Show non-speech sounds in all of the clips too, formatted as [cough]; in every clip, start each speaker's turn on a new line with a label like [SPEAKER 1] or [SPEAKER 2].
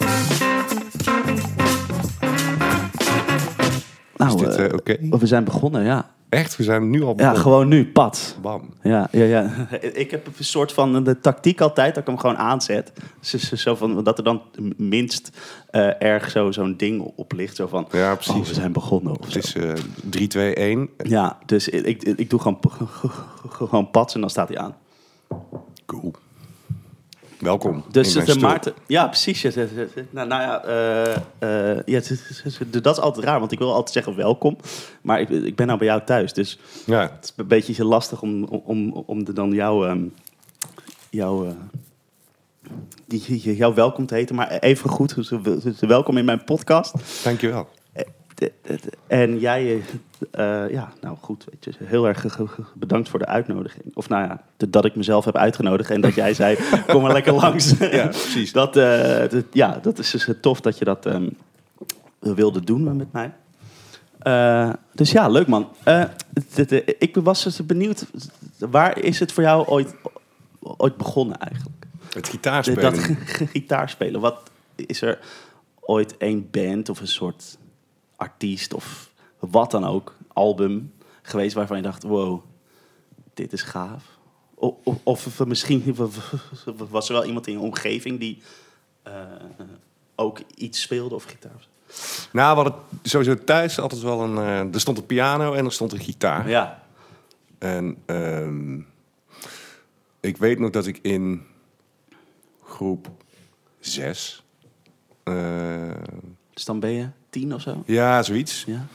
[SPEAKER 1] Oké.
[SPEAKER 2] Nou, eh, Of we zijn begonnen, ja.
[SPEAKER 1] Echt? We zijn nu al
[SPEAKER 2] Ja,
[SPEAKER 1] begonnen.
[SPEAKER 2] gewoon nu, pad.
[SPEAKER 1] Bam.
[SPEAKER 2] Ja, ja, ja. [laughs] Ik heb een soort van de tactiek altijd dat ik hem gewoon aanzet. [laughs] Zo- zo- Zo van, dat er dan minst eh, erg zo- zo'n ding op ligt. Zo van,
[SPEAKER 1] Ja, precies.
[SPEAKER 2] oh, we zijn begonnen. Of
[SPEAKER 1] Het
[SPEAKER 2] zo.
[SPEAKER 1] is eh 3, 2, 1.
[SPEAKER 2] Ja, dus ik, ik, ik doe gewoon, [laughs] gewoon pads en dan staat hij aan.
[SPEAKER 1] Cool. Welkom.
[SPEAKER 2] Dus het,
[SPEAKER 1] in mijn
[SPEAKER 2] eh,
[SPEAKER 1] stoel.
[SPEAKER 2] Maarten, ja, precies. Ja, ja, ja. nou, nou ja, eh, eh, ja [laughs] het is- het is- dat is altijd raar, want ik wil altijd zeggen welkom. Maar ik, ik ben nou bij jou thuis, dus
[SPEAKER 1] Ja,
[SPEAKER 2] het is een beetje lastig om, om, om de dan jouw, ehm, jouw, eh, die- die- jouw welkom te heten. Maar even goed, dus welkom in mijn podcast.
[SPEAKER 1] dankjewel.
[SPEAKER 2] En jij, eh, eh, ja, nou goed, weet je, heel erg ge- ge- ge- bedankt voor de uitnodiging. Of nou ja, de- dat ik mezelf heb uitgenodigd en dat jij
[SPEAKER 1] [laughs]
[SPEAKER 2] zei, kom maar lekker langs.
[SPEAKER 1] Ja, precies.
[SPEAKER 2] Dat, eh, dat- ja, dat is dus tof dat je dat ehm, wilde doen met mij. Eh, dus ja, leuk man. Eh, dit, eh, ik was dus benieuwd, waar is het voor jou ooit, ooit begonnen eigenlijk?
[SPEAKER 1] Het
[SPEAKER 2] De-
[SPEAKER 1] gitaarspelen.
[SPEAKER 2] Dat g- [laughs] g- gitaarspelen. Wat is er ooit een band of een soort artiest of wat dan ook, album geweest waarvan je dacht: wow, dit is gaaf? O- o- Of, misschien [laughs] was er wel iemand in je omgeving die eh, ook iets speelde of gitaar?
[SPEAKER 1] Nou, we hadden sowieso thuis altijd wel een... eh, er stond een piano en er stond een gitaar.
[SPEAKER 2] Ja,
[SPEAKER 1] En ehm, ik weet nog dat ik in groep 6...
[SPEAKER 2] dus dan ben je tien of zo?
[SPEAKER 1] ja, zoiets.
[SPEAKER 2] Ja.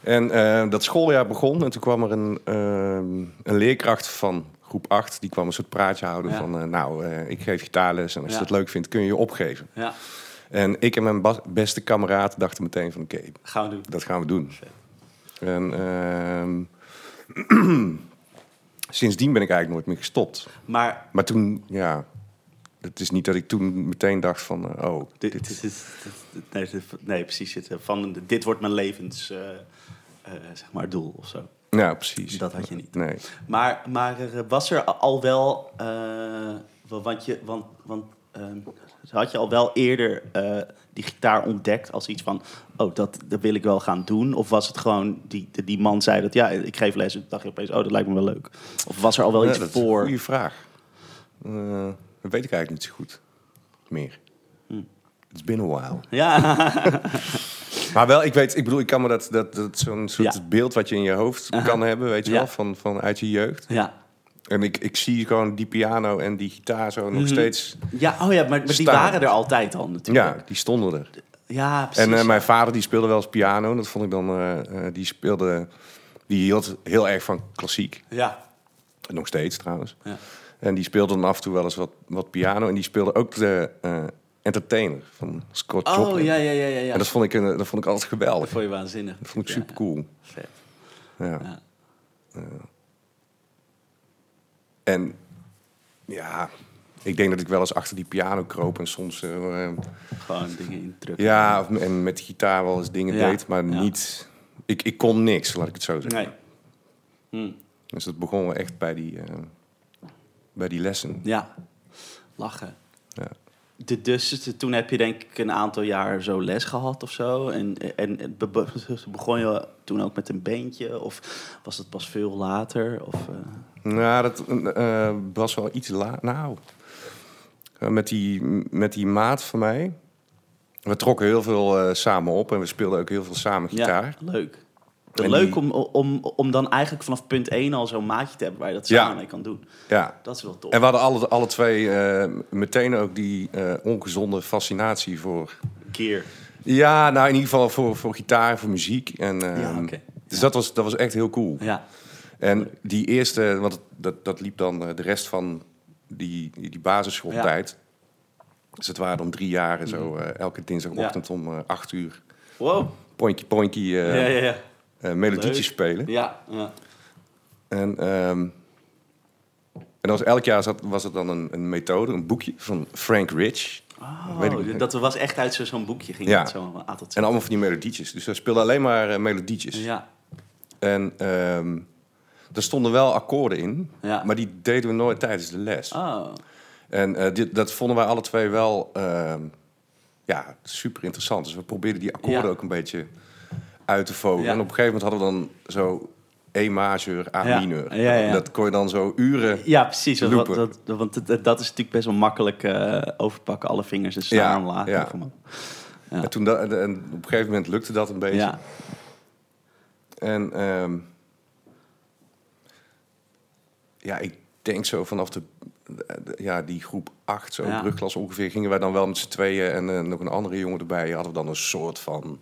[SPEAKER 1] En eh, dat schooljaar begon en toen kwam er een, ehm, een leerkracht van groep 8. Die kwam een soort praatje houden
[SPEAKER 2] Ja.
[SPEAKER 1] van... eh, nou, eh, ik geef gitaarles en als
[SPEAKER 2] Ja.
[SPEAKER 1] je dat leuk vindt kun je je opgeven.
[SPEAKER 2] ja,
[SPEAKER 1] En ik en mijn bas- beste kameraad dachten meteen van... oké,
[SPEAKER 2] gaan we doen.
[SPEAKER 1] dat gaan we doen. En ehm, [clears throat] sindsdien ben ik eigenlijk nooit meer gestopt.
[SPEAKER 2] Maar
[SPEAKER 1] Maar toen, ja... Het is niet dat ik toen meteen dacht van... eh, oh,
[SPEAKER 2] Dit, dit, dit- dit- nee, dit- nee, precies. Dit, eh, van, dit wordt mijn levens eh, eh, zeg maar doel of zo.
[SPEAKER 1] nou precies.
[SPEAKER 2] Dat had je niet.
[SPEAKER 1] Nee.
[SPEAKER 2] Maar, maar er was er al wel. eh, wa- want je, want, want, ehm, had je al wel eerder eh, die gitaar ontdekt als iets van. Oh, dat, dat wil ik wel gaan doen? Of was het gewoon. Die, die, die man zei dat ja, ik geef les. En toen dacht je opeens, oh, dat lijkt me wel leuk. Of was er al wel
[SPEAKER 1] Ja,
[SPEAKER 2] iets
[SPEAKER 1] dat is een
[SPEAKER 2] voor?
[SPEAKER 1] Goede vraag. Eh, dat weet ik eigenlijk niet zo goed meer.
[SPEAKER 2] Hmm.
[SPEAKER 1] It's been a while.
[SPEAKER 2] Ja, [laughs]
[SPEAKER 1] Maar wel, ik weet, ik bedoel, ik kan me dat, dat, dat zo'n soort
[SPEAKER 2] Ja.
[SPEAKER 1] beeld wat je in je hoofd kan hebben, weet je
[SPEAKER 2] Ja.
[SPEAKER 1] wel, van, van uit je jeugd.
[SPEAKER 2] ja.
[SPEAKER 1] En ik, ik zie gewoon die piano en die gitaar zo nog
[SPEAKER 2] Mhm.
[SPEAKER 1] steeds.
[SPEAKER 2] Ja, oh ja, maar, maar die
[SPEAKER 1] Staan.
[SPEAKER 2] waren er altijd al natuurlijk.
[SPEAKER 1] Ja, die stonden er.
[SPEAKER 2] ja precies.
[SPEAKER 1] En eh, mijn vader die speelde wel eens piano. en Dat vond ik dan, eh, eh, die speelde, die hield heel erg van klassiek.
[SPEAKER 2] Ja.
[SPEAKER 1] Nog steeds trouwens.
[SPEAKER 2] Ja.
[SPEAKER 1] En die speelde dan af en toe wel eens wat, wat piano. En die speelde ook de eh, entertainer van Scott
[SPEAKER 2] Oh,
[SPEAKER 1] Joplin.
[SPEAKER 2] ja, ja, ja, ja. ja.
[SPEAKER 1] En dat vond ik, een- dat vond ik altijd geweldig.
[SPEAKER 2] vond je waanzinnig.
[SPEAKER 1] Dat vond ik super cool.
[SPEAKER 2] Ja, vet.
[SPEAKER 1] Ja.
[SPEAKER 2] Ja.
[SPEAKER 1] En ja, ik denk dat ik wel eens achter die piano kroop en soms eh, eh,
[SPEAKER 2] Gewoon dingen indrukken.
[SPEAKER 1] ja, of- en met de gitaar wel eens dingen
[SPEAKER 2] Ja,
[SPEAKER 1] deed, maar
[SPEAKER 2] ja.
[SPEAKER 1] niet. Ik, ik kon niks, laat ik het zo zeggen.
[SPEAKER 2] Nee. Hm.
[SPEAKER 1] Dus dat begon wel echt bij die, eh, bij die lessen.
[SPEAKER 2] Ja, lachen.
[SPEAKER 1] Ja.
[SPEAKER 2] De, dus het- toen heb je denk ik een aantal jaar zo les gehad of zo. En, en het be- [laughs] be- begon je toen ook met een bandje? Of was dat pas veel later? Of, eh,
[SPEAKER 1] Nou, dat eh, eh, was wel iets laat. Nou, eh, met, die, met die maat van mij. We trokken heel veel eh, samen op en we speelden ook heel veel samen gitaar.
[SPEAKER 2] Ja, leuk.
[SPEAKER 1] En
[SPEAKER 2] leuk
[SPEAKER 1] die-
[SPEAKER 2] om, om, om dan eigenlijk vanaf punt 1 al zo'n maatje te hebben waar je dat
[SPEAKER 1] Ja.
[SPEAKER 2] samen mee kan doen.
[SPEAKER 1] Ja.
[SPEAKER 2] Dat is wel tof.
[SPEAKER 1] En we hadden alle, alle twee eh, meteen ook die eh, ongezonde fascinatie voor.
[SPEAKER 2] Keer.
[SPEAKER 1] Ja, nou in ieder geval voor, voor gitaar, voor muziek. En, eh,
[SPEAKER 2] Ja, oké.
[SPEAKER 1] Dus dat, was, dat was echt heel cool.
[SPEAKER 2] Ja.
[SPEAKER 1] En die eerste, want dat, dat liep dan eh, de rest van die, die basisschooltijd. Dus het waren dan drie jaar en
[SPEAKER 2] Mhm.
[SPEAKER 1] zo. eh, elke dinsdagochtend om eh, acht uur.
[SPEAKER 2] Wow.
[SPEAKER 1] Pointje, pointje, eh
[SPEAKER 2] ja, ja, ja.
[SPEAKER 1] eh, melodietjes
[SPEAKER 2] Leuk.
[SPEAKER 1] spelen.
[SPEAKER 2] Ja, ja.
[SPEAKER 1] En, ehm, en dat was elk jaar zat, was het dan een, een methode, een boekje van Frank Rich.
[SPEAKER 2] Oh,
[SPEAKER 1] Weet ik niet.
[SPEAKER 2] dat was echt uit zo- zo'n boekje ging.
[SPEAKER 1] Ja.
[SPEAKER 2] dat Zo, van A tot Z.
[SPEAKER 1] En allemaal van die melodietjes. Dus daar speelden alleen maar eh, melodietjes.
[SPEAKER 2] Ja,
[SPEAKER 1] En ehm er stonden wel akkoorden in,
[SPEAKER 2] Ja.
[SPEAKER 1] maar die deden we nooit tijdens de les.
[SPEAKER 2] oh,
[SPEAKER 1] En eh, dit, dat vonden wij alle twee wel ehm, ja, super interessant. Dus we probeerden die akkoorden
[SPEAKER 2] Ja.
[SPEAKER 1] ook een beetje uit te vogelen.
[SPEAKER 2] Ja.
[SPEAKER 1] En op een gegeven moment hadden we dan zo E majeur, A
[SPEAKER 2] Ja.
[SPEAKER 1] mineur.
[SPEAKER 2] Ja, ja.
[SPEAKER 1] Dat kon je dan zo uren...
[SPEAKER 2] Ja, precies. want
[SPEAKER 1] Looper.
[SPEAKER 2] dat, dat- want dat, dat is natuurlijk best wel makkelijk eh, overpakken. Alle vingers en snaar
[SPEAKER 1] Ja,
[SPEAKER 2] omlaag.
[SPEAKER 1] ja.
[SPEAKER 2] Van- Ja.
[SPEAKER 1] En, toen da- en en op een gegeven moment lukte dat een beetje.
[SPEAKER 2] ja.
[SPEAKER 1] En ehm, ja, ik denk zo vanaf de, de- ja, die groep 8, zo
[SPEAKER 2] Ja.
[SPEAKER 1] brugklas ongeveer, gingen wij dan wel met z'n tweeën en eh, nog een andere jongen erbij. Hadden we dan een soort van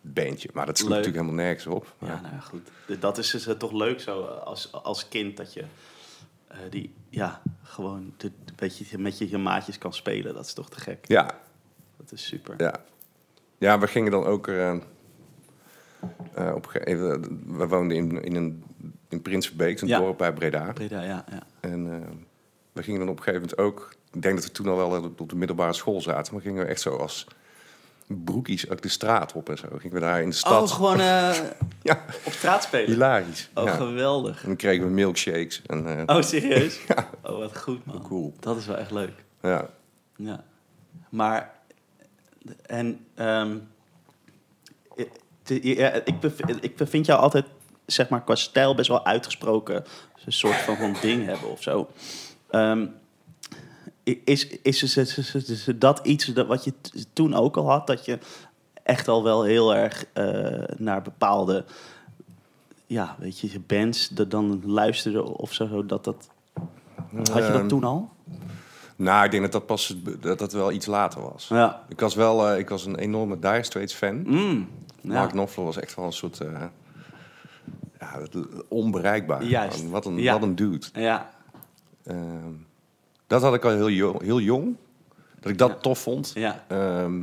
[SPEAKER 1] bandje. Maar dat sloeg
[SPEAKER 2] Leuk.
[SPEAKER 1] natuurlijk helemaal nergens op. Maar
[SPEAKER 2] Ja, nou ja, goed. D- Dat is dus eh, toch leuk zo eh, als, als kind dat je eh, die, ja, gewoon de, een beetje met je, je maatjes kan spelen. Dat is toch te gek.
[SPEAKER 1] ja,
[SPEAKER 2] Dat is super.
[SPEAKER 1] Ja. Ja, we gingen dan ook... eh, eh, op een gegeven we woonden in, in, een, in Prinsenbeek, een
[SPEAKER 2] Ja.
[SPEAKER 1] dorp bij Breda.
[SPEAKER 2] Breda, ja, ja.
[SPEAKER 1] En eh, we gingen dan op een gegeven moment ook... Ik denk dat we toen al wel op- op de middelbare school zaten. Maar gingen we echt zo als broekies ook de straat op en zo. Gingen we daar in de stad.
[SPEAKER 2] Oh, gewoon eh,
[SPEAKER 1] [laughs] Ja,
[SPEAKER 2] op straat spelen.
[SPEAKER 1] hilarisch.
[SPEAKER 2] Oh,
[SPEAKER 1] Ja. En
[SPEAKER 2] geweldig.
[SPEAKER 1] dan kregen we milkshakes. En, eh,
[SPEAKER 2] Oh,
[SPEAKER 1] [laughs]
[SPEAKER 2] serieus? Oh, wat goed, man.
[SPEAKER 1] Cool.
[SPEAKER 2] Dat is wel echt leuk.
[SPEAKER 1] ja.
[SPEAKER 2] Ja. Maar, en, ehm, ik- de- ja, ik, bev- ik bevind jou altijd, zeg maar, qua stijl best wel uitgesproken. dus Een soort van, van ding hebben of zo. Ehm, i- is, is, is, is- is- is- is dat iets dat, wat je t- toen ook al had? Dat je echt al wel heel erg eh, naar bepaalde, ja, weet je, bands dat dan luisterde of zo. Dat, dat, had je dat
[SPEAKER 1] Ehm,
[SPEAKER 2] toen al?
[SPEAKER 1] Nou, ik denk dat dat pas dat dat wel iets later was.
[SPEAKER 2] Ja.
[SPEAKER 1] Ik was wel eh, ik was een enorme Dire Straits fan.
[SPEAKER 2] Mm, ja.
[SPEAKER 1] Mark Knopfler was echt wel een soort... eh, ja, het- onbereikbaar.
[SPEAKER 2] Juist.
[SPEAKER 1] Man, Wat een,
[SPEAKER 2] Ja.
[SPEAKER 1] wat een dude.
[SPEAKER 2] ja.
[SPEAKER 1] Ehm, dat had ik al heel jong, heel jong. Dat ik dat
[SPEAKER 2] Ja.
[SPEAKER 1] tof vond.
[SPEAKER 2] Ja.
[SPEAKER 1] Ehm,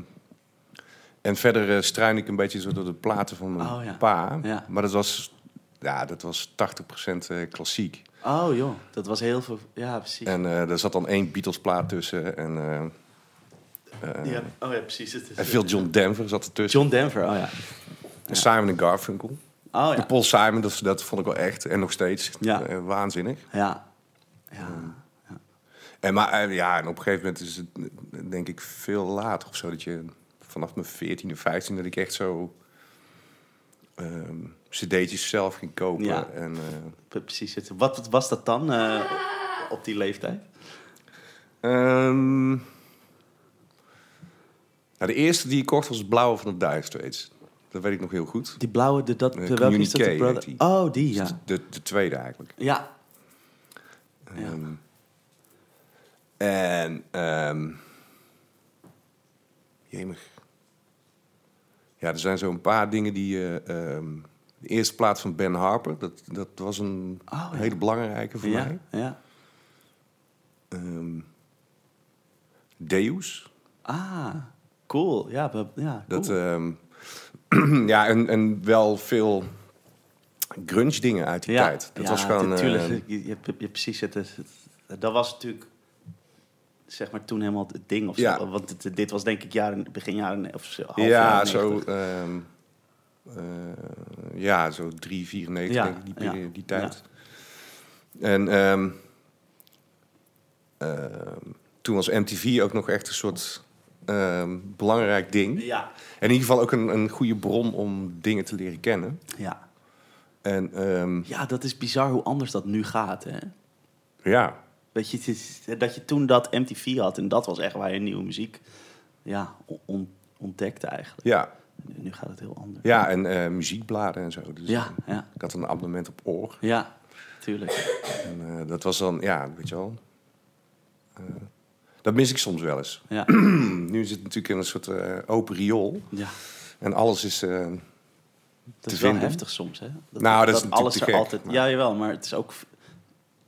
[SPEAKER 1] en verder eh, struin ik een beetje zo door de platen van mijn
[SPEAKER 2] Oh, ja.
[SPEAKER 1] pa.
[SPEAKER 2] Ja.
[SPEAKER 1] Maar dat was, ja, dat was 80% eh, klassiek.
[SPEAKER 2] Oh joh, dat was heel veel. Ja, precies.
[SPEAKER 1] En eh er zat dan één Beatles plaat tussen. En, eh, eh,
[SPEAKER 2] ja. Oh ja, precies. Het is-
[SPEAKER 1] en veel John Denver zat ertussen.
[SPEAKER 2] John Denver, oh ja.
[SPEAKER 1] En Simon en Garfunkel.
[SPEAKER 2] Oh
[SPEAKER 1] En
[SPEAKER 2] ja.
[SPEAKER 1] Paul Simon, dat, dat vond ik wel echt. En nog steeds
[SPEAKER 2] Ja.
[SPEAKER 1] eh, waanzinnig.
[SPEAKER 2] Ja. Ja.
[SPEAKER 1] En, maar, eh, ja, en op een gegeven moment is het eh, denk ik veel later of zo. Dat je vanaf mijn 14e, 15e dat ik echt zo ehm cd'tjes zelf ging kopen.
[SPEAKER 2] Ja.
[SPEAKER 1] En, eh,
[SPEAKER 2] Pre- Precies. Het- Wat, wat was dat dan eh, op die leeftijd?
[SPEAKER 1] ehm, nou, de eerste die ik kocht was het blauwe van de Dire Straits. Dat weet ik nog heel goed.
[SPEAKER 2] Die blauwe, de, dat,
[SPEAKER 1] Eh,
[SPEAKER 2] de, welke is dat? De
[SPEAKER 1] Communiqué
[SPEAKER 2] brother?
[SPEAKER 1] heet die.
[SPEAKER 2] Oh, die,
[SPEAKER 1] Dus
[SPEAKER 2] ja.
[SPEAKER 1] De, de tweede eigenlijk.
[SPEAKER 2] Ja. Ja.
[SPEAKER 1] Ehm, en, ehm jemig. Ja, er zijn zo'n paar dingen die... eh, ehm, de eerste plaat van Ben Harper, dat, dat was een
[SPEAKER 2] Oh, ja.
[SPEAKER 1] hele belangrijke voor
[SPEAKER 2] Ja,
[SPEAKER 1] mij.
[SPEAKER 2] ja.
[SPEAKER 1] Ehm, Deus.
[SPEAKER 2] Ah, cool. Ja, we- ja cool.
[SPEAKER 1] Dat, ehm, [clears throat] ja, en, en wel veel grunge dingen uit die
[SPEAKER 2] ja,
[SPEAKER 1] tijd. Dat
[SPEAKER 2] ja,
[SPEAKER 1] was gewoon...
[SPEAKER 2] Natuurlijk,
[SPEAKER 1] eh,
[SPEAKER 2] je, je, je- je- precies. Het, het- het- dat was natuurlijk, zeg maar, toen helemaal het ding of zo.
[SPEAKER 1] Ja.
[SPEAKER 2] Want dit, dit was denk ik jaren, begin jaren, of zo, half
[SPEAKER 1] ja,
[SPEAKER 2] jaren
[SPEAKER 1] zo,
[SPEAKER 2] 90.
[SPEAKER 1] ehm eh ja, zo 3, 94
[SPEAKER 2] Ja,
[SPEAKER 1] denk ik, die,
[SPEAKER 2] ja,
[SPEAKER 1] periode, die tijd. En ehm, ehm, toen was MTV ook nog echt een soort ehm, belangrijk ding. En
[SPEAKER 2] Ja,
[SPEAKER 1] in ieder geval ook een, een goede bron om dingen te leren kennen.
[SPEAKER 2] ja.
[SPEAKER 1] En ehm,
[SPEAKER 2] Ja, dat is bizar hoe anders dat nu gaat, hè?
[SPEAKER 1] ja,
[SPEAKER 2] Weet je, het is- dat je toen dat MTV had en dat was echt waar je nieuwe muziek ja, on- ontdekte eigenlijk.
[SPEAKER 1] ja,
[SPEAKER 2] Nu gaat het heel anders.
[SPEAKER 1] ja, en eh, muziekbladen en zo. Dus
[SPEAKER 2] ja, ja,
[SPEAKER 1] Ik had een abonnement op Oor.
[SPEAKER 2] ja, tuurlijk.
[SPEAKER 1] En eh, dat was dan, ja, weet je wel. Eh, dat mis ik soms wel eens.
[SPEAKER 2] Ja,
[SPEAKER 1] [clears throat] Nu is het natuurlijk in een soort eh, open riool.
[SPEAKER 2] ja.
[SPEAKER 1] En alles is... eh,
[SPEAKER 2] Dat
[SPEAKER 1] te
[SPEAKER 2] is wel
[SPEAKER 1] vinden.
[SPEAKER 2] heftig soms, hè? Dat,
[SPEAKER 1] Nou, dat is natuurlijk
[SPEAKER 2] alles
[SPEAKER 1] te
[SPEAKER 2] er
[SPEAKER 1] gek,
[SPEAKER 2] altijd.
[SPEAKER 1] maar-
[SPEAKER 2] Ja, jawel, maar het is ook.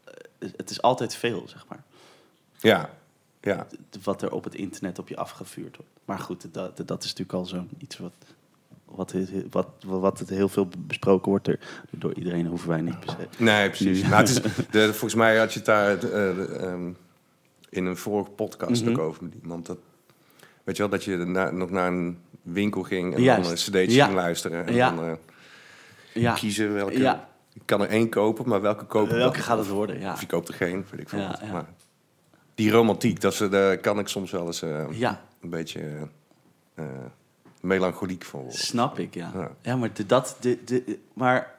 [SPEAKER 2] eh, Het is altijd veel, zeg maar.
[SPEAKER 1] ja, ja,
[SPEAKER 2] t- Wat er op het internet op je afgevuurd wordt. Maar goed, dat, dat is natuurlijk al zo'n iets wat. Wat, heel- wat, wat het heel veel besproken wordt er, door iedereen, hoeven wij niet per se.
[SPEAKER 1] nee, precies.
[SPEAKER 2] Nu.
[SPEAKER 1] Nou, het is, de, volgens mij had je het daar eh, de, ehm, in een vorige podcast
[SPEAKER 2] Mhm.
[SPEAKER 1] ook over met iemand. Dat, weet je wel, dat je na- nog naar een winkel ging en
[SPEAKER 2] Juist.
[SPEAKER 1] dan een cd'tje
[SPEAKER 2] Ja.
[SPEAKER 1] ging luisteren. En
[SPEAKER 2] Ja.
[SPEAKER 1] dan eh,
[SPEAKER 2] Ja,
[SPEAKER 1] kiezen welke...
[SPEAKER 2] Ja.
[SPEAKER 1] Ik kan er één kopen, maar welke kopen
[SPEAKER 2] welke gaat het worden? Ja,
[SPEAKER 1] Of je koopt er geen, weet ik veel.
[SPEAKER 2] Ja,
[SPEAKER 1] wat.
[SPEAKER 2] ja.
[SPEAKER 1] Maar die romantiek, dat ze, daar kan ik soms wel eens eh,
[SPEAKER 2] ja
[SPEAKER 1] een beetje eh, eh, melancholiek van worden.
[SPEAKER 2] Snap ik, ja. Ja,
[SPEAKER 1] Ja.
[SPEAKER 2] maar de, dat, de, de, maar,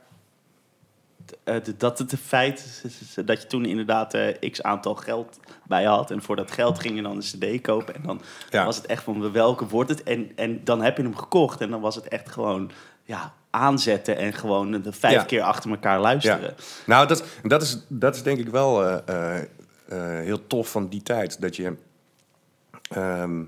[SPEAKER 2] eh, de, dat het de feit is- is- is dat je toen inderdaad eh, x aantal geld bij had. En voor dat geld ging je dan een cd kopen. En dan
[SPEAKER 1] Ja.
[SPEAKER 2] was het echt van welke wordt het. En, en dan heb je hem gekocht. En dan was het echt gewoon ja, aanzetten en gewoon de vijf
[SPEAKER 1] Ja.
[SPEAKER 2] keer achter elkaar luisteren.
[SPEAKER 1] Nou, dat, dat, is, dat is denk ik wel eh, eh, eh, heel tof van die tijd. Dat je. ehm,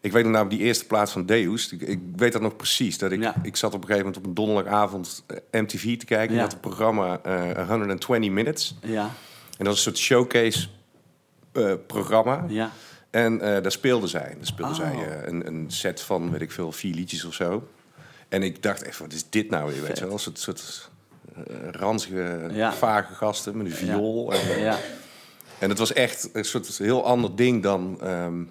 [SPEAKER 1] ik weet nog namelijk die eerste plaats van Deus. Ik, ik weet dat nog precies. Dat ik,
[SPEAKER 2] Ja.
[SPEAKER 1] ik zat op een gegeven moment op een donderdagavond eh, MTV te kijken.
[SPEAKER 2] Ja.
[SPEAKER 1] en Dat het programma eh 120 Minutes.
[SPEAKER 2] Ja,
[SPEAKER 1] En dat is een soort showcase eh, programma.
[SPEAKER 2] ja.
[SPEAKER 1] En eh, daar speelden zij. Daar speelden
[SPEAKER 2] Oh.
[SPEAKER 1] zij eh, een, een set van, weet ik veel, vier liedjes of zo. En ik dacht echt, wat is dit nou weer? Weet
[SPEAKER 2] Vet.
[SPEAKER 1] je wel, een soort, soort eh, ranzige,
[SPEAKER 2] Ja.
[SPEAKER 1] vage gasten met een viool. En,
[SPEAKER 2] ja.
[SPEAKER 1] en het was echt een soort heel ander ding dan ehm,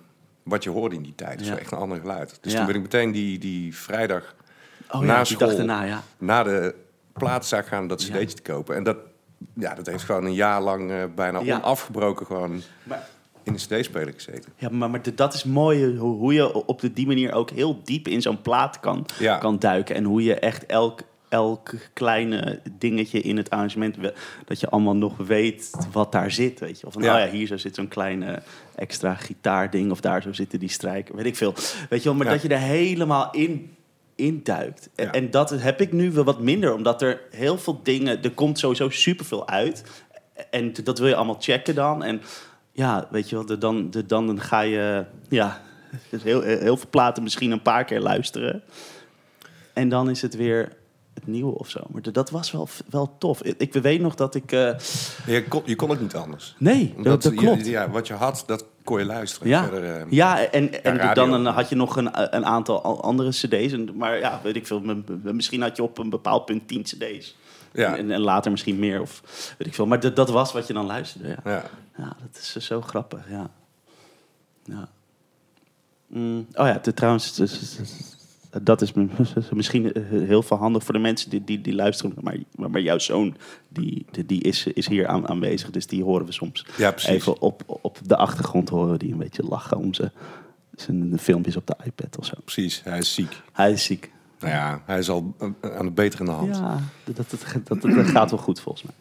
[SPEAKER 1] wat je hoorde in die tijd. Het
[SPEAKER 2] Ja.
[SPEAKER 1] was echt een ander geluid. Dus
[SPEAKER 2] Ja.
[SPEAKER 1] toen ben ik meteen die, die vrijdag
[SPEAKER 2] Oh
[SPEAKER 1] Na
[SPEAKER 2] ja, die
[SPEAKER 1] school.
[SPEAKER 2] dag daarna, ja.
[SPEAKER 1] na de plaatzaak gaan om dat
[SPEAKER 2] Ja.
[SPEAKER 1] cd'tje te kopen. En dat, ja, dat heeft gewoon een jaar lang eh, bijna
[SPEAKER 2] Ja.
[SPEAKER 1] onafgebroken gewoon
[SPEAKER 2] Maar,
[SPEAKER 1] in de cd-speler gezeten.
[SPEAKER 2] Ja, maar, maar de- dat is mooi hoe, hoe je op de, die manier ook heel diep in zo'n plaat kan,
[SPEAKER 1] Ja.
[SPEAKER 2] kan duiken. En hoe je echt elk, elk kleine dingetje in het arrangement, we- dat je allemaal nog weet wat daar zit. Weet je? Of van,
[SPEAKER 1] Ja.
[SPEAKER 2] oh ja, hier zo zit zo'n kleine extra gitaarding of daar zo zitten die strijken, weet ik veel. Weet je wel, maar
[SPEAKER 1] Ja.
[SPEAKER 2] dat je er helemaal in induikt. En,
[SPEAKER 1] Ja.
[SPEAKER 2] en dat heb ik nu wel wat minder, omdat er heel veel dingen... Er komt sowieso superveel uit. En dat wil je allemaal checken dan. En ja, weet je wel, de- dan, de- dan, dan ga je... Ja, dus heel, heel veel platen misschien een paar keer luisteren. En dan is het weer het nieuwe of zo. Maar de- dat was wel, wel tof. Ik, ik weet nog dat ik... eh,
[SPEAKER 1] Je kon, je kon het niet anders.
[SPEAKER 2] nee, dat,
[SPEAKER 1] Omdat
[SPEAKER 2] dat
[SPEAKER 1] je-
[SPEAKER 2] klopt.
[SPEAKER 1] ja, wat je had, dat kon je luisteren.
[SPEAKER 2] Ja,
[SPEAKER 1] Verder, eh,
[SPEAKER 2] ja en, en
[SPEAKER 1] radio.
[SPEAKER 2] dan een- had je nog een, een aantal a- andere cd's. En, maar ja, weet ik veel. m- m- Misschien had je op een bepaald punt 10 cd's.
[SPEAKER 1] Ja.
[SPEAKER 2] En, en later misschien meer of weet ik veel. Maar dat, dat was wat je dan luisterde. Ja,
[SPEAKER 1] ja.
[SPEAKER 2] ja dat is eh, zo grappig, ja. ja. Mm, oh ja, te- trouwens, dus- dus- dus- dat is m- [laughs] misschien eh, heel veel handig voor de mensen die, die, die luisteren. Maar, maar, maar jouw zoon, die, die- die is, is hier aan, aanwezig, dus die horen we soms
[SPEAKER 1] Ja, precies.
[SPEAKER 2] even op, op de achtergrond horen we die een beetje lachen om ze, zijn filmpjes op de iPad of zo.
[SPEAKER 1] precies. Hij is ziek.
[SPEAKER 2] Hij is ziek.
[SPEAKER 1] Nou ja, hij is al eh, aan de betere hand.
[SPEAKER 2] Ja, dat, dat, dat, dat, dat gaat wel goed volgens mij.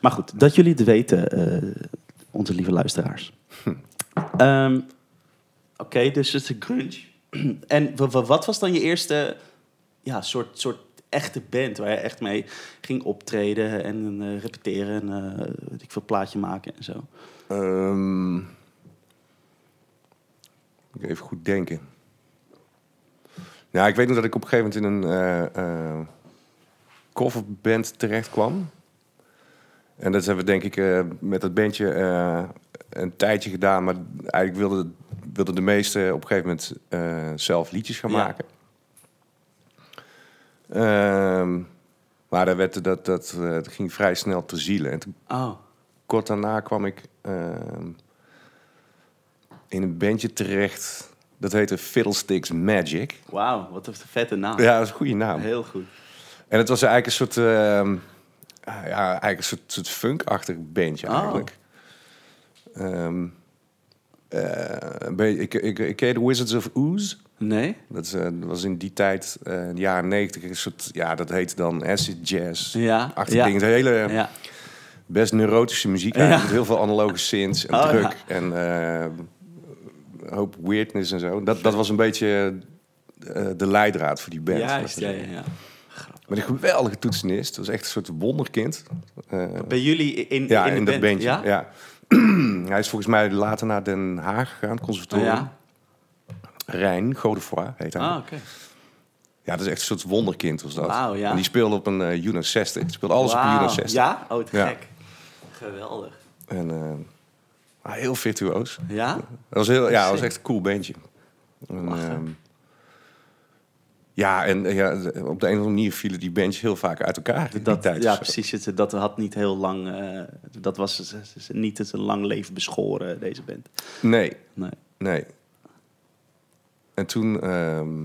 [SPEAKER 2] Maar goed, dat jullie het weten, eh, onze lieve luisteraars.
[SPEAKER 1] Hm.
[SPEAKER 2] Ehm, Oké, dus het is een grunge. en wa- wa- wat was dan je eerste ja, soort, soort echte band waar je echt mee ging optreden en eh, repeteren en eh, weet ik veel plaatje maken en zo?
[SPEAKER 1] Ehm, moet ik even goed denken. Nou, ik weet nog dat ik op een gegeven moment in een eh, eh, coverband terecht kwam. En dat hebben we denk ik eh, met dat bandje eh, een tijdje gedaan. Maar eigenlijk wilden wilde de meesten op een gegeven moment eh, zelf liedjes gaan
[SPEAKER 2] Ja.
[SPEAKER 1] maken. Ehm, maar dat, werd, dat, dat, eh, dat ging vrij snel te zielen. En toen
[SPEAKER 2] Oh,
[SPEAKER 1] kort daarna kwam ik ehm, in een bandje terecht. Dat heette Fiddlesticks Magic.
[SPEAKER 2] wauw, wat een vette naam.
[SPEAKER 1] Ja, dat is een goede naam.
[SPEAKER 2] Heel goed.
[SPEAKER 1] En het was eigenlijk een soort, ehm, ah, ja, eigenlijk een soort, soort funkachtig bandje
[SPEAKER 2] Oh.
[SPEAKER 1] eigenlijk. Ehm, eh, een beetje- ik, ik, ik ken je de Wizards of Ooze.
[SPEAKER 2] Nee?
[SPEAKER 1] Dat is, eh, was in die tijd, eh, in de jaren negentig, een soort, ja, dat heette dan acid jazz.
[SPEAKER 2] Ja.
[SPEAKER 1] Achter
[SPEAKER 2] ja.
[SPEAKER 1] dingen. Het hele,
[SPEAKER 2] Ja.
[SPEAKER 1] best neurotische muziek eigenlijk. Met heel veel analoge synths en
[SPEAKER 2] Oh,
[SPEAKER 1] druk
[SPEAKER 2] ja.
[SPEAKER 1] en eh, een hoop weirdness en zo. Dat, dat was een beetje eh, de leidraad voor die band.
[SPEAKER 2] Juist, ja, ja, ja.
[SPEAKER 1] Met een geweldige toetsenist. Dat was echt een soort wonderkind. Eh,
[SPEAKER 2] Bij jullie in, in,
[SPEAKER 1] ja,
[SPEAKER 2] in
[SPEAKER 1] in,
[SPEAKER 2] de
[SPEAKER 1] dat
[SPEAKER 2] band,
[SPEAKER 1] bandje.
[SPEAKER 2] ja?
[SPEAKER 1] Ja? [clears throat] Hij is volgens mij later naar Den Haag gegaan, het conservatorium.
[SPEAKER 2] ja.
[SPEAKER 1] Rijn, Godefroy heet hij.
[SPEAKER 2] Ah, oké.
[SPEAKER 1] Ja, dat is echt een soort wonderkind was dat.
[SPEAKER 2] Wauw, ja.
[SPEAKER 1] En die speelde op een eh Uno 60. Die speelde alles op een Uno
[SPEAKER 2] Wauw.
[SPEAKER 1] 60.
[SPEAKER 2] Ja? Oh, te
[SPEAKER 1] Ja.
[SPEAKER 2] gek. Geweldig.
[SPEAKER 1] En eh, maar heel virtuoos.
[SPEAKER 2] Ja?
[SPEAKER 1] Dat was heel, ja, dat was
[SPEAKER 2] Sick.
[SPEAKER 1] echt een cool bandje. En,
[SPEAKER 2] Lachen.
[SPEAKER 1] ehm, ja, en eh, ja, op de een of andere manier vielen die bandjes heel vaak uit elkaar. in die
[SPEAKER 2] Dat,
[SPEAKER 1] tijd
[SPEAKER 2] ja,
[SPEAKER 1] of zo.
[SPEAKER 2] precies. Het- Dat had niet heel lang... eh, dat was z- z- z- niet het een lang leven beschoren, deze band.
[SPEAKER 1] Nee,
[SPEAKER 2] Nee.
[SPEAKER 1] nee. En toen... ehm,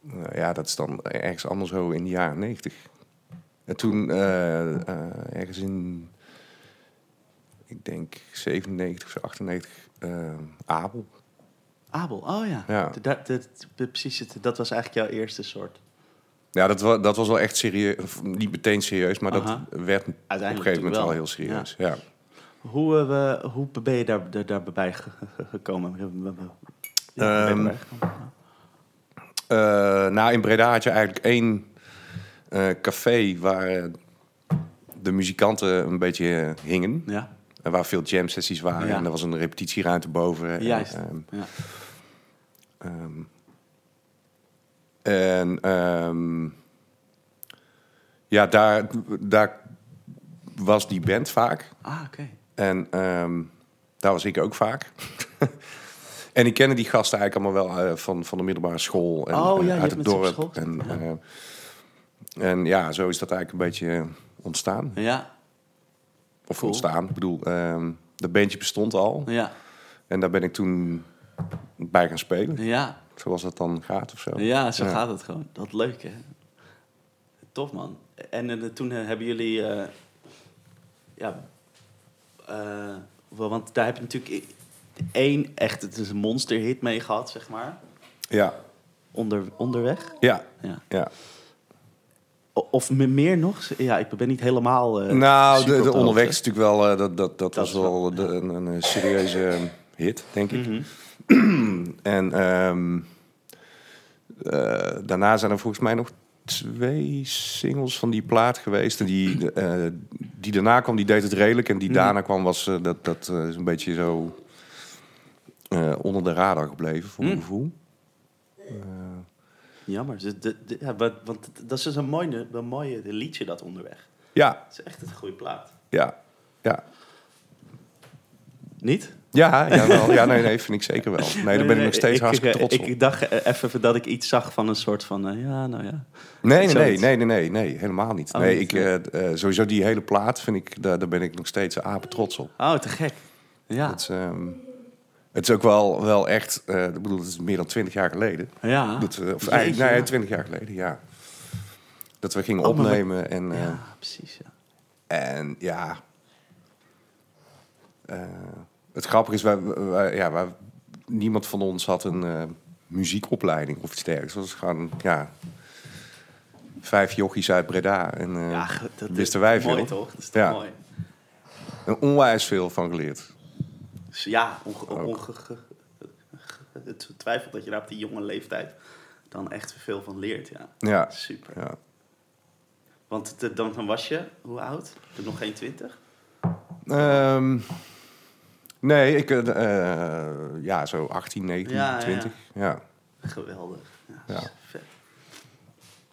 [SPEAKER 1] nou ja, dat is dan ergens anders zo in de jaren negentig. En toen eh, eh, ergens in... Ik denk 97 of zo, 98, ehm Abel.
[SPEAKER 2] Abel, oh ja.
[SPEAKER 1] Ja.
[SPEAKER 2] Dat, dat, dat- precies, het- dat was eigenlijk jouw eerste soort.
[SPEAKER 1] Ja, dat, wa- dat was wel echt serieus. of Niet meteen serieus, maar
[SPEAKER 2] Aha.
[SPEAKER 1] dat werd op een gegeven
[SPEAKER 2] natuurlijk
[SPEAKER 1] moment wel,
[SPEAKER 2] wel.
[SPEAKER 1] heel serieus. Ja.
[SPEAKER 2] Hoe, eh, we- hoe ben je daar, daar, daarbij ge- ge- gekomen? Ja, ben je
[SPEAKER 1] Ehm,
[SPEAKER 2] daarbij gekomen?
[SPEAKER 1] Eh, nou, in Breda had je eigenlijk één eh, café waar eh, de muzikanten een beetje eh, hingen.
[SPEAKER 2] Ja,
[SPEAKER 1] En waar veel jam sessies waren.
[SPEAKER 2] Ja.
[SPEAKER 1] En er was een repetitieruimte boven. En,
[SPEAKER 2] juist.
[SPEAKER 1] ehm,
[SPEAKER 2] ja.
[SPEAKER 1] Ehm, en ehm, ja, daar, daar was die band vaak.
[SPEAKER 2] Ah, oké.
[SPEAKER 1] En ehm, daar was ik ook vaak. [laughs] en ik kende die gasten eigenlijk allemaal wel eh, van, van de middelbare school. En,
[SPEAKER 2] Oh, ja,
[SPEAKER 1] eh,
[SPEAKER 2] je hebt
[SPEAKER 1] uit het
[SPEAKER 2] met ze op
[SPEAKER 1] dorp.
[SPEAKER 2] school gezeten,
[SPEAKER 1] en,
[SPEAKER 2] ja.
[SPEAKER 1] eh, en ja, zo is dat eigenlijk een beetje eh, ontstaan.
[SPEAKER 2] Ja,
[SPEAKER 1] Of
[SPEAKER 2] Cool.
[SPEAKER 1] ontstaan. Ik bedoel, ehm dat bandje bestond al.
[SPEAKER 2] ja,
[SPEAKER 1] En daar ben ik toen bij gaan spelen.
[SPEAKER 2] ja.
[SPEAKER 1] Zoals dat dan gaat of zo.
[SPEAKER 2] Ja, zo
[SPEAKER 1] Ja.
[SPEAKER 2] gaat het gewoon. Dat leuk, hè? Tof, man. En eh, toen eh, hebben jullie... eh, ja... eh, wel, want daar heb je natuurlijk i- één echt... Het is een monsterhit mee gehad, zeg maar.
[SPEAKER 1] Ja,
[SPEAKER 2] Onder, onderweg.
[SPEAKER 1] ja,
[SPEAKER 2] Ja.
[SPEAKER 1] ja.
[SPEAKER 2] O- Of me- meer nog? Ja, ik ben niet helemaal... eh,
[SPEAKER 1] nou,
[SPEAKER 2] super
[SPEAKER 1] de,
[SPEAKER 2] op
[SPEAKER 1] de
[SPEAKER 2] hoogte.
[SPEAKER 1] onderweg is natuurlijk wel... eh, dat, dat, dat, was
[SPEAKER 2] is
[SPEAKER 1] wel,
[SPEAKER 2] wel-
[SPEAKER 1] de- een, een, eh, serieuze eh, hit, denk ik.
[SPEAKER 2] Mhm.
[SPEAKER 1] [clears throat] En ehm, eh, daarna zijn er volgens mij nog twee singles van die plaat geweest. En die, de, eh, die daarna kwam, die deed het redelijk. En die
[SPEAKER 2] Mhm.
[SPEAKER 1] daarna kwam, was, eh, dat, dat eh, is een beetje zo eh, onder de radar gebleven, voor mijn
[SPEAKER 2] Mm.
[SPEAKER 1] gevoel.
[SPEAKER 2] Jammer. Dus de- de- ja, wat- want het- dat is dus een mooi, een mooi liedje, dat onderweg.
[SPEAKER 1] Ja,
[SPEAKER 2] Het is echt een goede plaat.
[SPEAKER 1] ja, ja.
[SPEAKER 2] Niet?
[SPEAKER 1] Ja, ja, wel. ja nee, nee, vind ik zeker wel. Nee, daar ben ik nog steeds hartstikke
[SPEAKER 2] eh,
[SPEAKER 1] trots
[SPEAKER 2] ik,
[SPEAKER 1] op.
[SPEAKER 2] dacht eh, even dat ik iets zag van een soort van... eh, ja, nou ja.
[SPEAKER 1] Nee, nee, nee,
[SPEAKER 2] Zoiets.
[SPEAKER 1] nee, nee, nee, nee, helemaal niet.
[SPEAKER 2] Oh,
[SPEAKER 1] Nee,
[SPEAKER 2] niet,
[SPEAKER 1] ik,
[SPEAKER 2] nee.
[SPEAKER 1] eh, eh, sowieso die hele plaat, vind ik, daar, daar ben ik nog steeds apen trots op.
[SPEAKER 2] Oh, te gek. Ja,
[SPEAKER 1] Het, is, ehm, het is ook wel, wel echt, eh, ik bedoel, het is meer dan twintig jaar geleden.
[SPEAKER 2] ja.
[SPEAKER 1] Dat, we- of
[SPEAKER 2] Jeetje,
[SPEAKER 1] eigenlijk, nee,
[SPEAKER 2] ja.
[SPEAKER 1] twintig jaar geleden, ja. Dat we gingen
[SPEAKER 2] Oh, maar we-
[SPEAKER 1] opnemen en, eh,
[SPEAKER 2] Ja, precies. Ja.
[SPEAKER 1] en ja. Eh, het grappige is, wij, wij- ja, wij- niemand van ons had een eh, muziekopleiding of iets dergelijks. Het was gewoon, ja, vijf jochies uit Breda. En, eh,
[SPEAKER 2] Ja, ge- dat is
[SPEAKER 1] wisten wij
[SPEAKER 2] mooi,
[SPEAKER 1] veel.
[SPEAKER 2] toch? Dat is toch
[SPEAKER 1] Ja.
[SPEAKER 2] mooi.
[SPEAKER 1] en onwijs veel van geleerd.
[SPEAKER 2] Dus ja, onge,
[SPEAKER 1] Ook.
[SPEAKER 2] onge- ge- ge- het twijfel dat je daar op die jonge leeftijd dan echt veel van leert. Ja,
[SPEAKER 1] Ja,
[SPEAKER 2] super.
[SPEAKER 1] ja.
[SPEAKER 2] Want het- dan, dan was je, hoe oud? Toen Nog geen twintig?
[SPEAKER 1] Ehm, nee, ik, eh, eh, ja, zo 18, 19,
[SPEAKER 2] Ja, ja,
[SPEAKER 1] 20. Ja,
[SPEAKER 2] Geweldig. Ja,
[SPEAKER 1] Ja.
[SPEAKER 2] is vet.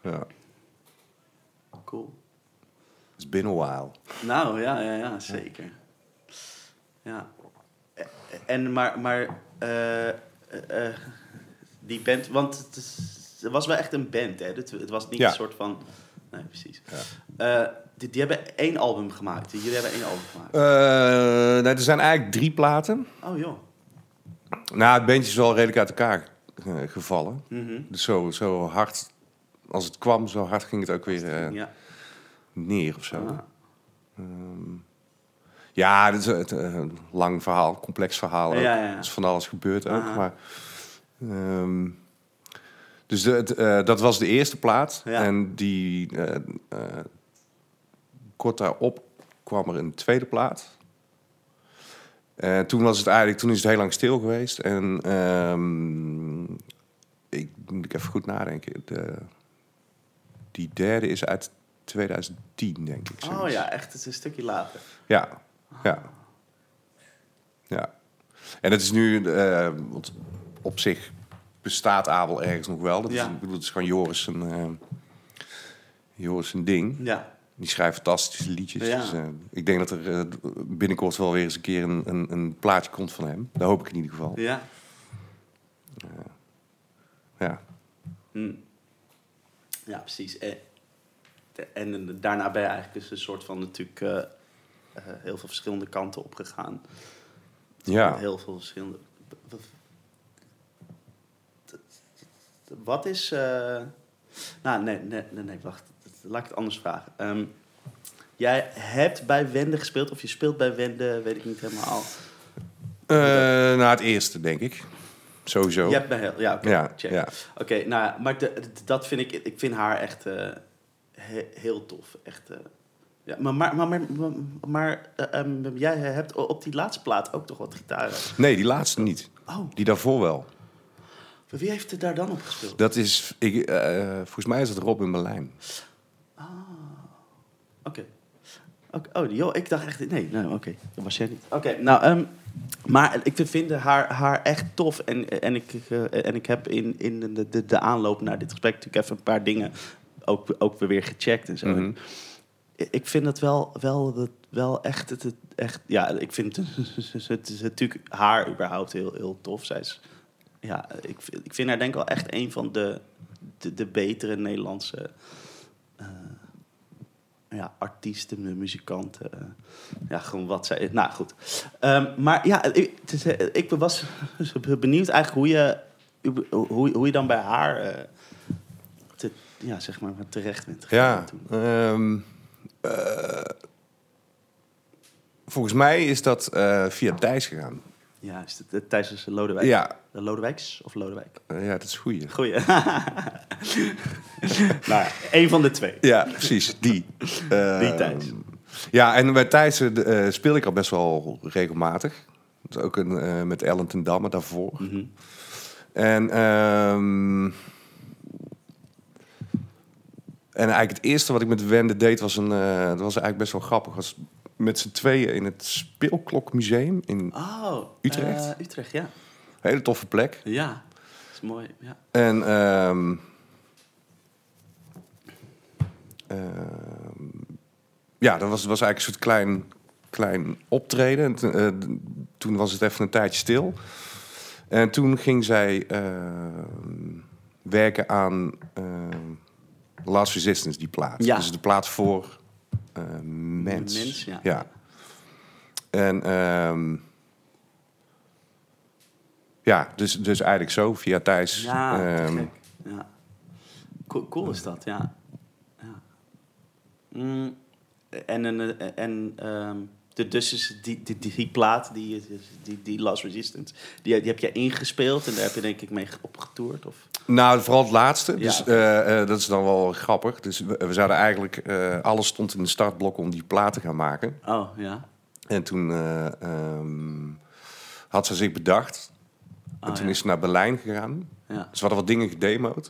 [SPEAKER 1] ja.
[SPEAKER 2] Cool.
[SPEAKER 1] It's been a while.
[SPEAKER 2] Nou, ja, ja, ja, zeker. Ja. E- En, maar, maar eh, eh, eh, die band, want het, is- het was wel echt een band, hè? Het, het was niet
[SPEAKER 1] Ja.
[SPEAKER 2] een soort van... Nee, precies. Eh, die, die hebben één album gemaakt. Jullie hebben één album gemaakt.
[SPEAKER 1] Eh, nee, er zijn eigenlijk drie platen.
[SPEAKER 2] Oh, joh.
[SPEAKER 1] Nou, het bandje is wel redelijk uit elkaar eh, gevallen.
[SPEAKER 2] Mhm.
[SPEAKER 1] Dus zo, zo hard, als het kwam, zo hard ging het ook weer eh,
[SPEAKER 2] ja.
[SPEAKER 1] neer of zo.
[SPEAKER 2] Ah.
[SPEAKER 1] Ehm, ja, dat is het, eh, een lang verhaal, complex verhaal. ook.
[SPEAKER 2] Ja, ja, ja.
[SPEAKER 1] Er is van alles gebeurd ook.
[SPEAKER 2] Aha.
[SPEAKER 1] Maar, ehm, dus de, het, eh, dat was de eerste plaat.
[SPEAKER 2] Ja.
[SPEAKER 1] En die, eh, eh, kort daarop kwam er een tweede plaat. Eh, toen, was het eigenlijk, toen is het heel lang stil geweest. En ehm, ik moet ik even goed nadenken. De, die derde is uit 2010, denk ik.
[SPEAKER 2] Oh
[SPEAKER 1] zoiets.
[SPEAKER 2] ja, echt, het is een stukje later.
[SPEAKER 1] Ja, ja. Ja. En het is nu, eh, want op zich bestaat Abel ergens nog wel. Dat is,
[SPEAKER 2] Ja.
[SPEAKER 1] ik bedoel, het is gewoon Joris een, eh, Joris een ding.
[SPEAKER 2] Ja.
[SPEAKER 1] Die schrijft fantastische liedjes.
[SPEAKER 2] Ja.
[SPEAKER 1] Dus, eh, ik denk dat er eh, binnenkort wel weer eens een keer een, een, een plaatje komt van hem. Dat hoop ik in ieder geval.
[SPEAKER 2] Ja.
[SPEAKER 1] Ja.
[SPEAKER 2] Hm. Ja, precies. En, en daarna ben je eigenlijk dus een soort van natuurlijk eh, eh, heel veel verschillende kanten opgegaan.
[SPEAKER 1] Ja.
[SPEAKER 2] Met heel veel verschillende. Wat is. eh, Nou, nee, nee, nee, nee, wacht. Laat ik het anders vragen. Ehm, jij hebt bij Wende gespeeld, of je speelt bij Wende, weet ik niet helemaal.
[SPEAKER 1] Eh, na het eerste, denk ik. Sowieso.
[SPEAKER 2] Je hebt me heel... Ja, oké.
[SPEAKER 1] ja,
[SPEAKER 2] check.
[SPEAKER 1] ja.
[SPEAKER 2] Oké, nou ja, maar de- de- dat vind ik... Ik vind haar echt eh, he- heel tof. Echt... eh, ja, maar maar, maar, maar, maar, eh, ehm, jij hebt o- op die laatste plaat ook toch wat gitaren.
[SPEAKER 1] Nee, die laatste niet.
[SPEAKER 2] Oh,
[SPEAKER 1] Die daarvoor wel.
[SPEAKER 2] wie heeft er daar dan op gespeeld?
[SPEAKER 1] Dat is, ik, eh, volgens mij is dat Rob in Berlijn.
[SPEAKER 2] Oké. Oké, Oh, joh, ik dacht echt... Nee, nee oké. Dat was jij niet. Oké, nou... ehm, maar ik vind- vind haar, haar echt tof. En, en, ik, eh, en ik heb in, in de, de, de aanloop naar dit gesprek natuurlijk even een paar dingen ook, ook weer gecheckt en zo.
[SPEAKER 1] Mhm.
[SPEAKER 2] Ik- Ik vind dat wel, wel, dat wel echt, het, het- echt... Ja, ik vind het, [laughs] het, het is natuurlijk haar überhaupt heel, heel tof. Zij is, ja, ik, vind- ik vind haar denk ik wel echt een van de, de, de betere Nederlandse eh, ja, artiesten, mu- muzikanten. eh. ja, gewoon wat zij... Nou, goed. Ehm, maar ja, ik, het is, eh, ik was [laughs] benieuwd eigenlijk hoe je, hoe, hoe je dan bij haar... eh, te, ja, zeg maar, terecht bent
[SPEAKER 1] Ja.
[SPEAKER 2] gekomen toen.
[SPEAKER 1] ehm, eh, volgens mij is dat eh, via Thijs gegaan.
[SPEAKER 2] Ja, is het eh, Thijs is Lodewijk?
[SPEAKER 1] Ja,
[SPEAKER 2] Eh, Lodewijks of Lodewijk?
[SPEAKER 1] eh, ja, dat is goeie.
[SPEAKER 2] Goeie. [laughs] nou, één van de twee.
[SPEAKER 1] Ja, precies, [laughs] die. Eh,
[SPEAKER 2] Die Thijs.
[SPEAKER 1] Ja, en bij Thijs eh, de- eh, speel ik al best wel regelmatig. Dat is ook een, eh, met Ellen ten Damme daarvoor.
[SPEAKER 2] Mhm.
[SPEAKER 1] En, ehm, en eigenlijk het eerste wat ik met Wende deed was een. eh, dat was eigenlijk best wel grappig. Was met z'n tweeën in het Speelklokmuseum. In een
[SPEAKER 2] Oh.
[SPEAKER 1] Utrecht?
[SPEAKER 2] eh, Utrecht, ja.
[SPEAKER 1] hele toffe plek.
[SPEAKER 2] Ja. Dat is mooi, ja.
[SPEAKER 1] En. ehm, ehm, ja, dat was, was eigenlijk een soort klein, klein optreden. En, toen, eh, toen was het even een tijdje stil. En toen ging zij ehm, werken aan ehm, Last Resistance, die plaat.
[SPEAKER 2] Ja.
[SPEAKER 1] Dus de plaat voor eh, mens.
[SPEAKER 2] Mens, ja.
[SPEAKER 1] En ehm, ja, dus, dus eigenlijk zo, via Thijs.
[SPEAKER 2] Ja, te
[SPEAKER 1] ehm,
[SPEAKER 2] gek. ja. Cool, cool is dat, ja. ja. Mm, en en, eh, en ehm, de, dus is die, die, die, die plaat, die, die, die Last Resistance, die, die heb jij ingespeeld en daar heb je denk ik mee opgetoerd? Of?
[SPEAKER 1] Nou, vooral het laatste.
[SPEAKER 2] Ja,
[SPEAKER 1] Dus
[SPEAKER 2] oké.
[SPEAKER 1] eh, eh, dat is dan wel grappig. Dus we, we zouden eigenlijk... eh, alles stond in de startblok om die plaat te gaan maken.
[SPEAKER 2] Oh, ja.
[SPEAKER 1] En toen eh, ehm, had ze zich bedacht.
[SPEAKER 2] Oh,
[SPEAKER 1] en toen
[SPEAKER 2] ja.
[SPEAKER 1] is ze naar Berlijn gegaan.
[SPEAKER 2] Ja.
[SPEAKER 1] Ze hadden wat dingen gedemoed.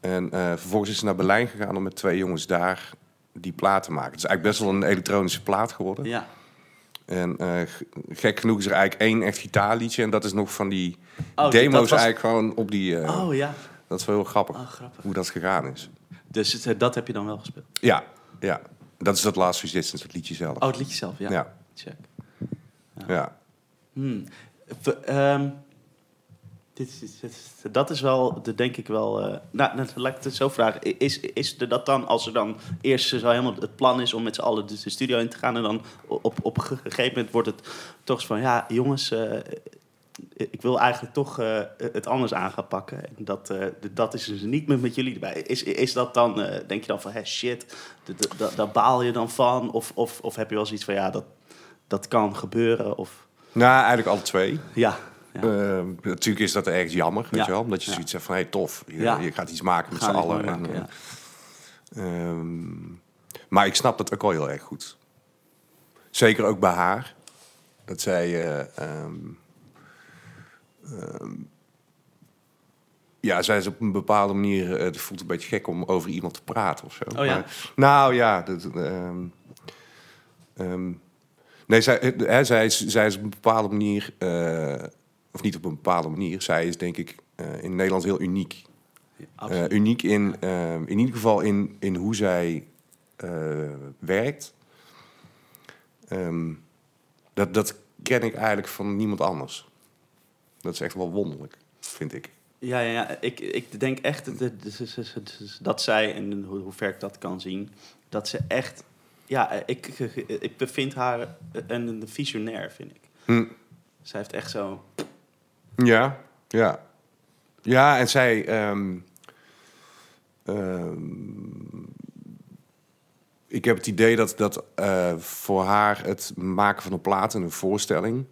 [SPEAKER 1] En eh, vervolgens is ze naar Berlijn gegaan om met twee jongens daar die plaat te maken. Het is eigenlijk best wel een elektronische plaat geworden.
[SPEAKER 2] ja.
[SPEAKER 1] En eh, g- gek genoeg is er eigenlijk één echt gitaarliedje. En dat is nog van die
[SPEAKER 2] Oh, dat
[SPEAKER 1] demo's
[SPEAKER 2] was-
[SPEAKER 1] eigenlijk gewoon op die... eh,
[SPEAKER 2] Oh ja,
[SPEAKER 1] Dat is wel heel grappig
[SPEAKER 2] oh, grappig.
[SPEAKER 1] hoe dat gegaan is.
[SPEAKER 2] Dus het, eh, dat heb je dan wel gespeeld?
[SPEAKER 1] Ja, ja. Dat is dat Last Resistance, het liedje zelf.
[SPEAKER 2] Oh, het liedje zelf, ja.
[SPEAKER 1] Ja.
[SPEAKER 2] Check.
[SPEAKER 1] Ja.
[SPEAKER 2] Hmm. V- ehm, dit is, dit is- dat is wel, de- denk ik wel... eh, nou, nou, laat ik het zo vragen. I- Is, is er dat dan, als er dan eerst zo helemaal het plan is om met z'n allen de de studio in te gaan... en dan op, op een gegeven moment wordt het toch eens van... ja, jongens, eh, ik wil eigenlijk toch eh, het anders aan gaan pakken. En dat, eh, d- dat is dus niet met, met jullie erbij. Is, is dat dan, eh, denk je dan van, hé, shit, d- d- d- daar baal je dan van? Of, of, of heb je wel zoiets van, ja, dat, dat kan gebeuren? Of...
[SPEAKER 1] Nou, eigenlijk alle twee.
[SPEAKER 2] Ja, ja.
[SPEAKER 1] Eh, natuurlijk is dat ergens jammer, weet
[SPEAKER 2] Ja.
[SPEAKER 1] je wel. Omdat je
[SPEAKER 2] Ja.
[SPEAKER 1] zoiets zegt van, hé, hey, tof. Je,
[SPEAKER 2] Ja.
[SPEAKER 1] je gaat iets maken met z'n
[SPEAKER 2] Gaan we
[SPEAKER 1] allen.
[SPEAKER 2] mooi
[SPEAKER 1] En,
[SPEAKER 2] maken, ja.
[SPEAKER 1] eh, ehm, maar ik snap dat ook al heel erg goed. Zeker ook bij haar. Dat zij... eh, ehm, ehm, ja, zij is op een bepaalde manier... eh, het voelt een beetje gek om over iemand te praten of zo.
[SPEAKER 2] Oh ja?
[SPEAKER 1] nou ja, dat... ehm, ehm, Nee, zij, eh, hè, zij, is, zij is op een bepaalde manier, eh, of niet op een bepaalde manier, zij is denk ik eh, in Nederland heel uniek. Eh,
[SPEAKER 2] absoluut.
[SPEAKER 1] uniek in, eh, in ieder geval in, in hoe zij eh, werkt. Ehm, dat, dat ken ik eigenlijk van niemand anders. Dat is echt wel wonderlijk, vind ik.
[SPEAKER 2] ja, ja, ja. Ik, ik denk echt dat- dat- dat- dat zij, en hoe hoe ver ik dat kan zien, dat ze echt... Ja, ik, ik bevind haar een, een visionair, vind ik.
[SPEAKER 1] Hm.
[SPEAKER 2] Zij heeft echt zo...
[SPEAKER 1] Ja, ja. Ja, en zij... ehm, ehm, ik heb het idee dat, dat eh, voor haar het maken van een plaat en een voorstelling...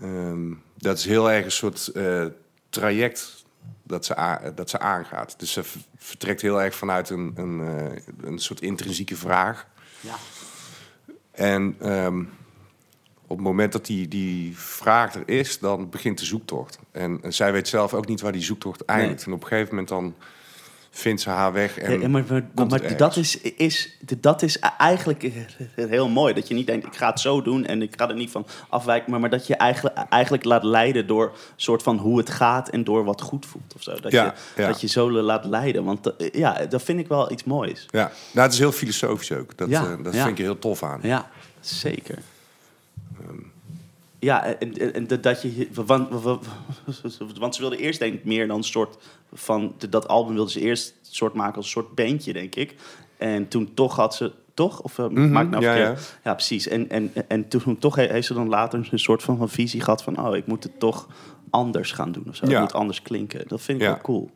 [SPEAKER 1] ehm, dat is heel erg een soort eh, traject dat ze, a- dat ze aangaat. Dus ze v- vertrekt heel erg vanuit een, een, eh, een soort intrinsieke vraag.
[SPEAKER 2] Ja.
[SPEAKER 1] En ehm, op het moment dat die, die vraag er is, dan begint de zoektocht. En, en zij weet zelf ook niet waar die zoektocht eindigt. En op een gegeven moment dan vindt ze haar weg. En
[SPEAKER 2] Ja, maar maar, maar-
[SPEAKER 1] komt het
[SPEAKER 2] maar dat,
[SPEAKER 1] ergens.
[SPEAKER 2] is, is, dat is eigenlijk [laughs] heel mooi. Dat je niet denkt, ik ga het zo doen en ik ga er niet van afwijken. Maar, maar dat je eigenlijk, eigenlijk laat leiden door soort van hoe het gaat en door wat goed voelt. Of zo. Dat,
[SPEAKER 1] Ja,
[SPEAKER 2] je,
[SPEAKER 1] ja.
[SPEAKER 2] dat je zo laat leiden. Want eh, ja, dat vind ik wel iets moois.
[SPEAKER 1] Ja, nou, het is heel filosofisch ook. Dat,
[SPEAKER 2] Ja,
[SPEAKER 1] eh, dat
[SPEAKER 2] ja.
[SPEAKER 1] vind ik er heel tof aan.
[SPEAKER 2] Ja, zeker. ja, en, en, en dat- dat je... hier- Want, want- [laughs] want ze wilde eerst denk ik meer dan een soort van... Dat album wilde ze eerst soort maken als een soort bandje, denk ik. En toen toch had ze... Toch? Of eh, maak ik nou
[SPEAKER 1] Mhm, ja,
[SPEAKER 2] verkeerd? Ja, precies. En, en, en toen toch he- heeft ze dan later een soort van, van visie gehad van... Oh, ik moet het toch anders gaan doen of zo.
[SPEAKER 1] Ja.
[SPEAKER 2] Het moet anders klinken. Dat vind ik
[SPEAKER 1] Ja.
[SPEAKER 2] wel cool.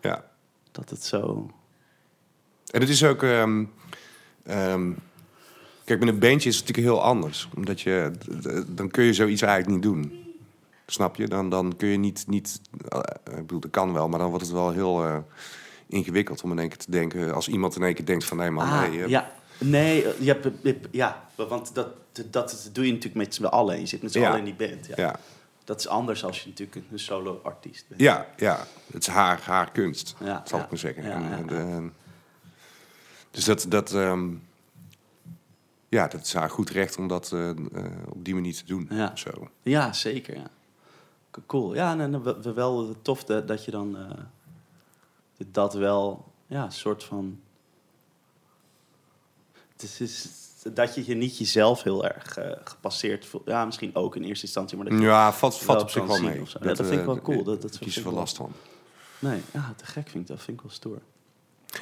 [SPEAKER 1] Ja.
[SPEAKER 2] Dat het zo...
[SPEAKER 1] En het is ook. ehm, ehm, kijk, met een bandje is het natuurlijk heel anders. Omdat je. d- d- Dan kun je zoiets eigenlijk niet doen. Snap je? Dan, dan kun je niet. niet eh, ik bedoel, dat kan wel, maar dan wordt het wel heel. eh, ingewikkeld om in één keer te denken. Als iemand in één keer denkt van nee man,
[SPEAKER 2] Ah,
[SPEAKER 1] nee, eh,
[SPEAKER 2] ja. Nee, eh, ja, p- p- ja, want dat, dat, dat doe je natuurlijk met z'n allen. Je zit met z'n
[SPEAKER 1] Ja.
[SPEAKER 2] allen in die band. Ja.
[SPEAKER 1] ja,
[SPEAKER 2] Dat is anders als je natuurlijk een solo-artiest bent.
[SPEAKER 1] ja, ja. Het is haar, haar kunst,
[SPEAKER 2] Ja,
[SPEAKER 1] zal
[SPEAKER 2] ja.
[SPEAKER 1] ik maar zeggen.
[SPEAKER 2] Ja,
[SPEAKER 1] En,
[SPEAKER 2] ja,
[SPEAKER 1] en,
[SPEAKER 2] ja.
[SPEAKER 1] ehm, dus dat, dat, ehm, ja, dat is haar goed recht om dat eh, eh, op die manier te doen.
[SPEAKER 2] Ja.
[SPEAKER 1] of Zo.
[SPEAKER 2] Ja, zeker. Ja. K- Cool. Ja, en, en we- wel tof dat, dat je dan eh, dat wel, ja, een soort van. Het is, is dat je je niet jezelf heel erg eh, gepasseerd voelt. Ja, misschien ook in eerste instantie, maar dat je-
[SPEAKER 1] Ja, valt, valt
[SPEAKER 2] wel
[SPEAKER 1] op zich
[SPEAKER 2] kan
[SPEAKER 1] wel
[SPEAKER 2] zien
[SPEAKER 1] mee.
[SPEAKER 2] of zo. Ja, dat vind ik wel
[SPEAKER 1] eh,
[SPEAKER 2] cool. Dat- dat
[SPEAKER 1] daar
[SPEAKER 2] vind
[SPEAKER 1] kies
[SPEAKER 2] ik
[SPEAKER 1] je wel
[SPEAKER 2] wel.
[SPEAKER 1] last van.
[SPEAKER 2] nee, ja, te gek vind ik dat. Vind ik wel stoer.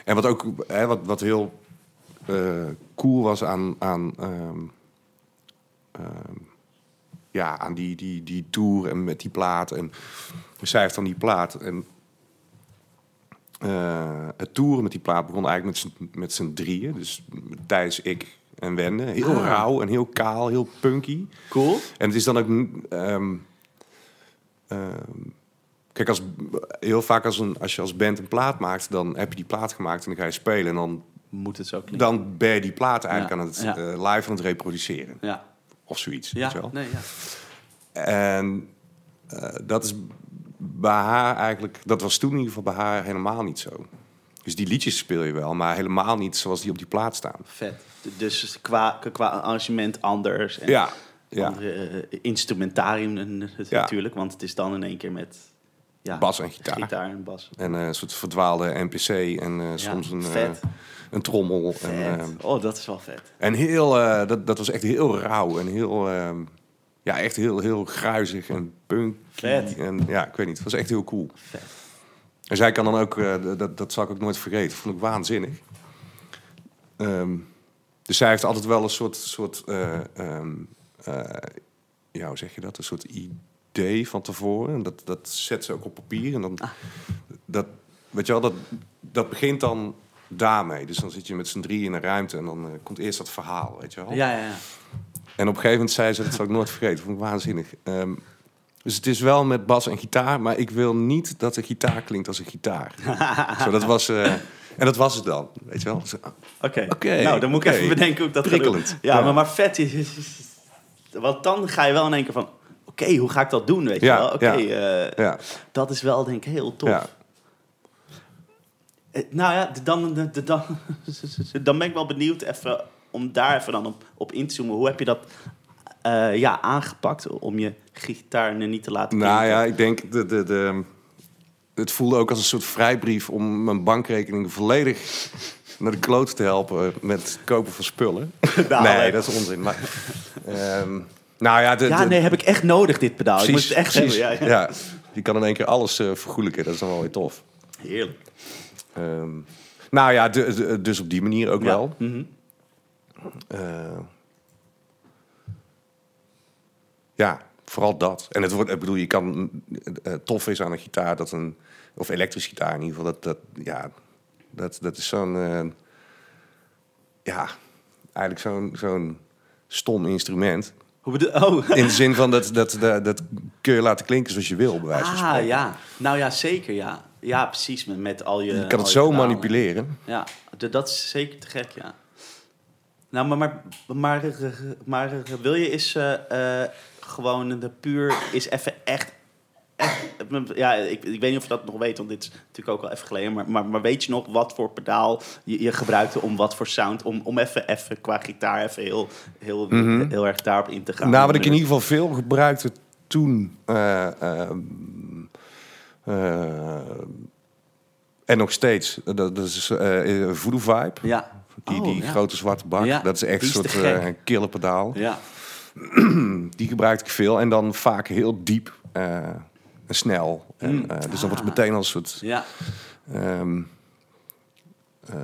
[SPEAKER 1] En wat ook hè, wat, wat heel eh, cool was aan, aan, ehm, ehm, ja, aan die, die, die tour en met die plaat. En zij heeft dan die plaat. En eh, het toeren met die plaat begon eigenlijk met z'n- met z'n drieën. Dus Thijs, ik en Wende. Heel
[SPEAKER 2] Ah.
[SPEAKER 1] rauw en heel kaal, heel punky.
[SPEAKER 2] Cool.
[SPEAKER 1] En het is dan ook. n- ehm, ehm, kijk, als, heel vaak als, een, als je als band een plaat maakt, dan heb je die plaat gemaakt en dan ga je spelen. En dan,
[SPEAKER 2] Moet het zo klinken.
[SPEAKER 1] dan ben je die plaat eigenlijk
[SPEAKER 2] Ja,
[SPEAKER 1] aan het
[SPEAKER 2] ja.
[SPEAKER 1] eh, live aan het reproduceren.
[SPEAKER 2] Ja,
[SPEAKER 1] Of zoiets. weet je
[SPEAKER 2] ja,
[SPEAKER 1] wel.
[SPEAKER 2] nee, ja.
[SPEAKER 1] En eh, dat is bij haar eigenlijk, dat was toen in ieder geval bij haar helemaal niet zo. Dus die liedjes speel je wel, maar helemaal niet zoals die op die plaat staan.
[SPEAKER 2] vet. D- Dus qua, qua arrangement anders. En
[SPEAKER 1] Ja, ja.
[SPEAKER 2] andere eh, instrumentarium en-
[SPEAKER 1] Ja.
[SPEAKER 2] natuurlijk, want het is dan in één keer met ja,
[SPEAKER 1] Bas en gitaar.
[SPEAKER 2] gitaar en bas.
[SPEAKER 1] En eh, een soort verdwaalde NPC en eh, soms een, eh,
[SPEAKER 2] vet.
[SPEAKER 1] een trommel. En,
[SPEAKER 2] Vet.
[SPEAKER 1] eh,
[SPEAKER 2] oh, dat is wel vet.
[SPEAKER 1] En heel, eh, dat, dat was echt heel rauw en heel, ehm, ja, echt heel, heel gruizig en punky.
[SPEAKER 2] Vet.
[SPEAKER 1] En ja, ik weet niet, het was echt heel cool.
[SPEAKER 2] vet.
[SPEAKER 1] En zij kan dan ook, eh, d- dat, dat zal ik ook nooit vergeten, vond ik waanzinnig. Ehm, dus zij heeft altijd wel een soort, soort eh, ehm, eh, ja, hoe zeg je dat, een soort idee van tevoren. En dat, dat zet ze ook op papier. En dan, dat, weet je wel, dat, dat begint dan daarmee. Dus dan zit je met z'n drie in een ruimte en dan eh, komt eerst dat verhaal, weet je wel.
[SPEAKER 2] Ja, ja, ja.
[SPEAKER 1] En op een gegeven moment zei ze, dat zal ik nooit vergeten, vond ik waanzinnig. Ehm, dus het is wel met bas en gitaar, maar ik wil niet dat de gitaar klinkt als een
[SPEAKER 2] [laughs]
[SPEAKER 1] gitaar. Zo, dat was, eh, en dat was het dan, weet je wel. Zo,
[SPEAKER 2] Oké,
[SPEAKER 1] Oké,
[SPEAKER 2] nou dan moet
[SPEAKER 1] oké.
[SPEAKER 2] ik even bedenken hoe ik dat ga doen.
[SPEAKER 1] Prikkelend.
[SPEAKER 2] Ja,
[SPEAKER 1] Ja.
[SPEAKER 2] Maar, maar vet is... Want dan ga je wel in één keer van... Oké, hoe ga ik dat doen, weet
[SPEAKER 1] Ja,
[SPEAKER 2] je wel? Oké, eh,
[SPEAKER 1] ja,
[SPEAKER 2] dat is wel denk ik heel tof.
[SPEAKER 1] ja,
[SPEAKER 2] Eh, Nou ja, d- dan, d- d- dan, [laughs] dan ben ik wel benieuwd even, om daar even dan op, op in te zoomen. Hoe heb je dat eh, ja, aangepakt om je gitaar nu niet te laten klinken?
[SPEAKER 1] Nou ja, ik denk, de, de, de, het voelde ook als een soort vrijbrief om mijn bankrekening volledig naar de kloot te helpen met het kopen van spullen.
[SPEAKER 2] [laughs] Nou,
[SPEAKER 1] nee,
[SPEAKER 2] leuk.
[SPEAKER 1] dat is onzin. Maar, ehm, nou ja, de,
[SPEAKER 2] Ja,
[SPEAKER 1] de-
[SPEAKER 2] nee, heb ik echt nodig dit pedaal. ik moest het echt
[SPEAKER 1] precies.
[SPEAKER 2] hebben. Ja, ja.
[SPEAKER 1] ja. Je kan in één keer alles eh vergoelijken, dat is dan wel weer tof.
[SPEAKER 2] Heerlijk.
[SPEAKER 1] Ehm, nou ja, de- de- dus op die manier ook
[SPEAKER 2] Ja.
[SPEAKER 1] wel.
[SPEAKER 2] Mhm.
[SPEAKER 1] Eh, ja, vooral dat. En het wordt, ik bedoel, je kan eh, eh, tof is aan een gitaar dat een of elektrisch gitaar in ieder geval dat dat ja dat dat is zo'n eh, ja eigenlijk zo'n zo'n stom instrument.
[SPEAKER 2] Hoe bedoel Oh,
[SPEAKER 1] In de zin van dat, dat, dat, dat kun je laten klinken zoals je wil, bij wijze van
[SPEAKER 2] ah
[SPEAKER 1] spreken.
[SPEAKER 2] ja. Nou ja, zeker ja. Ja, precies. Met, met al je.
[SPEAKER 1] Je kan het
[SPEAKER 2] al je
[SPEAKER 1] zo
[SPEAKER 2] kanalen.
[SPEAKER 1] manipuleren.
[SPEAKER 2] Ja, d- dat is zeker te gek, ja. Nou, maar, maar, maar, eh, maar wil je is eh, eh, gewoon de puur is even echt, echt ja, ik, ik weet niet of je dat nog weet, want dit is natuurlijk ook al even geleden, maar, maar, maar weet je nog wat voor pedaal je, je gebruikte om wat voor sound, om, om even, even qua gitaar even heel, heel, heel erg daarop in te gaan?
[SPEAKER 1] Mhm. Nou, wat ik in ieder geval veel gebruikte toen... eh, eh, eh, en nog steeds. Dat, dat is eh eh, Voodoo Vibe.
[SPEAKER 2] Ja.
[SPEAKER 1] Die,
[SPEAKER 2] Oh,
[SPEAKER 1] die
[SPEAKER 2] ja.
[SPEAKER 1] grote zwarte bak.
[SPEAKER 2] Ja,
[SPEAKER 1] dat is echt
[SPEAKER 2] die
[SPEAKER 1] een
[SPEAKER 2] is te
[SPEAKER 1] soort
[SPEAKER 2] gek.
[SPEAKER 1] eh kille pedaal.
[SPEAKER 2] Ja.
[SPEAKER 1] Die gebruikte ik veel. En dan vaak heel diep eh, en snel. En,
[SPEAKER 2] Mm.
[SPEAKER 1] eh, dus dan
[SPEAKER 2] Ah,
[SPEAKER 1] wordt het meteen al een soort...
[SPEAKER 2] Ja.
[SPEAKER 1] ehm, eh,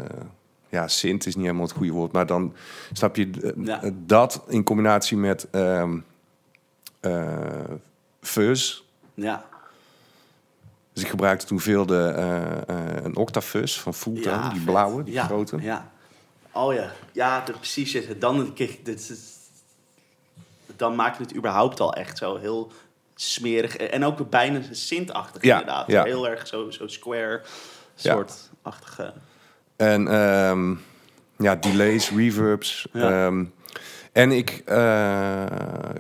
[SPEAKER 1] ja, synth is niet helemaal het goede woord, maar dan snap je eh,
[SPEAKER 2] Ja.
[SPEAKER 1] eh, dat in combinatie met ehm eh, fuzz.
[SPEAKER 2] Ja.
[SPEAKER 1] Dus ik gebruikte toen veel de, eh, eh, een octafuzz van Fulton,
[SPEAKER 2] Ja,
[SPEAKER 1] die
[SPEAKER 2] vet.
[SPEAKER 1] blauwe, die
[SPEAKER 2] ja,
[SPEAKER 1] grote.
[SPEAKER 2] Ja. Oh ja, ja, de- precies. ja, Dan, een keer- dit, is- dan maak je het überhaupt al echt zo heel smerig. En ook bijna sintachtig
[SPEAKER 1] Ja,
[SPEAKER 2] inderdaad.
[SPEAKER 1] ja.
[SPEAKER 2] Heel erg zo, zo square
[SPEAKER 1] Ja.
[SPEAKER 2] soort-achtige...
[SPEAKER 1] En ehm, ja, delays, reverbs.
[SPEAKER 2] Ja.
[SPEAKER 1] ehm, en ik eh,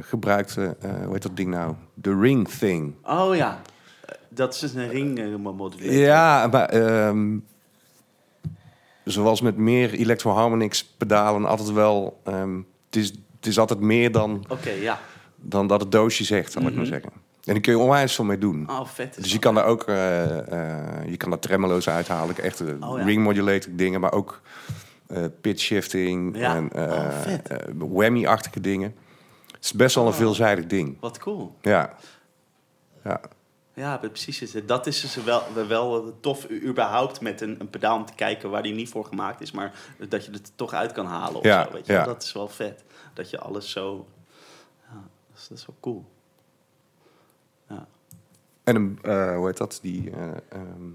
[SPEAKER 1] gebruikte, eh, hoe heet dat ding nou? De Ring Thing.
[SPEAKER 2] Oh ja, eh, dat is dus een ringmodulator.
[SPEAKER 1] Ja, maar ehm, zoals met meer electroharmonics pedalen altijd wel. ehm, het, is, het is altijd meer dan,
[SPEAKER 2] Oké, ja.
[SPEAKER 1] dan dat het doosje zegt, zal ik maar zeggen. En daar kun je onwijs veel mee doen.
[SPEAKER 2] Mhm. Oh, vet. is
[SPEAKER 1] Dus je
[SPEAKER 2] dat.
[SPEAKER 1] kan daar ook eh, eh, je kan daar tremolo's uithalen, echt
[SPEAKER 2] Oh, ja.
[SPEAKER 1] ring modulator dingen, maar ook eh, pitch shifting
[SPEAKER 2] Ja.
[SPEAKER 1] en eh,
[SPEAKER 2] Oh, vet. Oh.
[SPEAKER 1] eh, whammy-achtige dingen. Het is best wel een veelzijdig ding.
[SPEAKER 2] Wat cool.
[SPEAKER 1] Ja. ja.
[SPEAKER 2] Ja, precies. Het- Dat is dus wel, wel tof, u- überhaupt met een, een pedaal om te kijken waar die niet voor gemaakt is, maar dat je het toch uit kan halen. Of
[SPEAKER 1] Ja,
[SPEAKER 2] zo, weet je?
[SPEAKER 1] ja.
[SPEAKER 2] Dat is wel vet. Dat je alles zo. Ja, dat, is, dat is wel cool. Ja.
[SPEAKER 1] En een, eh, hoe heet dat? Die, eh, ehm,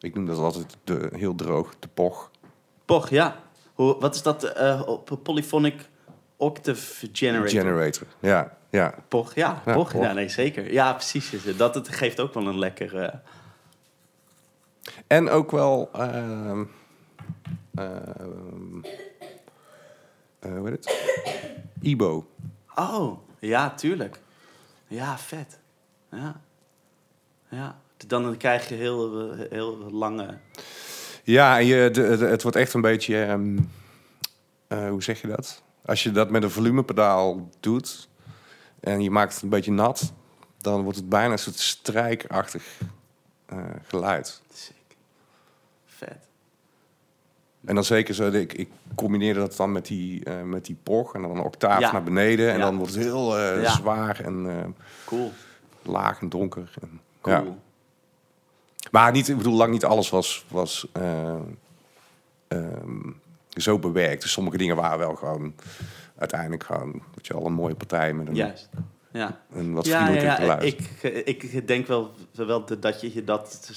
[SPEAKER 1] ik noem dat altijd de, heel droog, de poch.
[SPEAKER 2] Poch, ja. Hoe, wat is dat? eh, op polyphonic octave generator.
[SPEAKER 1] Generator. Ja, ja.
[SPEAKER 2] Poch, ja.
[SPEAKER 1] Ja,
[SPEAKER 2] Poch,
[SPEAKER 1] Poch.
[SPEAKER 2] ja, nee, zeker. Ja, precies. is het. Dat het geeft ook wel een lekker. eh,
[SPEAKER 1] En ook wel, ehm, ehm, eh, hoe heet het? Ibo.
[SPEAKER 2] Oh, ja, tuurlijk. Ja, vet. Ja. Ja. Dan krijg je heel, eh, heel lange...
[SPEAKER 1] Ja, en je, de, de- het wordt echt een beetje, ehm, eh, hoe zeg je dat? Als je dat met een volumepedaal doet en je maakt het een beetje nat, dan wordt het bijna een soort strijkachtig eh, geluid.
[SPEAKER 2] Sick. Vet.
[SPEAKER 1] En dan zeker zo, ik, ik combineerde dat dan met die, eh met die POG en dan een octaaf
[SPEAKER 2] Ja.
[SPEAKER 1] naar beneden. En
[SPEAKER 2] Ja.
[SPEAKER 1] dan wordt het heel eh,
[SPEAKER 2] Ja.
[SPEAKER 1] zwaar en eh,
[SPEAKER 2] Cool.
[SPEAKER 1] laag en donker. En,
[SPEAKER 2] Cool.
[SPEAKER 1] ja. Maar niet, ik bedoel, lang niet alles was, was eh, ehm, zo bewerkt. Dus sommige dingen waren wel gewoon uiteindelijk gewoon, weet je wel, een mooie partij met een,
[SPEAKER 2] Juist. Ja.
[SPEAKER 1] een wat
[SPEAKER 2] ja, ja,
[SPEAKER 1] vriendelijker
[SPEAKER 2] ja.
[SPEAKER 1] geluid.
[SPEAKER 2] Ik, ik ik denk wel, wel de- dat je je dat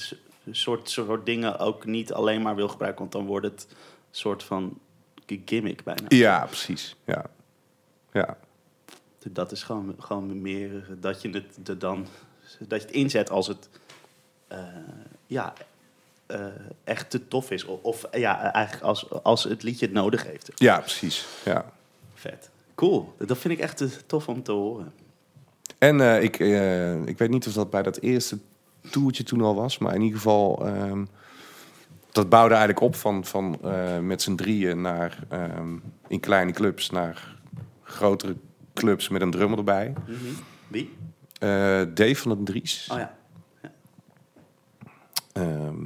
[SPEAKER 2] soort, soort dingen ook niet alleen maar wil gebruiken. Want dan wordt het soort van gimmick bijna.
[SPEAKER 1] Ja, precies. Ja. Ja.
[SPEAKER 2] Dat is gewoon, gewoon meer eh, dat je het er dan dat je het inzet als het eh, ja, eh, echt te tof is. O- Of eh, ja, eigenlijk als, als het liedje het nodig heeft.
[SPEAKER 1] ja, precies. Ja.
[SPEAKER 2] Vet. Cool. Dat vind ik echt eh, tof om te horen.
[SPEAKER 1] En eh, ik, eh, ik weet niet of dat bij dat eerste toertje toen al was, maar in ieder geval. ehm, dat bouwde eigenlijk op van, van eh, met z'n drieën naar, ehm, in kleine clubs naar grotere clubs met een drummer erbij.
[SPEAKER 2] Wie?
[SPEAKER 1] Eh, Dave van den Dries.
[SPEAKER 2] Mhm. Oh ja.
[SPEAKER 1] Ehm,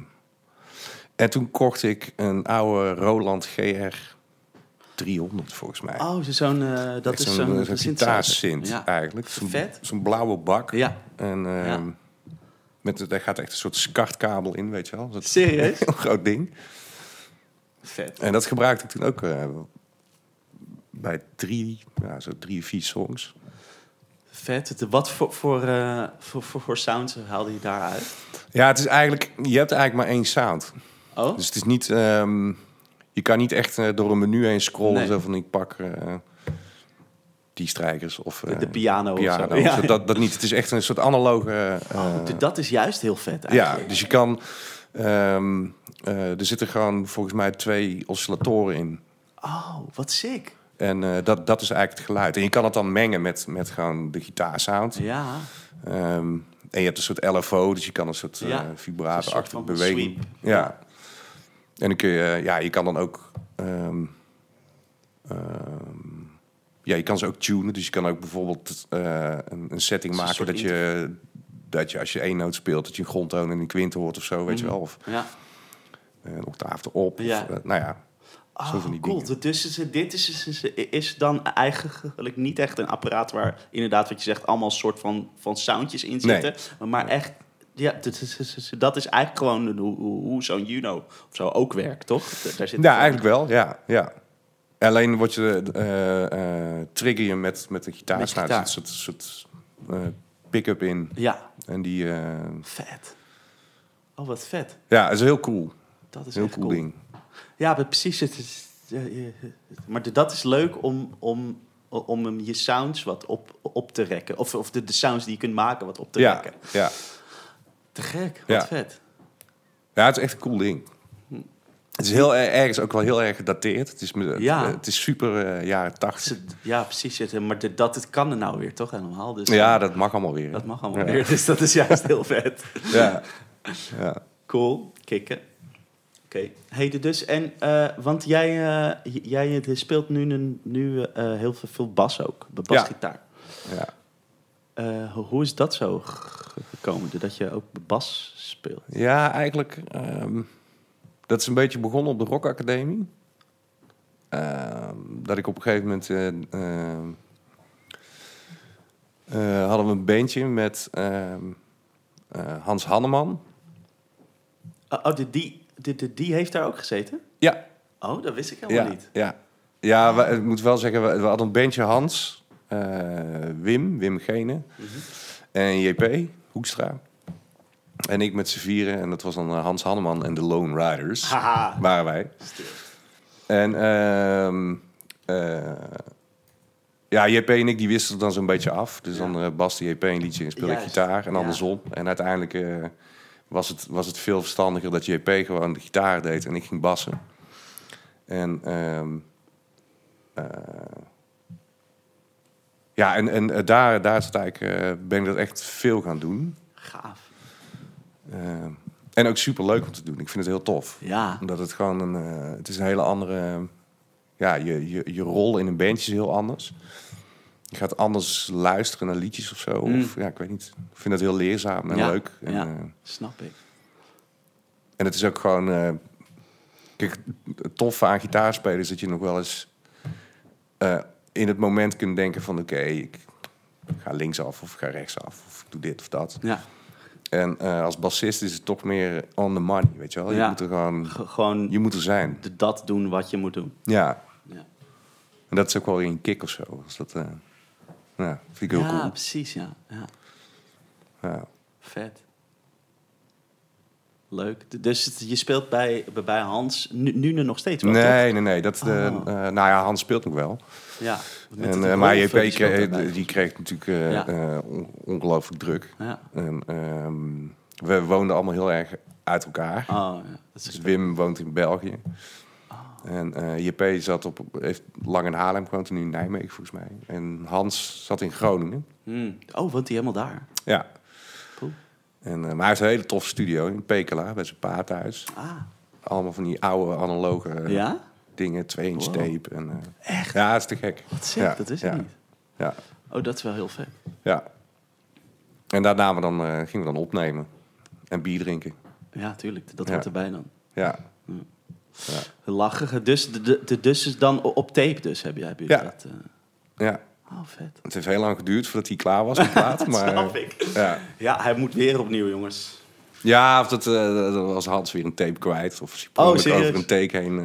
[SPEAKER 1] en toen kocht ik een oude Roland GR 300 volgens mij.
[SPEAKER 2] Oh, ze- zo'n, eh, dat
[SPEAKER 1] Echt
[SPEAKER 2] is
[SPEAKER 1] zo'n
[SPEAKER 2] zo'n
[SPEAKER 1] zo'n
[SPEAKER 2] synthesizer.
[SPEAKER 1] gitaarsynth
[SPEAKER 2] Ja.
[SPEAKER 1] eigenlijk. Zo'n-
[SPEAKER 2] Vet.
[SPEAKER 1] Zo'n blauwe bak.
[SPEAKER 2] ja.
[SPEAKER 1] En ehm,
[SPEAKER 2] Ja.
[SPEAKER 1] met, het- daar gaat echt een soort skartkabel in, weet je wel. Dat is
[SPEAKER 2] Serieus?
[SPEAKER 1] een heel groot ding.
[SPEAKER 2] Vet.
[SPEAKER 1] En dat gebruikte ik toen ook eh, bij drie, ja, zo drie, vier songs.
[SPEAKER 2] Vet. Het- Wat voor, voor, eh, voor, voor, voor sounds haalde je daaruit?
[SPEAKER 1] Ja, het is eigenlijk, je hebt eigenlijk maar één sound.
[SPEAKER 2] Oh?
[SPEAKER 1] Dus het is niet, ehm, je kan niet echt eh, door een menu heen scrollen.
[SPEAKER 2] Nee.
[SPEAKER 1] Zo van ik pak eh, die strijkers of eh,
[SPEAKER 2] De piano of
[SPEAKER 1] piano.
[SPEAKER 2] zo. Ja.
[SPEAKER 1] Zo, Dat, dat niet. Het is echt een soort analoge. eh,
[SPEAKER 2] Dus dat is juist heel vet
[SPEAKER 1] ja,
[SPEAKER 2] eigenlijk.
[SPEAKER 1] dus je kan. ehm, eh, er zitten gewoon volgens mij twee oscillatoren in.
[SPEAKER 2] Oh, wat sick.
[SPEAKER 1] En eh, dat, dat is eigenlijk het geluid. En je kan het dan mengen met, met gewoon de gitaarsound.
[SPEAKER 2] Ja.
[SPEAKER 1] Ehm, en je hebt een soort LFO, dus je kan een soort eh
[SPEAKER 2] Ja, een soort
[SPEAKER 1] vibrato-achtige
[SPEAKER 2] van
[SPEAKER 1] beweging.
[SPEAKER 2] sweep.
[SPEAKER 1] Ja. En dan kun je, eh, ja, je kan dan ook, ehm, ehm, ja, je kan ze ook tunen. Dus je kan ook bijvoorbeeld eh, een, een setting
[SPEAKER 2] Een
[SPEAKER 1] maken
[SPEAKER 2] soort
[SPEAKER 1] dat je, dat je als je één noot speelt, dat je een grondtoon en een kwint hoort of zo, weet je wel. Of
[SPEAKER 2] Ja.
[SPEAKER 1] eh, een octaaf erop. of,
[SPEAKER 2] Mhm. Ja.
[SPEAKER 1] eh, nou ja,
[SPEAKER 2] Oh,
[SPEAKER 1] Zo van die
[SPEAKER 2] cool.
[SPEAKER 1] dingen.
[SPEAKER 2] Dus is- dit is, is, is, is dan eigenlijk niet echt een apparaat waar inderdaad wat je zegt allemaal een soort van, van soundjes in
[SPEAKER 1] Nee.
[SPEAKER 2] zitten. Maar echt, ja, dit is- is- is- dat is eigenlijk gewoon hoe, hoe hoe zo'n Juno of zo ook werkt, toch? D- Daar zit
[SPEAKER 1] Ja, eigenlijk wel, ja. ja. Alleen word je, eh, eh, trigger je met, met de gitaar.
[SPEAKER 2] Met de
[SPEAKER 1] Nou,
[SPEAKER 2] gitaar.
[SPEAKER 1] Er zit een soort, soort eh, pick-up in.
[SPEAKER 2] Ja,
[SPEAKER 1] En die, eh,
[SPEAKER 2] vet. Oh, wat vet.
[SPEAKER 1] ja, het is heel cool.
[SPEAKER 2] Dat is
[SPEAKER 1] Heel
[SPEAKER 2] echt
[SPEAKER 1] cool, ding.
[SPEAKER 2] Ja, maar precies. Het is, ja, je- maar de- dat is leuk om, om, om hem je sounds wat op, op te rekken. Of, of de, de sounds die je kunt maken wat op te
[SPEAKER 1] Ja,
[SPEAKER 2] rekken.
[SPEAKER 1] ja.
[SPEAKER 2] Te gek, wat
[SPEAKER 1] Ja.
[SPEAKER 2] vet.
[SPEAKER 1] ja, het is echt een cool ding. Het is heel, eh, ergens ook wel heel erg gedateerd. Het is, me- het,
[SPEAKER 2] Ja.
[SPEAKER 1] eh, het is super eh, jaren tachtig.
[SPEAKER 2] Ze- Ja, precies. Dus Het- Maar de- dat het kan er nou weer, toch? Helemaal. Dus
[SPEAKER 1] Ja, dat mag allemaal weer. hè?
[SPEAKER 2] dat mag allemaal
[SPEAKER 1] Ja.
[SPEAKER 2] weer. Dus dat is juist heel vet. [laughs]
[SPEAKER 1] Ja. ja.
[SPEAKER 2] Cool, kicken. Oké. Hey, dus en, eh, want jij, eh, j- jij eh, speelt nu, een- nu eh, heel veel, veel bas ook, basgitaar.
[SPEAKER 1] ja.
[SPEAKER 2] Eh, ho- hoe is dat zo g- gekomen, dat je ook bas speelt?
[SPEAKER 1] Ja, eigenlijk. ehm, dat is een beetje begonnen op de Rock Academie. Ehm, dat ik op een gegeven moment. eh, ehm, eh, hadden we een bandje met ehm, eh, Hans Hanneman.
[SPEAKER 2] Oh, oh, die, die, die, die- die heeft daar ook gezeten?
[SPEAKER 1] Ja,
[SPEAKER 2] Oh, dat wist ik helemaal
[SPEAKER 1] ja,
[SPEAKER 2] niet.
[SPEAKER 1] ja. Ja, we- ik moet wel zeggen, we, we hadden een bandje Hans, eh, Wim, Wim Gene en JP Hoekstra. En ik met z'n vieren, en dat was dan eh, Hans Hanneman en de Lone Riders.
[SPEAKER 2] Haha.
[SPEAKER 1] waren wij. En ehm, eh, ja, JP en ik die wisselden dan zo'n beetje af. Dus
[SPEAKER 2] Ja.
[SPEAKER 1] dan eh Bas de JP een liedje en speelde ik
[SPEAKER 2] Juist.
[SPEAKER 1] gitaar en
[SPEAKER 2] Ja.
[SPEAKER 1] andersom. En uiteindelijk eh, was, het, was het veel verstandiger dat JP gewoon de gitaar deed en ik ging bassen. En ehm, eh, ja, en, en eh, daar, daar is het eigenlijk, eh, ben ik dat echt veel gaan doen.
[SPEAKER 2] Gaaf.
[SPEAKER 1] Eh, en ook super leuk om te doen. Ik vind het heel tof.
[SPEAKER 2] Ja.
[SPEAKER 1] Omdat het gewoon een... eh, het is een hele andere... Ja, je, je, je rol in een bandje is heel anders. Je gaat anders luisteren naar liedjes of zo.
[SPEAKER 2] Mm.
[SPEAKER 1] Of, ja, ik weet niet. Ik vind dat heel leerzaam en
[SPEAKER 2] Ja,
[SPEAKER 1] leuk. En,
[SPEAKER 2] ja.
[SPEAKER 1] eh,
[SPEAKER 2] Snap ik.
[SPEAKER 1] en het is ook gewoon... eh, kijk, het toffe aan gitaarspelen is dat je nog wel eens... eh, in het moment kunt denken van... Oké, ik ga linksaf of ik ga rechtsaf. Of ik doe dit of dat.
[SPEAKER 2] Ja,
[SPEAKER 1] En eh, als bassist is het toch meer on the money, weet je wel? Je
[SPEAKER 2] Ja.
[SPEAKER 1] moet er gewoon...
[SPEAKER 2] G- gewoon
[SPEAKER 1] Je moet er zijn.
[SPEAKER 2] de- dat doen wat je moet doen.
[SPEAKER 1] Ja.
[SPEAKER 2] Ja,
[SPEAKER 1] En dat is ook wel weer een kick of zo. Dus dat eh, ja, vind ik heel
[SPEAKER 2] Ja,
[SPEAKER 1] cool.
[SPEAKER 2] precies, ja. ja.
[SPEAKER 1] Ja.
[SPEAKER 2] Vet. Leuk. D- Dus het- je speelt bij, bij- bij Hans nu, nu nog steeds wel, toch?
[SPEAKER 1] Nee, nee, nee. Dat, de,
[SPEAKER 2] Oh.
[SPEAKER 1] eh, nou ja, Hans speelt nog wel.
[SPEAKER 2] Ja.
[SPEAKER 1] En,
[SPEAKER 2] die
[SPEAKER 1] eh, maar JP
[SPEAKER 2] rollenvullen speelt
[SPEAKER 1] kreeg,
[SPEAKER 2] daarbij.
[SPEAKER 1] die kreeg natuurlijk eh,
[SPEAKER 2] Ja.
[SPEAKER 1] eh, on- ongelooflijk druk.
[SPEAKER 2] Ja.
[SPEAKER 1] En, ehm, we woonden allemaal heel erg uit elkaar.
[SPEAKER 2] Oh, ja. Dat
[SPEAKER 1] Dus
[SPEAKER 2] is
[SPEAKER 1] Wim woont in België.
[SPEAKER 2] Ah.
[SPEAKER 1] En eh, JP zat op, heeft lang in Haarlem gewoond en nu in Nijmegen volgens mij. En Hans zat in Groningen.
[SPEAKER 2] Hmm. Oh, woont hij helemaal daar?
[SPEAKER 1] Ja.
[SPEAKER 2] Cool.
[SPEAKER 1] En, eh, maar hij heeft een hele toffe studio in Pekela, bij zijn pa thuis.
[SPEAKER 2] Ah,
[SPEAKER 1] Allemaal van die oude analoge eh,
[SPEAKER 2] ja?
[SPEAKER 1] dingen, twee inch
[SPEAKER 2] Wow.
[SPEAKER 1] tape. En, eh, Ja, dat is te gek.
[SPEAKER 2] Wat sick,
[SPEAKER 1] Ja,
[SPEAKER 2] dat wist
[SPEAKER 1] ja.
[SPEAKER 2] ik niet.
[SPEAKER 1] Ja,
[SPEAKER 2] Oh, dat is wel heel vet.
[SPEAKER 1] ja. En daarna we dan, eh, gingen we dan opnemen en bier drinken.
[SPEAKER 2] Ja, tuurlijk. Dat
[SPEAKER 1] Ja.
[SPEAKER 2] hoort erbij dan.
[SPEAKER 1] Ja,
[SPEAKER 2] Lachige. Dus, de, de, de- dus is dan o- op tape dus, heb jij heb je
[SPEAKER 1] Ja.
[SPEAKER 2] dat. eh.
[SPEAKER 1] ja.
[SPEAKER 2] Oh, vet.
[SPEAKER 1] Het heeft heel lang geduurd voordat hij klaar
[SPEAKER 2] [laughs]
[SPEAKER 1] was met plaat. maar, eh,
[SPEAKER 2] Snap ik.
[SPEAKER 1] Ja.
[SPEAKER 2] Ja, hij moet weer opnieuw, jongens.
[SPEAKER 1] ja, of dat, eh, dat was Hans weer een tape kwijt. Of is hij per
[SPEAKER 2] Oh,
[SPEAKER 1] ongeluk
[SPEAKER 2] serieus?
[SPEAKER 1] over een take heen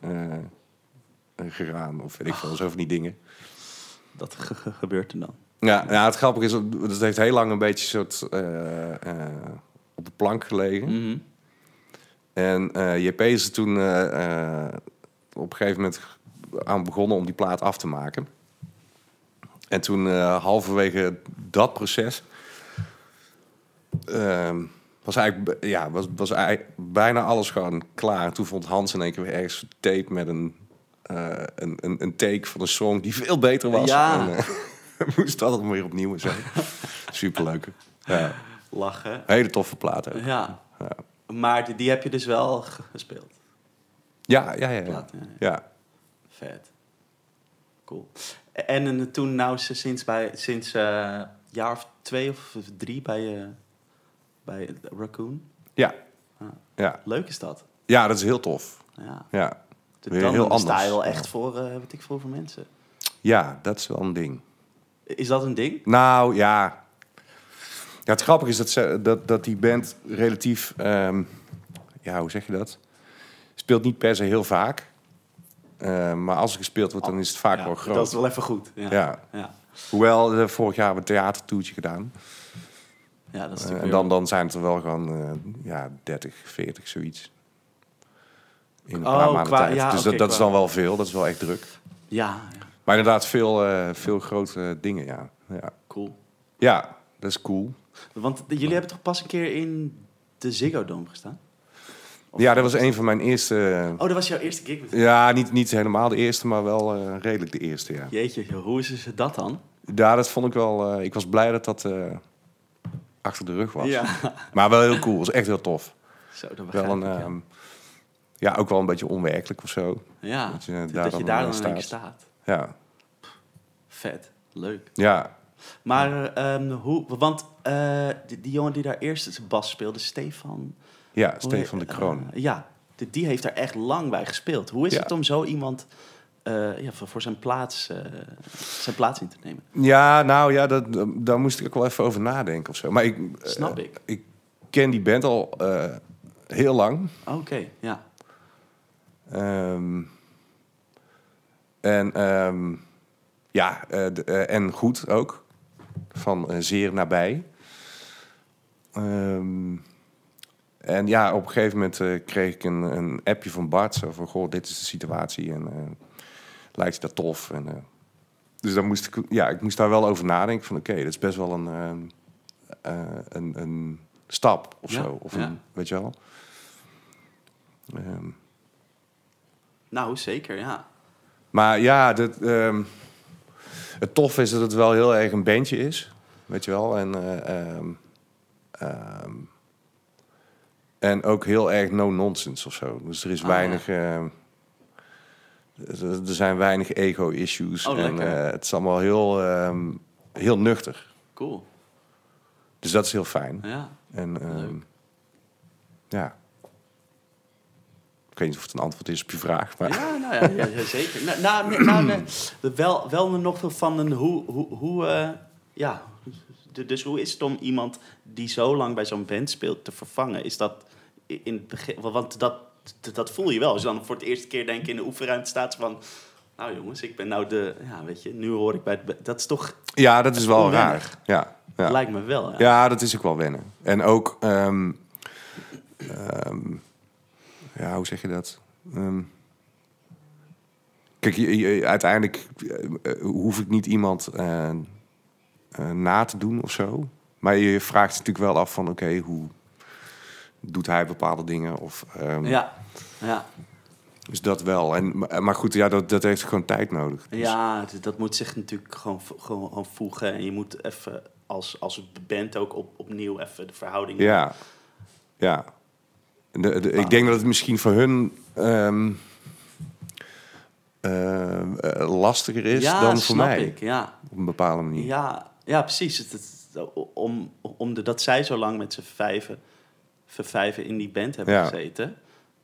[SPEAKER 1] eh, eh, gegaan. Of weet ik veel, zo van die dingen.
[SPEAKER 2] Dat ge- ge- gebeurt er dan.
[SPEAKER 1] Ja, ja, het grappige is, dat dat heeft heel lang een beetje soort eh, eh, op de plank gelegen.
[SPEAKER 2] Mhm.
[SPEAKER 1] En eh, JP is er toen eh, eh, op een gegeven moment aan begonnen om die plaat af te maken. En toen eh, halverwege dat proces ehm, was eigenlijk b- ja, was, was eigenlijk bijna alles gewoon klaar. En toen vond Hans in één keer weer ergens een tape met een, eh, een, een, een take van een song die veel beter was.
[SPEAKER 2] Ja.
[SPEAKER 1] En, eh, [laughs] moest dat allemaal weer opnieuw zijn. Superleuk. Ja.
[SPEAKER 2] Lachen.
[SPEAKER 1] Hele toffe platen. Ja,
[SPEAKER 2] Ja. Maar die, die heb je dus wel ge- gespeeld.
[SPEAKER 1] ja, ja. ja, ja.
[SPEAKER 2] Platen, ja, ja.
[SPEAKER 1] ja.
[SPEAKER 2] Vet. Cool. En, eh, toen nou ze sinds bij sinds eh jaar of twee of drie bij, eh, bij Raccoon.
[SPEAKER 1] ja.
[SPEAKER 2] Ah.
[SPEAKER 1] ja.
[SPEAKER 2] Leuk is dat. Nou
[SPEAKER 1] Ja, dat is heel tof.
[SPEAKER 2] Ja.
[SPEAKER 1] Ja,
[SPEAKER 2] Dan
[SPEAKER 1] Weer heel anders.
[SPEAKER 2] sta je wel echt voor, eh wat ik voor voor mensen.
[SPEAKER 1] ja dat is wel een ding.
[SPEAKER 2] Is dat een ding?
[SPEAKER 1] Nou ja. ja het grappige is dat, ze, dat, dat die band relatief. ehm, ja, hoe zeg je dat? Speelt niet per se heel vaak. Ehm, maar als er gespeeld wordt, dan is het vaak
[SPEAKER 2] Ja,
[SPEAKER 1] wel groot.
[SPEAKER 2] Dat is wel even goed. Ja.
[SPEAKER 1] Ja.
[SPEAKER 2] ja.
[SPEAKER 1] Hoewel, eh, vorig jaar hebben we een theatertoertje gedaan.
[SPEAKER 2] Ja, dat is
[SPEAKER 1] Eh,
[SPEAKER 2] natuurlijk
[SPEAKER 1] en dan, dan zijn het er wel gewoon eh, ja, 30, 40, zoiets. In een
[SPEAKER 2] Oh,
[SPEAKER 1] paar maanden
[SPEAKER 2] qua-
[SPEAKER 1] tijd.
[SPEAKER 2] ja,
[SPEAKER 1] dus dat,
[SPEAKER 2] oké,
[SPEAKER 1] dat is
[SPEAKER 2] qua-
[SPEAKER 1] dan wel veel. Dat is wel echt druk.
[SPEAKER 2] weer- ja, ja,
[SPEAKER 1] Maar inderdaad, veel, eh, veel grote dingen, ja. ja.
[SPEAKER 2] cool.
[SPEAKER 1] Ja, dat is cool.
[SPEAKER 2] Want de- jullie hebben toch pas een keer in de Ziggo Dome gestaan? Of-
[SPEAKER 1] Ja, dat was een van mijn eerste... eh,
[SPEAKER 2] Oh, dat was jouw eerste gig met
[SPEAKER 1] Ja, niet, niet helemaal de eerste, maar wel eh, redelijk de eerste, ja.
[SPEAKER 2] Jeetje, joh, hoe is ze dat dan?
[SPEAKER 1] Ja, dat vond ik wel... eh, ik was blij dat dat eh, achter de rug was.
[SPEAKER 2] Ja. [laughs]
[SPEAKER 1] Maar wel heel cool, was echt heel tof.
[SPEAKER 2] Zo, dat begrijp
[SPEAKER 1] Wel een...
[SPEAKER 2] ik, ja.
[SPEAKER 1] ehm, ja, ook wel een beetje onwerkelijk of zo.
[SPEAKER 2] ja,
[SPEAKER 1] dat
[SPEAKER 2] dat
[SPEAKER 1] je
[SPEAKER 2] je
[SPEAKER 1] daar
[SPEAKER 2] daar
[SPEAKER 1] dan
[SPEAKER 2] dan,
[SPEAKER 1] aan
[SPEAKER 2] in
[SPEAKER 1] staat.
[SPEAKER 2] één keer staat.
[SPEAKER 1] Ja,
[SPEAKER 2] Vet, leuk.
[SPEAKER 1] ja.
[SPEAKER 2] Maar ehm, hoe, want eh, die, die jongen die daar eerst de bas speelde, Stefan...
[SPEAKER 1] ja
[SPEAKER 2] hoe heet-
[SPEAKER 1] Stefan de Kroon.
[SPEAKER 2] eh, ja, die, die heeft daar echt lang bij gespeeld. Hoe is
[SPEAKER 1] Ja.
[SPEAKER 2] het om zo iemand eh, ja, voor, voor zijn, plaats, eh, zijn plaats in te nemen?
[SPEAKER 1] Ja, nou ja, dat, daar moest ik ook wel even over nadenken of zo. Maar ik, eh,
[SPEAKER 2] Snap ik.
[SPEAKER 1] ik ken die band al eh, heel lang.
[SPEAKER 2] Oké, ja.
[SPEAKER 1] Ehm, en ehm, ja, eh, d- eh, en goed ook. Van eh, zeer nabij. Ehm, en ja, op een gegeven moment eh, kreeg ik een, een appje van Bart. Zo van, goh, dit is de situatie. En eh, lijkt je dat tof? En, eh, dus dan moest ik, ja, ik moest daar wel over nadenken. Van oké, dat is best wel een, eh, eh, een, een stap of
[SPEAKER 2] Ja,
[SPEAKER 1] zo. Of
[SPEAKER 2] ja.
[SPEAKER 1] een, weet je wel? Ehm,
[SPEAKER 2] Nou, zeker, ja.
[SPEAKER 1] Maar ja, dat, ehm, het tof is dat het wel heel erg een bandje is. Weet je wel? En, eh, ehm, ehm, en ook heel erg no-nonsense of zo. Dus er is
[SPEAKER 2] Ah,
[SPEAKER 1] weinig... ehm, er er zijn weinig ego-issues.
[SPEAKER 2] Oh,
[SPEAKER 1] en
[SPEAKER 2] lekker.
[SPEAKER 1] eh, het is allemaal heel, ehm, heel nuchter.
[SPEAKER 2] Cool.
[SPEAKER 1] Dus dat is heel fijn.
[SPEAKER 2] Ja.
[SPEAKER 1] En ehm, ja... Ik weet niet of het een antwoord is op je vraag, maar...
[SPEAKER 2] Ja, nou ja, ja, ja, zeker. Nou, nou, nee, nou, nee. wel, wel nog van een hoe... hoe, hoe eh, ja, D- dus hoe is het om iemand die zo lang bij zo'n band speelt te vervangen? Is dat i- in het begin... wa- Want dat, d- dat voel je wel. Als je dan voor het eerste keer denk ik in de oefenruimte staat van... Nou jongens, ik ben nou de... Ja, weet je, nu hoor ik bij het... be- Dat is toch...
[SPEAKER 1] Ja, dat is wel
[SPEAKER 2] Onwennig.
[SPEAKER 1] raar. Ja, ja.
[SPEAKER 2] Lijkt me wel, ja.
[SPEAKER 1] Ja, dat is ook wel wennen. En ook, ehm, ehm, ja, hoe zeg je dat? Ehm, kijk, je- je- uiteindelijk eh, hoef ik niet iemand eh, eh, na te doen of zo. Maar je vraagt je natuurlijk wel af van, oké, hoe doet hij bepaalde dingen? Of, ehm,
[SPEAKER 2] Ja, ja.
[SPEAKER 1] Dus dat wel. En, maar maar goed, ja, dat, dat heeft gewoon tijd nodig. Dus-
[SPEAKER 2] Ja, d- dat moet zich natuurlijk gewoon, vo- gewoon, gewoon voegen. En je moet even als, als band ook op, opnieuw even de verhouding...
[SPEAKER 1] Ja. Ja. De, de- ik denk dat het misschien voor hun ehm, ehm, eh, lastiger is
[SPEAKER 2] ja,
[SPEAKER 1] dan voor
[SPEAKER 2] snap
[SPEAKER 1] mij.
[SPEAKER 2] ik, ja.
[SPEAKER 1] Op een bepaalde manier.
[SPEAKER 2] Ja, ja precies. Het, het- om, om de, dat zij zo lang met z'n vijven, z'n vijven in die band hebben
[SPEAKER 1] Ja.
[SPEAKER 2] gezeten.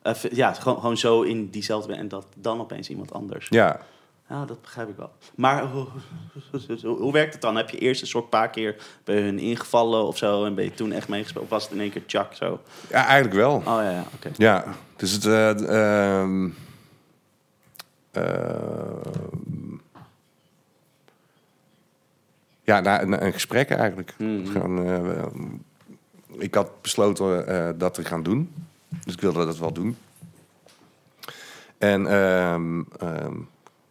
[SPEAKER 2] Eh, v- ja, gewoon, gewoon zo in diezelfde band en dat dan opeens iemand anders.
[SPEAKER 1] Ja.
[SPEAKER 2] Ja, dat begrijp ik wel. Maar [laughs] hoe, hoe- hoe werkt het dan? Heb je eerst een soort paar keer bij hun ingevallen of zo en ben je toen echt meegespeeld? Of was het in één keer Chuck zo? Oh
[SPEAKER 1] ja, eigenlijk wel.
[SPEAKER 2] ja, ja oké.
[SPEAKER 1] Ja, dus het. eh, d- ehm, ehm, ja, na, na een gesprek eigenlijk.
[SPEAKER 2] Mhm.
[SPEAKER 1] Gewoon, eh, we- ik had besloten eh, dat te gaan doen. Dus ik wilde dat wel doen. En ehm, ehm,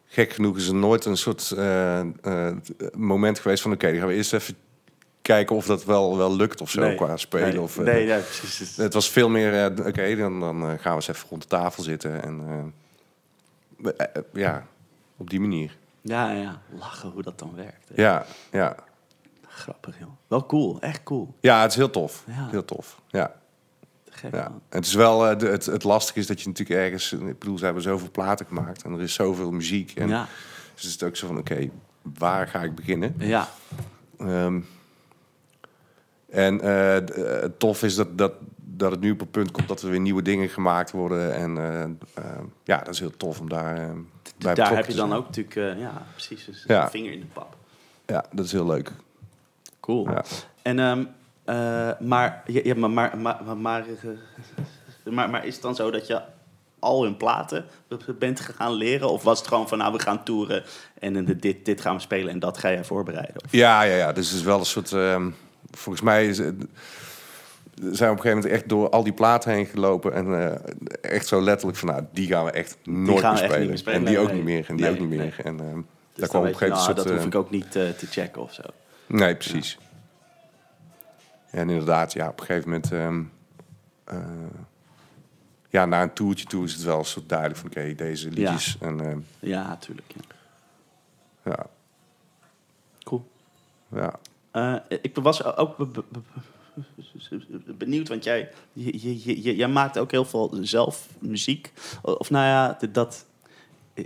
[SPEAKER 1] gek genoeg is er nooit een soort eh, eh, moment geweest van... oké, dan gaan we eerst even kijken of dat wel, wel lukt of zo
[SPEAKER 2] Nee,
[SPEAKER 1] qua spelen.
[SPEAKER 2] nee,
[SPEAKER 1] of, eh,
[SPEAKER 2] nee, nee, precies. Het is-
[SPEAKER 1] Het was veel meer, eh, d- oké, dan, dan eh, gaan we eens even rond de tafel zitten. En eh, we- eh, eh, ja, op die manier.
[SPEAKER 2] Ja, ja, ja, lachen hoe dat dan werkt. hè.
[SPEAKER 1] Ja, ja.
[SPEAKER 2] Grappig, joh. Wel cool, echt cool.
[SPEAKER 1] ja het is heel tof.
[SPEAKER 2] Ja.
[SPEAKER 1] Heel tof, ja.
[SPEAKER 2] Te Gek,
[SPEAKER 1] Ja.
[SPEAKER 2] man.
[SPEAKER 1] Het is wel eh, de- het, het lastige is dat je natuurlijk ergens, ik bedoel, ze hebben zoveel platen gemaakt en er is zoveel muziek. En
[SPEAKER 2] Ja,
[SPEAKER 1] Dus is het ook zo van, oké, waar ga ik beginnen?
[SPEAKER 2] ja,
[SPEAKER 1] Ehm, en eh, d- eh, het tof is dat, dat, dat het nu op het punt komt dat er weer nieuwe dingen gemaakt worden. En eh, ehm, ja, dat is heel tof om daar eh,
[SPEAKER 2] daar
[SPEAKER 1] bij betrokken
[SPEAKER 2] heb je
[SPEAKER 1] te
[SPEAKER 2] dan
[SPEAKER 1] zijn.
[SPEAKER 2] ook natuurlijk, eh, ja, precies, dus
[SPEAKER 1] Ja.
[SPEAKER 2] een vinger in de pap.
[SPEAKER 1] Ja, dat is heel leuk.
[SPEAKER 2] Cool.
[SPEAKER 1] Ja.
[SPEAKER 2] En, ehm, eh, maar, ja, ja, maar, maar, maar, maar, maar, eh, maar, maar is het dan zo dat je al in platen bent gaan leren? Of was het gewoon van, nou, we gaan toeren en eh, dit, dit gaan we spelen en dat ga jij voorbereiden? Of-
[SPEAKER 1] Ja, ja, ja. Dus het is wel een soort. ehm, volgens mij is, het- zijn we op een gegeven moment echt door al die platen heen gelopen. En eh, echt zo letterlijk van, nou, die gaan we echt
[SPEAKER 2] gaan
[SPEAKER 1] nooit
[SPEAKER 2] we
[SPEAKER 1] meer
[SPEAKER 2] echt
[SPEAKER 1] spelen.
[SPEAKER 2] niet meer spelen,
[SPEAKER 1] En die
[SPEAKER 2] nee,
[SPEAKER 1] ook
[SPEAKER 2] nee.
[SPEAKER 1] niet meer. En die
[SPEAKER 2] Nee,
[SPEAKER 1] ook niet meer.
[SPEAKER 2] nee.
[SPEAKER 1] En ehm, daar
[SPEAKER 2] Dus dan
[SPEAKER 1] kwam op een
[SPEAKER 2] weet je,
[SPEAKER 1] gegeven moment
[SPEAKER 2] nou,
[SPEAKER 1] een soort.
[SPEAKER 2] dat hoef
[SPEAKER 1] eh,
[SPEAKER 2] ik ook niet eh, te checken of zo.
[SPEAKER 1] Nee, precies. En inderdaad, ja, op een gegeven moment... ehm, eh, ja, na een toertje toe is het wel een soort duidelijk van... oké, deze liedjes en... ehm,
[SPEAKER 2] Ja, tuurlijk. Ja.
[SPEAKER 1] ja,
[SPEAKER 2] Cool.
[SPEAKER 1] ja.
[SPEAKER 2] Eh, ik was ook be- be- be- benieuwd, want jij, je- je- je- je- jij maakt ook heel veel zelf muziek. Of nou ja, d- dat.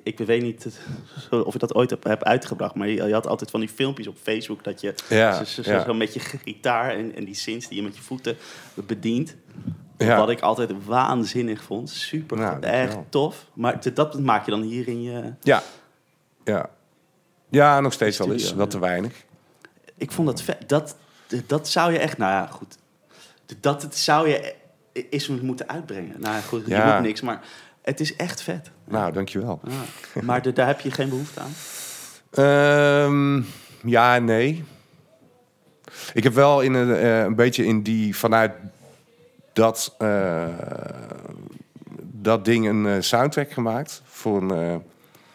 [SPEAKER 2] Ik weet niet [laughs] of ik dat ooit heb, heb uitgebracht, maar je, je had altijd van die filmpjes op Facebook dat je
[SPEAKER 1] Ja,
[SPEAKER 2] zo, zo- zo-
[SPEAKER 1] ja.
[SPEAKER 2] zo met je gitaar en, en die synths die je met je voeten bedient.
[SPEAKER 1] Ja.
[SPEAKER 2] Wat ik altijd waanzinnig vond. Super, echt
[SPEAKER 1] Nou, dankjewel.
[SPEAKER 2] tof. Maar d- dat maak je dan hier in je...
[SPEAKER 1] Ja, ja. Ja, nog steeds wel eens.
[SPEAKER 2] Studio,
[SPEAKER 1] Wel
[SPEAKER 2] ja.
[SPEAKER 1] te weinig.
[SPEAKER 2] Ik vond dat vet. Dat, dat zou je echt, nou ja, goed. Dat het zou je e- is moeten uitbrengen. Nou ja, goed, je
[SPEAKER 1] Ja.
[SPEAKER 2] moet niks, maar het is echt vet.
[SPEAKER 1] Nou, dankjewel.
[SPEAKER 2] Ja. Maar de- daar heb je geen behoefte aan.
[SPEAKER 1] Ehm ja, en nee. Ik heb wel in een, eh, een beetje in die vanuit dat, eh, dat ding een eh, soundtrack gemaakt voor een, eh,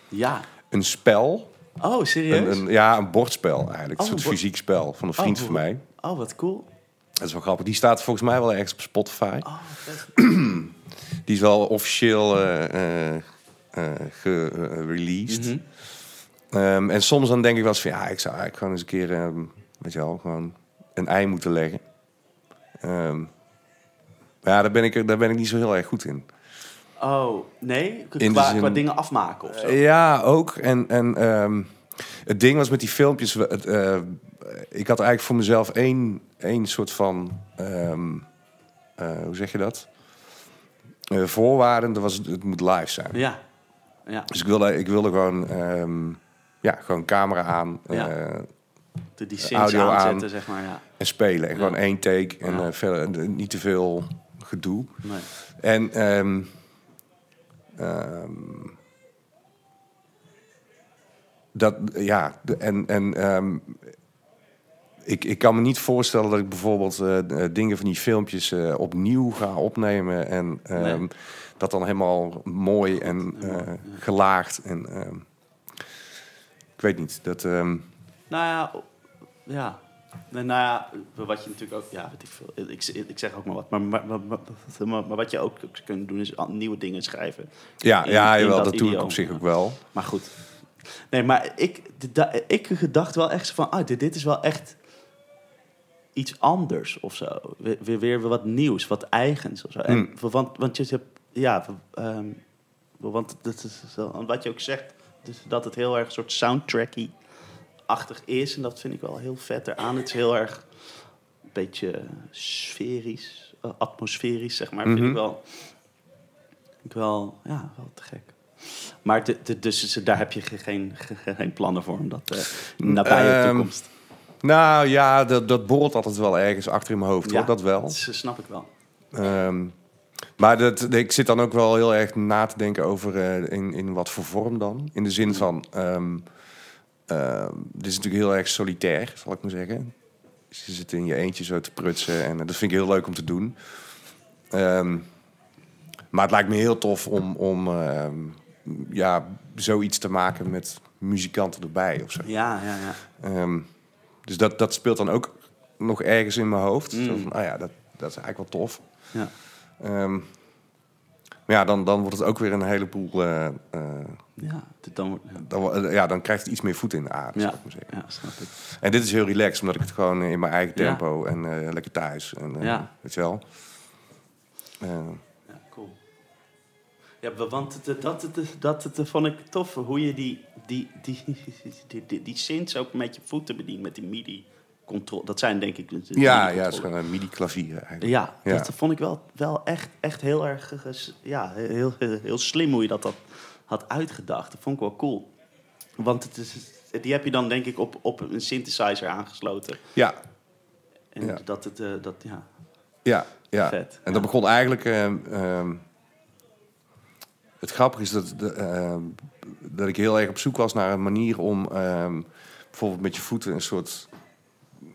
[SPEAKER 2] Ja.
[SPEAKER 1] een spel.
[SPEAKER 2] Oh,
[SPEAKER 1] Een,
[SPEAKER 2] serieus?
[SPEAKER 1] een- ja, een bordspel eigenlijk.
[SPEAKER 2] Oh,
[SPEAKER 1] een soort
[SPEAKER 2] een bord-
[SPEAKER 1] fysiek spel van een vriend
[SPEAKER 2] Oh,
[SPEAKER 1] van mij.
[SPEAKER 2] Oh, wat cool.
[SPEAKER 1] Dat is wel grappig. Die staat volgens mij wel ergens op Spotify.
[SPEAKER 2] Oh, vet.
[SPEAKER 1] Die is wel officieel eh, eh, eh, ge- eh, released.
[SPEAKER 2] Mhm.
[SPEAKER 1] Ehm, en soms dan denk ik wel eens van ja, ik zou eigenlijk gewoon eens een keer, ehm, weet je wel, gewoon een ei moeten leggen. Ehm, maar ja, daar ben, ik, er- daar ben ik niet zo heel erg goed in.
[SPEAKER 2] Oh, nee?
[SPEAKER 1] de
[SPEAKER 2] Qua,
[SPEAKER 1] zin-
[SPEAKER 2] qua dingen afmaken of zo?
[SPEAKER 1] Ja, ook. En, en ehm, het ding was met die filmpjes, we- het, eh, ik had eigenlijk voor mezelf één, één soort van, ehm, eh, hoe zeg je dat? Eh, voorwaarden, dat was, het- het moet live zijn.
[SPEAKER 2] Ja. Ja,
[SPEAKER 1] Dus ik wilde, ik wilde gewoon, ehm, ja, gewoon camera aan,
[SPEAKER 2] Ja.
[SPEAKER 1] eh,
[SPEAKER 2] de, die synths
[SPEAKER 1] Audio aan.
[SPEAKER 2] aanzetten, zeg maar. Ja.
[SPEAKER 1] En spelen. En
[SPEAKER 2] Ja.
[SPEAKER 1] gewoon één take. En
[SPEAKER 2] Ja.
[SPEAKER 1] eh, verder eh, niet te veel gedoe.
[SPEAKER 2] Nee.
[SPEAKER 1] En ehm, ehm, dat, ja, de- en, en ehm, ik, ik kan me niet voorstellen dat ik bijvoorbeeld eh, eh, dingen van die filmpjes eh, opnieuw ga opnemen en ehm,
[SPEAKER 2] Nee.
[SPEAKER 1] dat dan helemaal mooi en
[SPEAKER 2] en mooi,
[SPEAKER 1] eh, gelaagd en ehm, ik weet niet dat ehm,
[SPEAKER 2] Nou ja, o- ja. Nee, nou ja, wat je natuurlijk ook... Ja, weet ik veel. Ik, ik zeg ook maar wat. Maar, maar, maar, maar- maar- maar wat je ook kunt doen is al- nieuwe dingen schrijven.
[SPEAKER 1] ja,
[SPEAKER 2] In-
[SPEAKER 1] ja
[SPEAKER 2] in
[SPEAKER 1] jawel,
[SPEAKER 2] dat
[SPEAKER 1] dat, doe ik
[SPEAKER 2] idioom.
[SPEAKER 1] op zich ook wel.
[SPEAKER 2] Maar goed. Nee, maar ik, d- da- ik gedacht wel echt zo van... Ah, dit, dit is wel echt iets anders of zo. Weer, weer, weer wat nieuws, wat eigens of zo. En, want, want je hebt... Ja, ehm, want dat is, zo- wat je ook zegt... Dus dat het heel erg een soort soundtracky achtig is. En dat vind ik wel heel vet eraan. Het is heel erg een beetje sferisch, eh, atmosferisch, zeg maar. Vind
[SPEAKER 1] Mhm.
[SPEAKER 2] ik wel, vind ik wel, ja, wel te gek. Maar de, de- dus is- daar heb je ge- geen, ge- geen plannen voor, om dat eh nabije
[SPEAKER 1] Ehm,
[SPEAKER 2] toekomst.
[SPEAKER 1] Nou ja, dat, dat borrelt altijd wel ergens achter in mijn hoofd,
[SPEAKER 2] Ja.
[SPEAKER 1] hoor, dat wel.
[SPEAKER 2] Dat is- snap ik wel.
[SPEAKER 1] Ehm, maar dat, ik zit dan ook wel heel erg na te denken over eh, in, in wat voor vorm dan. In de zin van, ehm, ehm, dit is natuurlijk heel erg solitair, zal ik maar zeggen. Dus je zit in je eentje zo te prutsen en eh, dat vind ik heel leuk om te doen. Ehm, maar het lijkt me heel tof om, om ehm, ja, zoiets te maken met muzikanten erbij of zo.
[SPEAKER 2] Ja, ja, ja.
[SPEAKER 1] Ehm, dus dat, dat speelt dan ook nog ergens in mijn hoofd. Zo van, ah ja, dat, dat is eigenlijk wel tof.
[SPEAKER 2] ja.
[SPEAKER 1] Ehm, maar ja, dan, dan wordt het ook weer een heleboel... eh, eh,
[SPEAKER 2] ja. dit Dan, wordt- ja.
[SPEAKER 1] dan, wo- eh, ja, dan krijgt het iets meer voet in de aarde, zou ik maar zeggen.
[SPEAKER 2] ja, snap ik.
[SPEAKER 1] En dit is heel relaxed, omdat ik het gewoon eh, in mijn eigen
[SPEAKER 2] Ja.
[SPEAKER 1] tempo en eh, lekker thuis. En, eh,
[SPEAKER 2] Ja.
[SPEAKER 1] Weet je wel? Eh,
[SPEAKER 2] Ja, cool. Ja, wa- want het- het- dat, dat, dat, dat, vond ik tof. Hoe je die, die, die, die, die, die synths ook met je voeten bedient, met die midi-controle. Dat zijn denk ik... de- de
[SPEAKER 1] ja, ja,
[SPEAKER 2] MIDI-controle.
[SPEAKER 1] het is gewoon een midi-klavier eigenlijk.
[SPEAKER 2] Ja,
[SPEAKER 1] Ja.
[SPEAKER 2] dat vond ik wel, wel echt, echt heel erg eh, ges- ja, heel, heel, heel slim hoe je dat had, had uitgedacht. Dat vond ik wel cool. Want het is, die heb je dan denk ik op, op een synthesizer aangesloten.
[SPEAKER 1] Ja,
[SPEAKER 2] En
[SPEAKER 1] Ja.
[SPEAKER 2] dat het, eh, dat, ja,
[SPEAKER 1] Ja, ja.
[SPEAKER 2] Vet,
[SPEAKER 1] En dat
[SPEAKER 2] ja.
[SPEAKER 1] begon eigenlijk. ehm, ehm, het grappige is dat, de- ehm, dat ik heel erg op zoek was naar een manier om ehm, bijvoorbeeld met je voeten een soort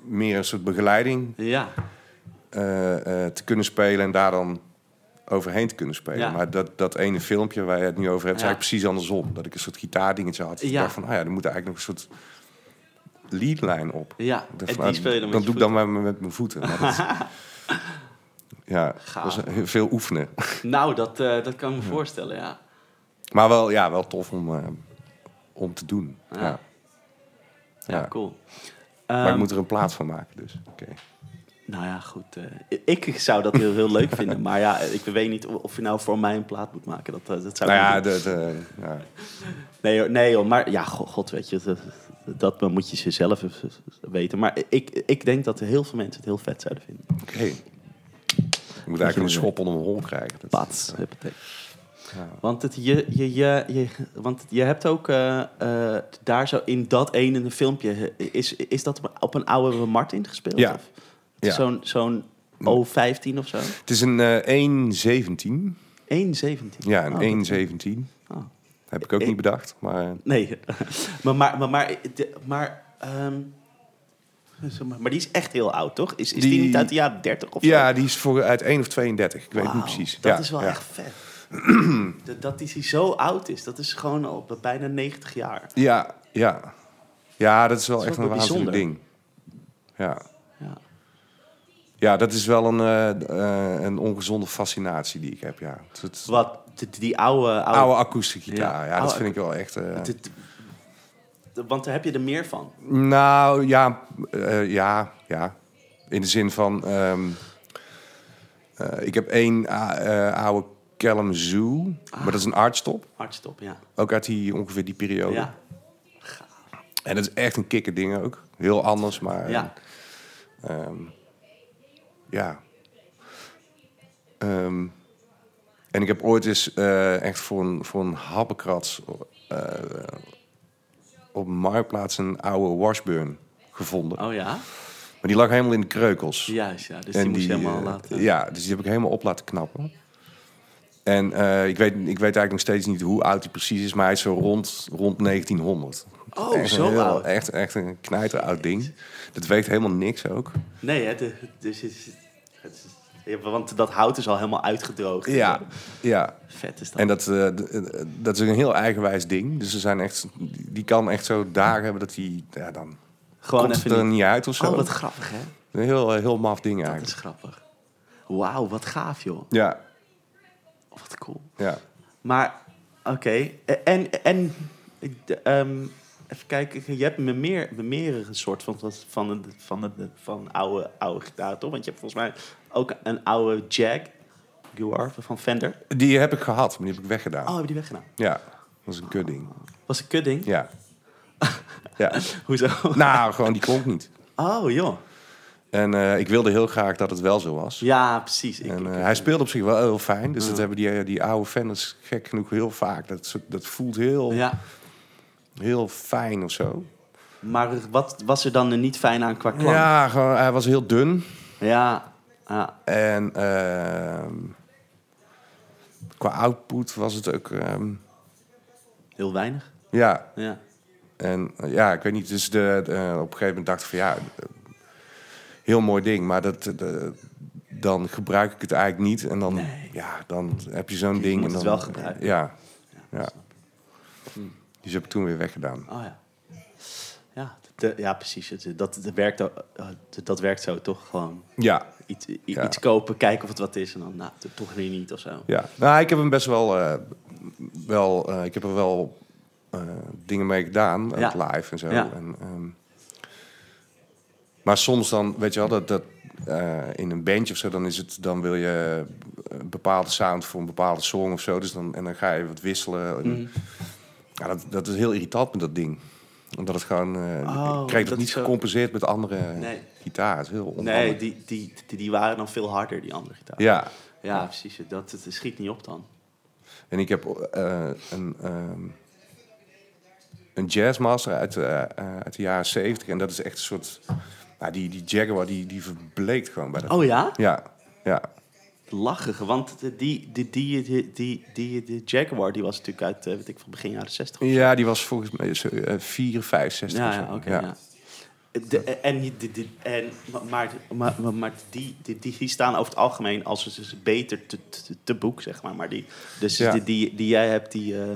[SPEAKER 1] meer een soort begeleiding
[SPEAKER 2] ja,
[SPEAKER 1] eh, eh, te kunnen spelen en daar dan overheen te kunnen spelen.
[SPEAKER 2] Ja.
[SPEAKER 1] Maar dat, dat ene filmpje waar je het nu over hebt, is
[SPEAKER 2] Ja.
[SPEAKER 1] eigenlijk precies andersom. Dat ik een soort gitaardingetje had. Ik
[SPEAKER 2] Ja.
[SPEAKER 1] dacht van, ah ja, er moet eigenlijk nog een soort leadlijn op.
[SPEAKER 2] ja.
[SPEAKER 1] Ik dacht
[SPEAKER 2] En
[SPEAKER 1] van,
[SPEAKER 2] die
[SPEAKER 1] ah,
[SPEAKER 2] speel je dan met
[SPEAKER 1] dat
[SPEAKER 2] je
[SPEAKER 1] doe ik dan maar met mijn voeten. Maar
[SPEAKER 2] [laughs]
[SPEAKER 1] dat- ja,
[SPEAKER 2] Gaaf.
[SPEAKER 1] dat is heel veel oefenen.
[SPEAKER 2] voeten. Nou, dat, eh, dat kan ik me voorstellen, ja.
[SPEAKER 1] Maar wel, ja, wel tof om, eh, om te doen.
[SPEAKER 2] Ja.
[SPEAKER 1] Ja.
[SPEAKER 2] Ja,
[SPEAKER 1] Ja.
[SPEAKER 2] cool.
[SPEAKER 1] maar
[SPEAKER 2] Ehm,
[SPEAKER 1] ik moet er een plaats van maken, dus. Oké.
[SPEAKER 2] Nou ja, goed. eh, ik zou dat heel, heel leuk vinden. Maar ja, ik weet niet of of je nou voor mij een plaat moet maken. Dat, eh, dat zou
[SPEAKER 1] Nou
[SPEAKER 2] ik
[SPEAKER 1] ja,
[SPEAKER 2] niet doen.
[SPEAKER 1] dat, eh, ja.
[SPEAKER 2] Nee, hoor, nee joh, maar ja, go- god weet je, dat, dat moet je zelf weten. Maar ik, ik denk dat heel veel mensen het heel vet zouden vinden.
[SPEAKER 1] Oké. Ik moet eigenlijk een schop onder mijn hol krijgen. Dat-
[SPEAKER 2] Pats, huppatee.
[SPEAKER 1] Ja.
[SPEAKER 2] Want, het, je, je, je, je, want je hebt ook eh, eh, daar zo in dat ene filmpje, eh, is, is dat op een oude Martin gespeeld?
[SPEAKER 1] Ja.
[SPEAKER 2] Of?
[SPEAKER 1] Ja.
[SPEAKER 2] Zo'n zo'n O15 of zo?
[SPEAKER 1] Het is een eh 1.17.
[SPEAKER 2] 1,17.
[SPEAKER 1] Ja,
[SPEAKER 2] Oh,
[SPEAKER 1] een 1.17.
[SPEAKER 2] oh.
[SPEAKER 1] Heb ik ook niet bedacht, maar... eh,
[SPEAKER 2] Nee, [laughs] maar, maar, maar, maar, de- maar, ehm, zeg maar, maar die is echt heel oud, toch? Is, is die,
[SPEAKER 1] Die-
[SPEAKER 2] niet uit de jaren 30 of zo?
[SPEAKER 1] Ja, die is voor, uit 1 of 32. Ik weet het
[SPEAKER 2] Wauw,
[SPEAKER 1] niet precies.
[SPEAKER 2] Dat
[SPEAKER 1] ja,
[SPEAKER 2] is wel
[SPEAKER 1] ja.
[SPEAKER 2] echt vet.
[SPEAKER 1] [clears throat]
[SPEAKER 2] dat, dat die hij zo oud is, dat is gewoon al bij- bijna 90 jaar.
[SPEAKER 1] Ja, ja. Ja, dat is wel
[SPEAKER 2] Dat is
[SPEAKER 1] echt
[SPEAKER 2] wel
[SPEAKER 1] een waanzinnig
[SPEAKER 2] bijzonder.
[SPEAKER 1] ding. Ja.
[SPEAKER 2] Ja.
[SPEAKER 1] ja, dat is wel een, eh, eh, een ongezonde fascinatie die ik heb. Ja. Het, het-
[SPEAKER 2] Wat, die, die oude... oude,
[SPEAKER 1] oude akoestische gitaar,
[SPEAKER 2] Ja,
[SPEAKER 1] ja,
[SPEAKER 2] oude
[SPEAKER 1] dat vind ik wel echt... eh,
[SPEAKER 2] dit- de- want daar heb je er meer van.
[SPEAKER 1] nou, ja, eh, ja, ja. In de zin van... ehm, eh, ik heb één a- eh, oude Kalamazoo,
[SPEAKER 2] Ah.
[SPEAKER 1] maar dat is een artstop.
[SPEAKER 2] Hartstop, ja.
[SPEAKER 1] Ook uit die, ongeveer die periode.
[SPEAKER 2] Ja,
[SPEAKER 1] En dat is echt een kikker ding ook. Heel anders, maar...
[SPEAKER 2] ja.
[SPEAKER 1] Ehm, ja. Ehm, en ik heb ooit eens eh, echt voor een, voor een happenkrats eh, op Marktplaats een oude Washburn gevonden.
[SPEAKER 2] Oh ja?
[SPEAKER 1] Maar die lag helemaal in de kreukels.
[SPEAKER 2] Juist, ja. Dus
[SPEAKER 1] En
[SPEAKER 2] die moest je helemaal
[SPEAKER 1] eh,
[SPEAKER 2] laten...
[SPEAKER 1] Ja, dus die heb ik helemaal op laten knappen. En eh, ik, weet, ik weet eigenlijk nog steeds niet hoe oud hij precies is, maar hij is zo rond, rond 1900.
[SPEAKER 2] Oh,
[SPEAKER 1] echt
[SPEAKER 2] zo
[SPEAKER 1] een heel-
[SPEAKER 2] oud.
[SPEAKER 1] Echt, echt een knijteroud ding. Dat weegt helemaal niks ook.
[SPEAKER 2] Nee, hè, de- dus het, is- het is- ja, want dat hout is al helemaal uitgedroogd.
[SPEAKER 1] Ja, ja.
[SPEAKER 2] Vet is dat.
[SPEAKER 1] En dat, eh, d- eh, dat is een heel eigenwijs ding. Dus er zijn echt, die kan echt zo dagen hebben dat die, ja, dan
[SPEAKER 2] Gewoon
[SPEAKER 1] komt het
[SPEAKER 2] even
[SPEAKER 1] er
[SPEAKER 2] niet.
[SPEAKER 1] niet uit of zo.
[SPEAKER 2] Oh, wat grappig, hè?
[SPEAKER 1] Een heel, eh, heel maf ding
[SPEAKER 2] Dat is
[SPEAKER 1] eigenlijk.
[SPEAKER 2] grappig. Wauw, wat gaaf, joh. Oh,
[SPEAKER 1] Ja,
[SPEAKER 2] Wat cool.
[SPEAKER 1] ja.
[SPEAKER 2] Maar, oké. Eh, En, en ik- de, ehm, even kijken. Je hebt me meer, me meerdere soort van, van, van, een- van, een- van oude, oude gitaar, toch? Want je hebt volgens mij ook een oude Jag Guar van Fender.
[SPEAKER 1] Die heb ik gehad, maar die heb ik weggedaan.
[SPEAKER 2] Oh, heb je die weggedaan?
[SPEAKER 1] Ja, dat is een kudding.
[SPEAKER 2] Was een kudding?
[SPEAKER 1] Ja. ja.
[SPEAKER 2] Hoezo?
[SPEAKER 1] Nou, gewoon die klonk niet.
[SPEAKER 2] Oh, joh.
[SPEAKER 1] En eh, ik wilde heel graag dat het wel zo was.
[SPEAKER 2] Ja, precies. Ik,
[SPEAKER 1] En
[SPEAKER 2] ik-
[SPEAKER 1] eh, hij speelde op zich wel heel fijn. Dus dat hebben die, eh, die oude fans gek genoeg heel vaak. Dat, soort- dat voelt heel,
[SPEAKER 2] ja.
[SPEAKER 1] heel fijn of zo.
[SPEAKER 2] Maar wat was er dan er niet fijn aan qua klank? Ja.
[SPEAKER 1] Ja, gewoon, hij was heel dun.
[SPEAKER 2] Ja. ja.
[SPEAKER 1] En ehm, qua output was het ook. ehm,
[SPEAKER 2] Heel weinig.
[SPEAKER 1] ja,
[SPEAKER 2] Ja.
[SPEAKER 1] en eh, ja, ik weet niet. Dus de, de- op een gegeven moment dacht ik van ja, eh, heel mooi ding, maar dat, eh, de- dan gebruik ik het eigenlijk niet. En dan, ja, dan heb je zo'n ding.
[SPEAKER 2] moet
[SPEAKER 1] en
[SPEAKER 2] het
[SPEAKER 1] dan-
[SPEAKER 2] wel gebruiken.
[SPEAKER 1] Ja, ja. Dus heb ik toen weer weggedaan.
[SPEAKER 2] Oh ja. Ja, de- ja precies. Het- Dat, dat, werkt, ook- eh, dat werkt zo toch gewoon.
[SPEAKER 1] Ja,
[SPEAKER 2] Iets, i-
[SPEAKER 1] Ja.
[SPEAKER 2] iets kopen, kijken of het wat is. En dan, nou, t- toch weer niet of zo.
[SPEAKER 1] ja. Nou, ik heb hem best wel... eh, wel eh, ik heb er wel eh, dingen mee gedaan.
[SPEAKER 2] Ja.
[SPEAKER 1] ook live en zo.
[SPEAKER 2] Ja.
[SPEAKER 1] En, ehm, maar soms dan, weet je wel, dat... dat eh, in een bandje of zo, dan, is het, dan wil je een bepaalde sound voor een bepaalde song of zo. Dus dan, en dan ga je wat wisselen. En-
[SPEAKER 2] Mhm.
[SPEAKER 1] Ja, dat, dat is heel irritant met dat ding. Omdat het gewoon... eh
[SPEAKER 2] Oh,
[SPEAKER 1] ik kreeg
[SPEAKER 2] dat
[SPEAKER 1] dat niet
[SPEAKER 2] is zo-
[SPEAKER 1] gecompenseerd met andere
[SPEAKER 2] Nee.
[SPEAKER 1] gitaar. Het is heel onhandig.
[SPEAKER 2] Nee, die, die, die, die waren dan veel harder, die andere gitaar.
[SPEAKER 1] Ja,
[SPEAKER 2] Ja, precies. Dat, het schiet niet op dan.
[SPEAKER 1] en ik heb eh, een, ehm, een jazzmaster uit, eh, eh, uit de jaren zeventig. En dat is echt een soort... Nou, die, die Jaguar, die, die verbleekt gewoon bij dat...
[SPEAKER 2] Oh ja?
[SPEAKER 1] Ja, ja.
[SPEAKER 2] Lachig. Want de- die, die, die, die, die, die, die Jaguar die was natuurlijk uit, eh, weet ik van begin jaren 60.
[SPEAKER 1] Ja, die was volgens mij zo, eh, 4, 5, 60
[SPEAKER 2] Ja,
[SPEAKER 1] of zo.
[SPEAKER 2] ja, oké. ja. De- en, die- die- die- en, maar- maar, maar, maar die, die, die, die staan over het algemeen als ze- ze beter te, te, te boek, zeg maar. maar die, dus
[SPEAKER 1] Ja.
[SPEAKER 2] die, die, die jij hebt, die, eh,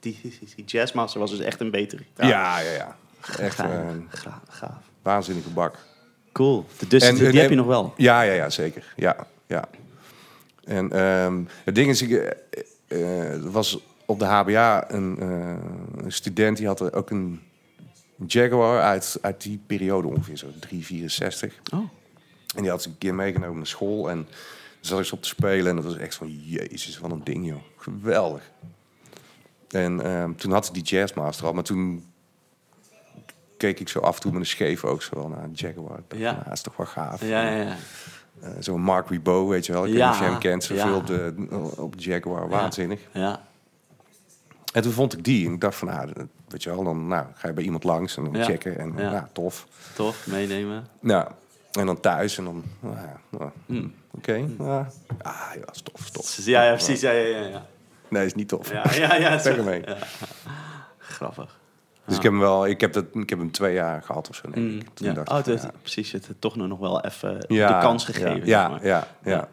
[SPEAKER 2] die, die, die Jazzmaster was dus echt een betere
[SPEAKER 1] Ja,
[SPEAKER 2] gitaar.
[SPEAKER 1] ja, ja. Echt eh,
[SPEAKER 2] Gaaf.
[SPEAKER 1] een
[SPEAKER 2] Gra- gaaf.
[SPEAKER 1] waanzinnige bak.
[SPEAKER 2] Cool. Dus
[SPEAKER 1] En-
[SPEAKER 2] die
[SPEAKER 1] en-
[SPEAKER 2] heb je nog wel.
[SPEAKER 1] Ja, ja, ja, zeker. Ja, ja. En ehm, het ding is, ik, eh, eh, er was op de HBA een, eh, een student die had er ook een Jaguar uit, uit die periode ongeveer, zo 364.
[SPEAKER 2] Oh.
[SPEAKER 1] En die had ze een keer meegenomen naar school en daar zat ik ze op te spelen. En dat was echt van, jezus, wat een ding, joh. Geweldig. En ehm, toen had ze die Jazzmaster al, maar toen keek ik zo af en toe met een scheef ook zo wel naar een Jaguar. Ik dacht,
[SPEAKER 2] Ja.
[SPEAKER 1] nou, dat is toch wel gaaf.
[SPEAKER 2] Ja, ja, ja.
[SPEAKER 1] Eh, Zo'n Mark Ribot, weet je wel. Ik weet
[SPEAKER 2] Ja,
[SPEAKER 1] niet of je hem kent. Zoveel
[SPEAKER 2] ja.
[SPEAKER 1] op, de, op de Jaguar. Waanzinnig.
[SPEAKER 2] Ja.
[SPEAKER 1] En toen vond ik die. En ik dacht van, ah, dat- weet je wel, dan nou, ga je bij iemand langs en dan
[SPEAKER 2] Ja.
[SPEAKER 1] checken. En
[SPEAKER 2] Ja.
[SPEAKER 1] ja. tof.
[SPEAKER 2] Tof, meenemen.
[SPEAKER 1] Nou, en dan thuis en dan, ah, ja, ah, oké. ah. ah, ja, dat is tof, tof.
[SPEAKER 2] Hmm. Ja, ja, precies. Ja, ja, ja. ja.
[SPEAKER 1] Nee, is niet [laughs] tof.
[SPEAKER 2] Ja, ja, ja.
[SPEAKER 1] Weg ermee.
[SPEAKER 2] Grappig.
[SPEAKER 1] Dus ik heb hem wel, ik heb, dat, ik heb hem twee jaar gehad of zo, denk ik. Toen
[SPEAKER 2] Ja.
[SPEAKER 1] dacht
[SPEAKER 2] oh,
[SPEAKER 1] ik van,
[SPEAKER 2] dus, precies. Het heeft toch nog wel even
[SPEAKER 1] ja.
[SPEAKER 2] de kans
[SPEAKER 1] Ja,
[SPEAKER 2] gegeven. zeg
[SPEAKER 1] Ja,
[SPEAKER 2] maar.
[SPEAKER 1] ja, ja.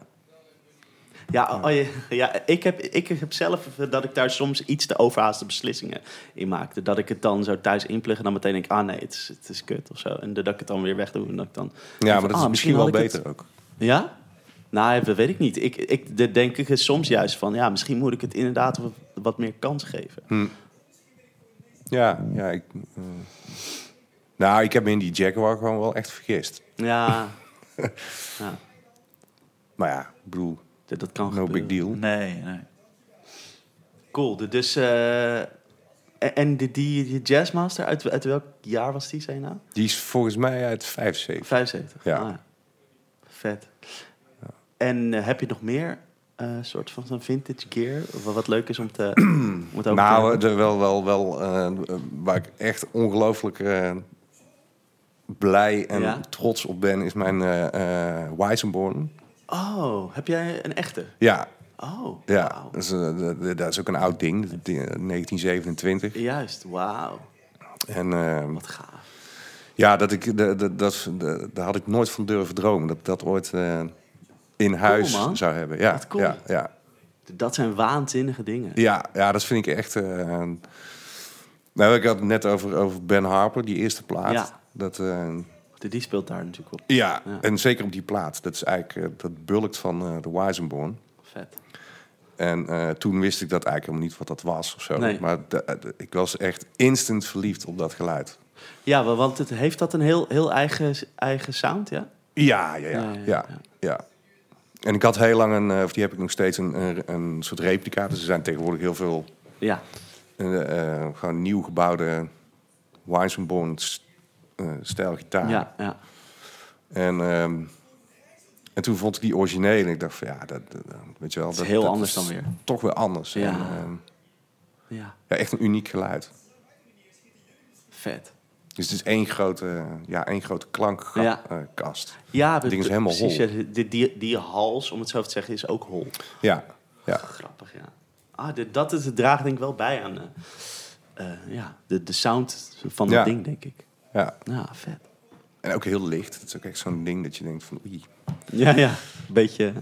[SPEAKER 2] Ja, oh, ja, ja ik, heb, ik heb zelf eh, dat ik daar soms iets te overhaaste beslissingen in maakte. Dat ik het dan zo thuis inplug en dan meteen denk ik, ah nee, het is, het is kut of zo. En dat ik het dan weer wegdoe en dat ik dan... denk
[SPEAKER 1] Ja,
[SPEAKER 2] van,
[SPEAKER 1] maar dat
[SPEAKER 2] ah,
[SPEAKER 1] is misschien wel
[SPEAKER 2] had ik het-
[SPEAKER 1] beter ook.
[SPEAKER 2] Ja? Nou, dat weet ik niet. Ik, ik dat denk ik er soms juist van, ja, misschien moet ik het inderdaad wat, wat meer kans geven.
[SPEAKER 1] Hm. Ja, ja. Ik, eh, nou, ik heb me in die Jaguar gewoon wel echt vergist.
[SPEAKER 2] Ja, ja
[SPEAKER 1] Maar ja, ik bedoel,
[SPEAKER 2] dat, dat kan
[SPEAKER 1] no
[SPEAKER 2] gebeuren.
[SPEAKER 1] big deal.
[SPEAKER 3] Nee, nee.
[SPEAKER 2] Cool, de- dus... eh, en- en die, die, die Jazzmaster, uit, uit welk jaar was die, zei je nou?
[SPEAKER 1] Die is volgens mij uit 75.
[SPEAKER 2] 75?
[SPEAKER 1] Ja.
[SPEAKER 2] Ah, Vet. En eh, heb je nog meer eh soort van zo'n vintage gear? Wat, wat leuk is om, te, om het over te
[SPEAKER 1] [clears throat] Nou,
[SPEAKER 2] hebben?
[SPEAKER 1] eh, er wel, wel, wel eh, waar ik echt ongelooflijk eh, blij en
[SPEAKER 2] Ja?
[SPEAKER 1] trots op ben, is mijn eh eh Weissenborn.
[SPEAKER 2] Oh, heb jij een echte?
[SPEAKER 1] Ja,
[SPEAKER 2] Oh,
[SPEAKER 1] ja.
[SPEAKER 2] wauw.
[SPEAKER 1] Dat, is, eh, dat- dat- dat is ook een oud ding, dat is eh, di- 1927.
[SPEAKER 2] Juist, wauw.
[SPEAKER 1] En eh,
[SPEAKER 2] Wat gaaf.
[SPEAKER 1] ja, dat ik, dat, dat, dat, daar had ik nooit van durven dromen, dat ik dat ooit eh, in huis
[SPEAKER 2] man.
[SPEAKER 1] zou hebben. Ja,
[SPEAKER 2] Wat cool.
[SPEAKER 1] ja, ja.
[SPEAKER 2] Dat zijn waanzinnige dingen.
[SPEAKER 1] Ja, ja, dat vind ik echt. eh, nou, ik had het net over, over Ben Harper, die eerste plaat.
[SPEAKER 2] Ja.
[SPEAKER 1] Dat, eh,
[SPEAKER 2] Die- Die speelt daar natuurlijk op.
[SPEAKER 1] ja.
[SPEAKER 2] Ja.
[SPEAKER 1] en zeker op die plaat. Dat is eigenlijk eh, dat bulkt van eh, de Wisenborn.
[SPEAKER 2] Vet.
[SPEAKER 1] En eh, toen wist ik dat eigenlijk helemaal niet wat dat was of zo.
[SPEAKER 2] Nee.
[SPEAKER 1] Maar de- eh, de- ik was echt instant verliefd op dat geluid.
[SPEAKER 2] Ja, wa- want het heeft dat een heel, heel eigen, eigen sound, ja?
[SPEAKER 1] Ja, ja, ja.
[SPEAKER 2] Ja,
[SPEAKER 1] ja,
[SPEAKER 2] ja, ja.
[SPEAKER 1] ja. En ik had heel lang een, eh, of die heb ik nog steeds, een, een, een soort replica. Dus er zijn tegenwoordig heel veel
[SPEAKER 2] Ja.
[SPEAKER 1] eh, eh, gewoon nieuw gebouwde Weissenborn eh stijl gitaar.
[SPEAKER 2] Ja, ja.
[SPEAKER 1] En, ehm, en toen vond ik die originele. Ik dacht van ja, dat, dat- dat- weet je wel.
[SPEAKER 2] is heel anders dan weer.
[SPEAKER 1] Toch weer anders.
[SPEAKER 2] Ja.
[SPEAKER 1] En, ehm,
[SPEAKER 2] Ja,
[SPEAKER 1] ja, echt een uniek geluid.
[SPEAKER 2] vet.
[SPEAKER 1] Dus het is één grote, ja, één grote klankkast.
[SPEAKER 2] Ja.
[SPEAKER 1] Ja. kast.
[SPEAKER 2] Ja,
[SPEAKER 1] ding is helemaal
[SPEAKER 2] precies,
[SPEAKER 1] hol.
[SPEAKER 2] ja. die, die, die hals, om het zo te zeggen, is ook hol.
[SPEAKER 1] ja, ja.
[SPEAKER 2] Grappig, ja. Ah, dit- dat is, het draagt denk ik wel bij aan eh, eh, ja, de, de sound van dat
[SPEAKER 1] Ja.
[SPEAKER 2] ding, denk ik.
[SPEAKER 1] ja.
[SPEAKER 2] Ja, vet.
[SPEAKER 1] En ook heel licht. Het is ook echt zo'n ding dat je denkt van oei.
[SPEAKER 2] Ja, ja. Een beetje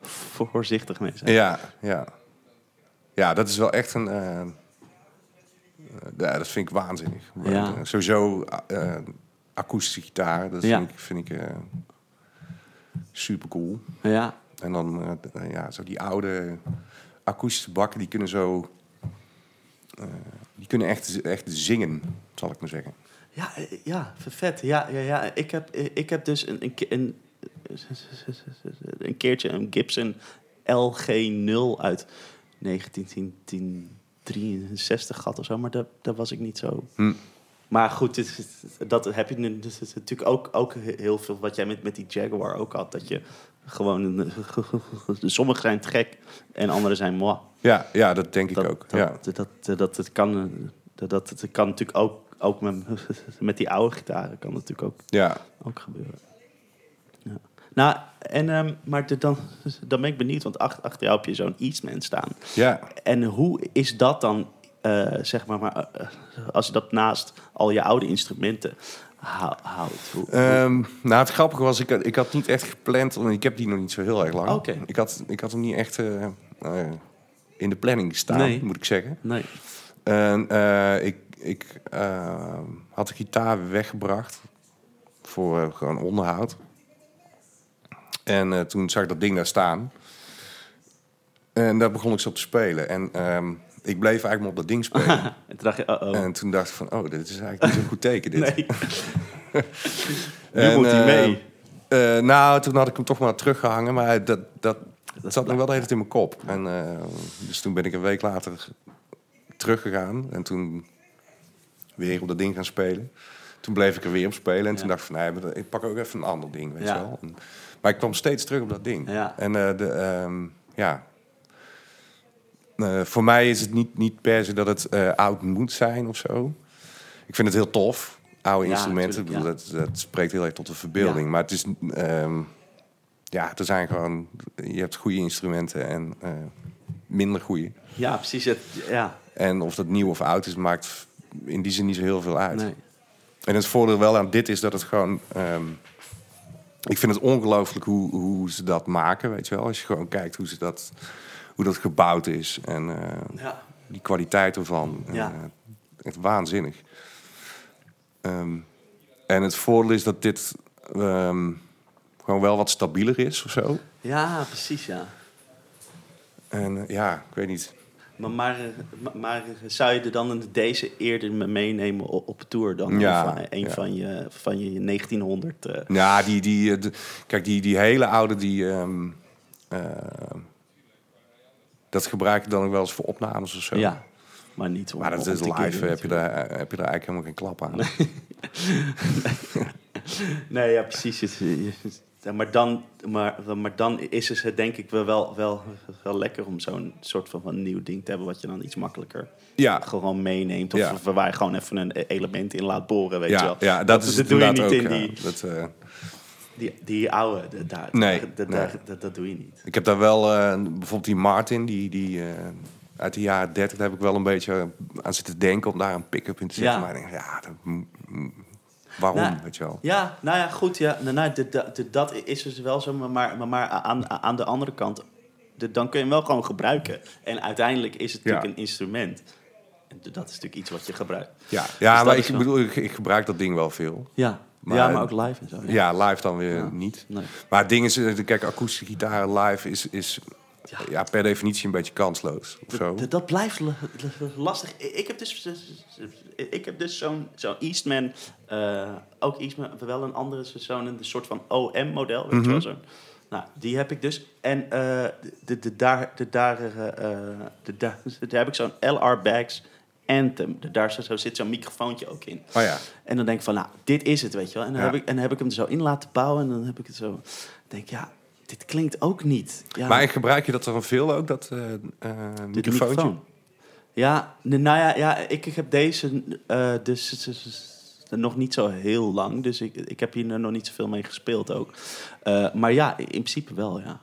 [SPEAKER 2] voorzichtig mee zijn.
[SPEAKER 1] Ja, ja. Ja, dat is wel echt een... eh, Eh, ja, dat vind ik waanzinnig.
[SPEAKER 2] Ja.
[SPEAKER 1] Eh, Sowieso eh eh, akoestische gitaar, dat
[SPEAKER 2] Ja.
[SPEAKER 1] vind ik, vind ik eh, super cool.
[SPEAKER 2] Ja,
[SPEAKER 1] En dan, eh, d- eh, ja, zo die oude akoestische bakken, die kunnen zo... eh, die kunnen echt, echt zingen, zal ik maar zeggen.
[SPEAKER 2] Ja, eh, ja, vet. Ja, ja, ja. Ik, heb, eh, ik heb dus een, een, ke- een, een keertje een Gibson LG0 uit 1963 gehad of zo, maar daar, daar was ik niet zo.
[SPEAKER 1] Hm.
[SPEAKER 2] Maar goed, dit is- dat heb je nu dus het is natuurlijk ook, ook heel veel wat jij met, met die Jaguar ook had. Dat je gewoon. een- [laughs] Sommige zijn te gek en andere zijn moi.
[SPEAKER 1] Ja, ja dat denk
[SPEAKER 2] Dat,
[SPEAKER 1] ik ook.
[SPEAKER 2] dat,
[SPEAKER 1] ja.
[SPEAKER 2] dat, dat, dat, het kan, eh, dat, dat, het kan natuurlijk ook, ook met, [laughs] met die oude gitaren kan dat natuurlijk ook,
[SPEAKER 1] ja,
[SPEAKER 2] ook gebeuren. Ja. Nou, en, ehm, maar de- dan, [laughs] dan ben ik benieuwd, want ach- achter jou heb je zo'n Eastman staan.
[SPEAKER 1] ja.
[SPEAKER 2] En hoe is dat dan, eh, zeg maar, maar eh, als je dat naast al je oude instrumenten hou- houdt? Hoe-
[SPEAKER 1] Ehm, nou, het grappige was, ik had, ik had niet echt gepland, want ik heb die nog niet zo heel erg lang.
[SPEAKER 2] Oké.
[SPEAKER 1] Ik, had, ik had hem niet echt eh, eh, in de planning staan,
[SPEAKER 2] Nee.
[SPEAKER 1] moet ik zeggen.
[SPEAKER 2] nee.
[SPEAKER 1] En eh, ik, ik eh, had de gitaar weggebracht voor eh, gewoon onderhoud. En eh, toen zag ik dat ding daar staan. En daar begon ik ze op te spelen. En ehm, ik bleef eigenlijk maar op dat ding spelen.
[SPEAKER 2] En toen dacht je, oh oh
[SPEAKER 1] en toen dacht ik van, oh, dit is eigenlijk niet zo'n goed teken. Dit. [laughs]
[SPEAKER 2] nee. nu
[SPEAKER 1] En,
[SPEAKER 2] moet hij
[SPEAKER 1] eh,
[SPEAKER 2] mee.
[SPEAKER 1] Eh, nou, toen had ik hem toch maar teruggehangen, maar dat, dat, dat zat nog wel de hele tijd in mijn kop. En, eh, dus toen ben ik een week later teruggegaan en toen weer op dat ding gaan spelen. Toen bleef ik er weer op spelen en toen
[SPEAKER 2] Ja.
[SPEAKER 1] dacht ik van, nee, maar dat- ik pak ook even een ander ding, weet
[SPEAKER 2] Ja.
[SPEAKER 1] je wel. En- maar ik kwam steeds terug op dat ding.
[SPEAKER 2] Ja.
[SPEAKER 1] En eh, de, ehm, ja. Eh, voor mij is het niet, niet per se dat het eh, oud moet zijn of zo. Ik vind het heel tof, oude
[SPEAKER 2] Ja,
[SPEAKER 1] instrumenten. Ik
[SPEAKER 2] tuurlijk,
[SPEAKER 1] bedoel, dat, dat spreekt heel erg tot de verbeelding. Maar het is... ehm, ja, er zijn gewoon... Je hebt goede instrumenten en eh, minder goede.
[SPEAKER 2] Ja, precies. Het, ja,
[SPEAKER 1] En of dat nieuw of oud is, maakt in die zin niet zo heel veel uit.
[SPEAKER 2] nee.
[SPEAKER 1] En het voordeel wel aan dit is dat het gewoon... ehm, ik vind het ongelooflijk hoe, hoe ze dat maken, weet je wel. Als je gewoon kijkt hoe, ze dat, hoe dat gebouwd is en eh,
[SPEAKER 2] Ja.
[SPEAKER 1] die kwaliteit ervan.
[SPEAKER 2] Ja.
[SPEAKER 1] eh, echt waanzinnig. Ehm, en het voordeel is dat dit ehm, gewoon wel wat stabieler is of zo.
[SPEAKER 2] ja, precies, ja.
[SPEAKER 1] En eh, ja, ik weet niet.
[SPEAKER 2] Maar, maar, eh, maar, maar zou je er dan een- deze eerder me- meenemen op, op tour dan
[SPEAKER 1] Ja,
[SPEAKER 2] van, een
[SPEAKER 1] ja.
[SPEAKER 2] van, je, van je 1900? eh?
[SPEAKER 1] Ja, die, die, eh, de- kijk, die, die hele oude, die, ehm, eh, dat gebruik ik dan ook wel eens voor opnames of zo.
[SPEAKER 2] ja, maar niet om,
[SPEAKER 1] Maar dat
[SPEAKER 2] om
[SPEAKER 1] is
[SPEAKER 2] te
[SPEAKER 1] live,
[SPEAKER 2] keren
[SPEAKER 1] heb je, daar, eh, heb je daar eigenlijk helemaal geen klap
[SPEAKER 2] [laughs]
[SPEAKER 1] aan.
[SPEAKER 2] Nee, ja, precies. Het- je- ja, maar, dan, maar, maar dan is het eh, denk ik wel, wel, wel, wel lekker om zo'n soort van, van nieuw ding te hebben... wat je dan iets makkelijker
[SPEAKER 1] Ja,
[SPEAKER 2] gewoon meeneemt. Of
[SPEAKER 1] Ja.
[SPEAKER 2] of waar je gewoon even een e- element in laat boren, weet je
[SPEAKER 1] ja,
[SPEAKER 2] wel.
[SPEAKER 1] ja, dat, is
[SPEAKER 2] dat
[SPEAKER 1] het
[SPEAKER 2] doe je niet
[SPEAKER 1] inderdaad
[SPEAKER 2] in
[SPEAKER 1] ook, ja.
[SPEAKER 2] die,
[SPEAKER 1] Dat, eh,
[SPEAKER 2] die, die oude. de- Daar,
[SPEAKER 1] Nee,
[SPEAKER 2] daar- dat-
[SPEAKER 1] nee.
[SPEAKER 2] daar- dat- dat doe je niet.
[SPEAKER 1] Ik heb daar wel, eh, bijvoorbeeld die Martin, die, die eh, uit de jaren 30, daar heb ik wel een beetje aan zitten denken om daar een pick-up in te zetten.
[SPEAKER 2] Ja.
[SPEAKER 1] Maar ik denk, ja, dat, mm, mm, waarom,
[SPEAKER 2] Nou,
[SPEAKER 1] weet je wel?
[SPEAKER 2] Ja, nou ja, goed. Ja, nou, nou, de- de- de- dat is dus wel zo. Maar, maar, maar aan, aan de andere kant, de- dan kun je hem wel gewoon gebruiken. En uiteindelijk is het
[SPEAKER 1] Ja.
[SPEAKER 2] natuurlijk een instrument. En d- dat is natuurlijk iets wat je gebruikt.
[SPEAKER 1] Ja,
[SPEAKER 2] Dus
[SPEAKER 1] ja
[SPEAKER 2] dat
[SPEAKER 1] maar
[SPEAKER 2] is
[SPEAKER 1] ik
[SPEAKER 2] wel-
[SPEAKER 1] bedoel, ik, ik gebruik dat ding wel veel.
[SPEAKER 2] Ja, maar,
[SPEAKER 1] Maar-
[SPEAKER 2] ja, maar ook live en zo. Ja.
[SPEAKER 1] Ja, live dan weer niet.
[SPEAKER 2] Nee.
[SPEAKER 1] Maar het ding is, eh, kijk, akoestische gitaar live is, is
[SPEAKER 2] Ja.
[SPEAKER 1] ja. per definitie een beetje kansloos. Of zo.
[SPEAKER 2] D- Dat blijft la- la- lastig. I- Ik heb dus, ik heb dus zo'n zo'n Eastman, eh, ook Eastman, wel een andere, zo- zo'n een soort van OM-model. weet je
[SPEAKER 1] Mhm.
[SPEAKER 2] wel zo'n. Nou, die heb ik dus. En eh, de, de, daar, de, daar, eh, eh, de, daar, [laughs] daar heb ik zo'n LR Bags Anthem. De, daar zo, zo zit zo'n microfoontje ook in.
[SPEAKER 1] Oh ja.
[SPEAKER 2] En dan denk ik van, nou, dit is het, weet je wel. En dan,
[SPEAKER 1] Ja.
[SPEAKER 2] heb, ik, en dan heb ik hem er zo in laten bouwen. En dan heb ik het zo... denk ik, ja, dit klinkt ook niet. Ja,
[SPEAKER 1] Maar gebruik je dat dan veel ook, dat eh eh,
[SPEAKER 2] dit
[SPEAKER 1] microfoontje?
[SPEAKER 2] microfoon. Ja, n- nou ja, ja ik, ik heb deze eh, dus, s- s- s- nog niet zo heel lang. Dus ik, ik heb hier n- nog niet zoveel mee gespeeld ook. Eh, maar ja, in principe wel, ja.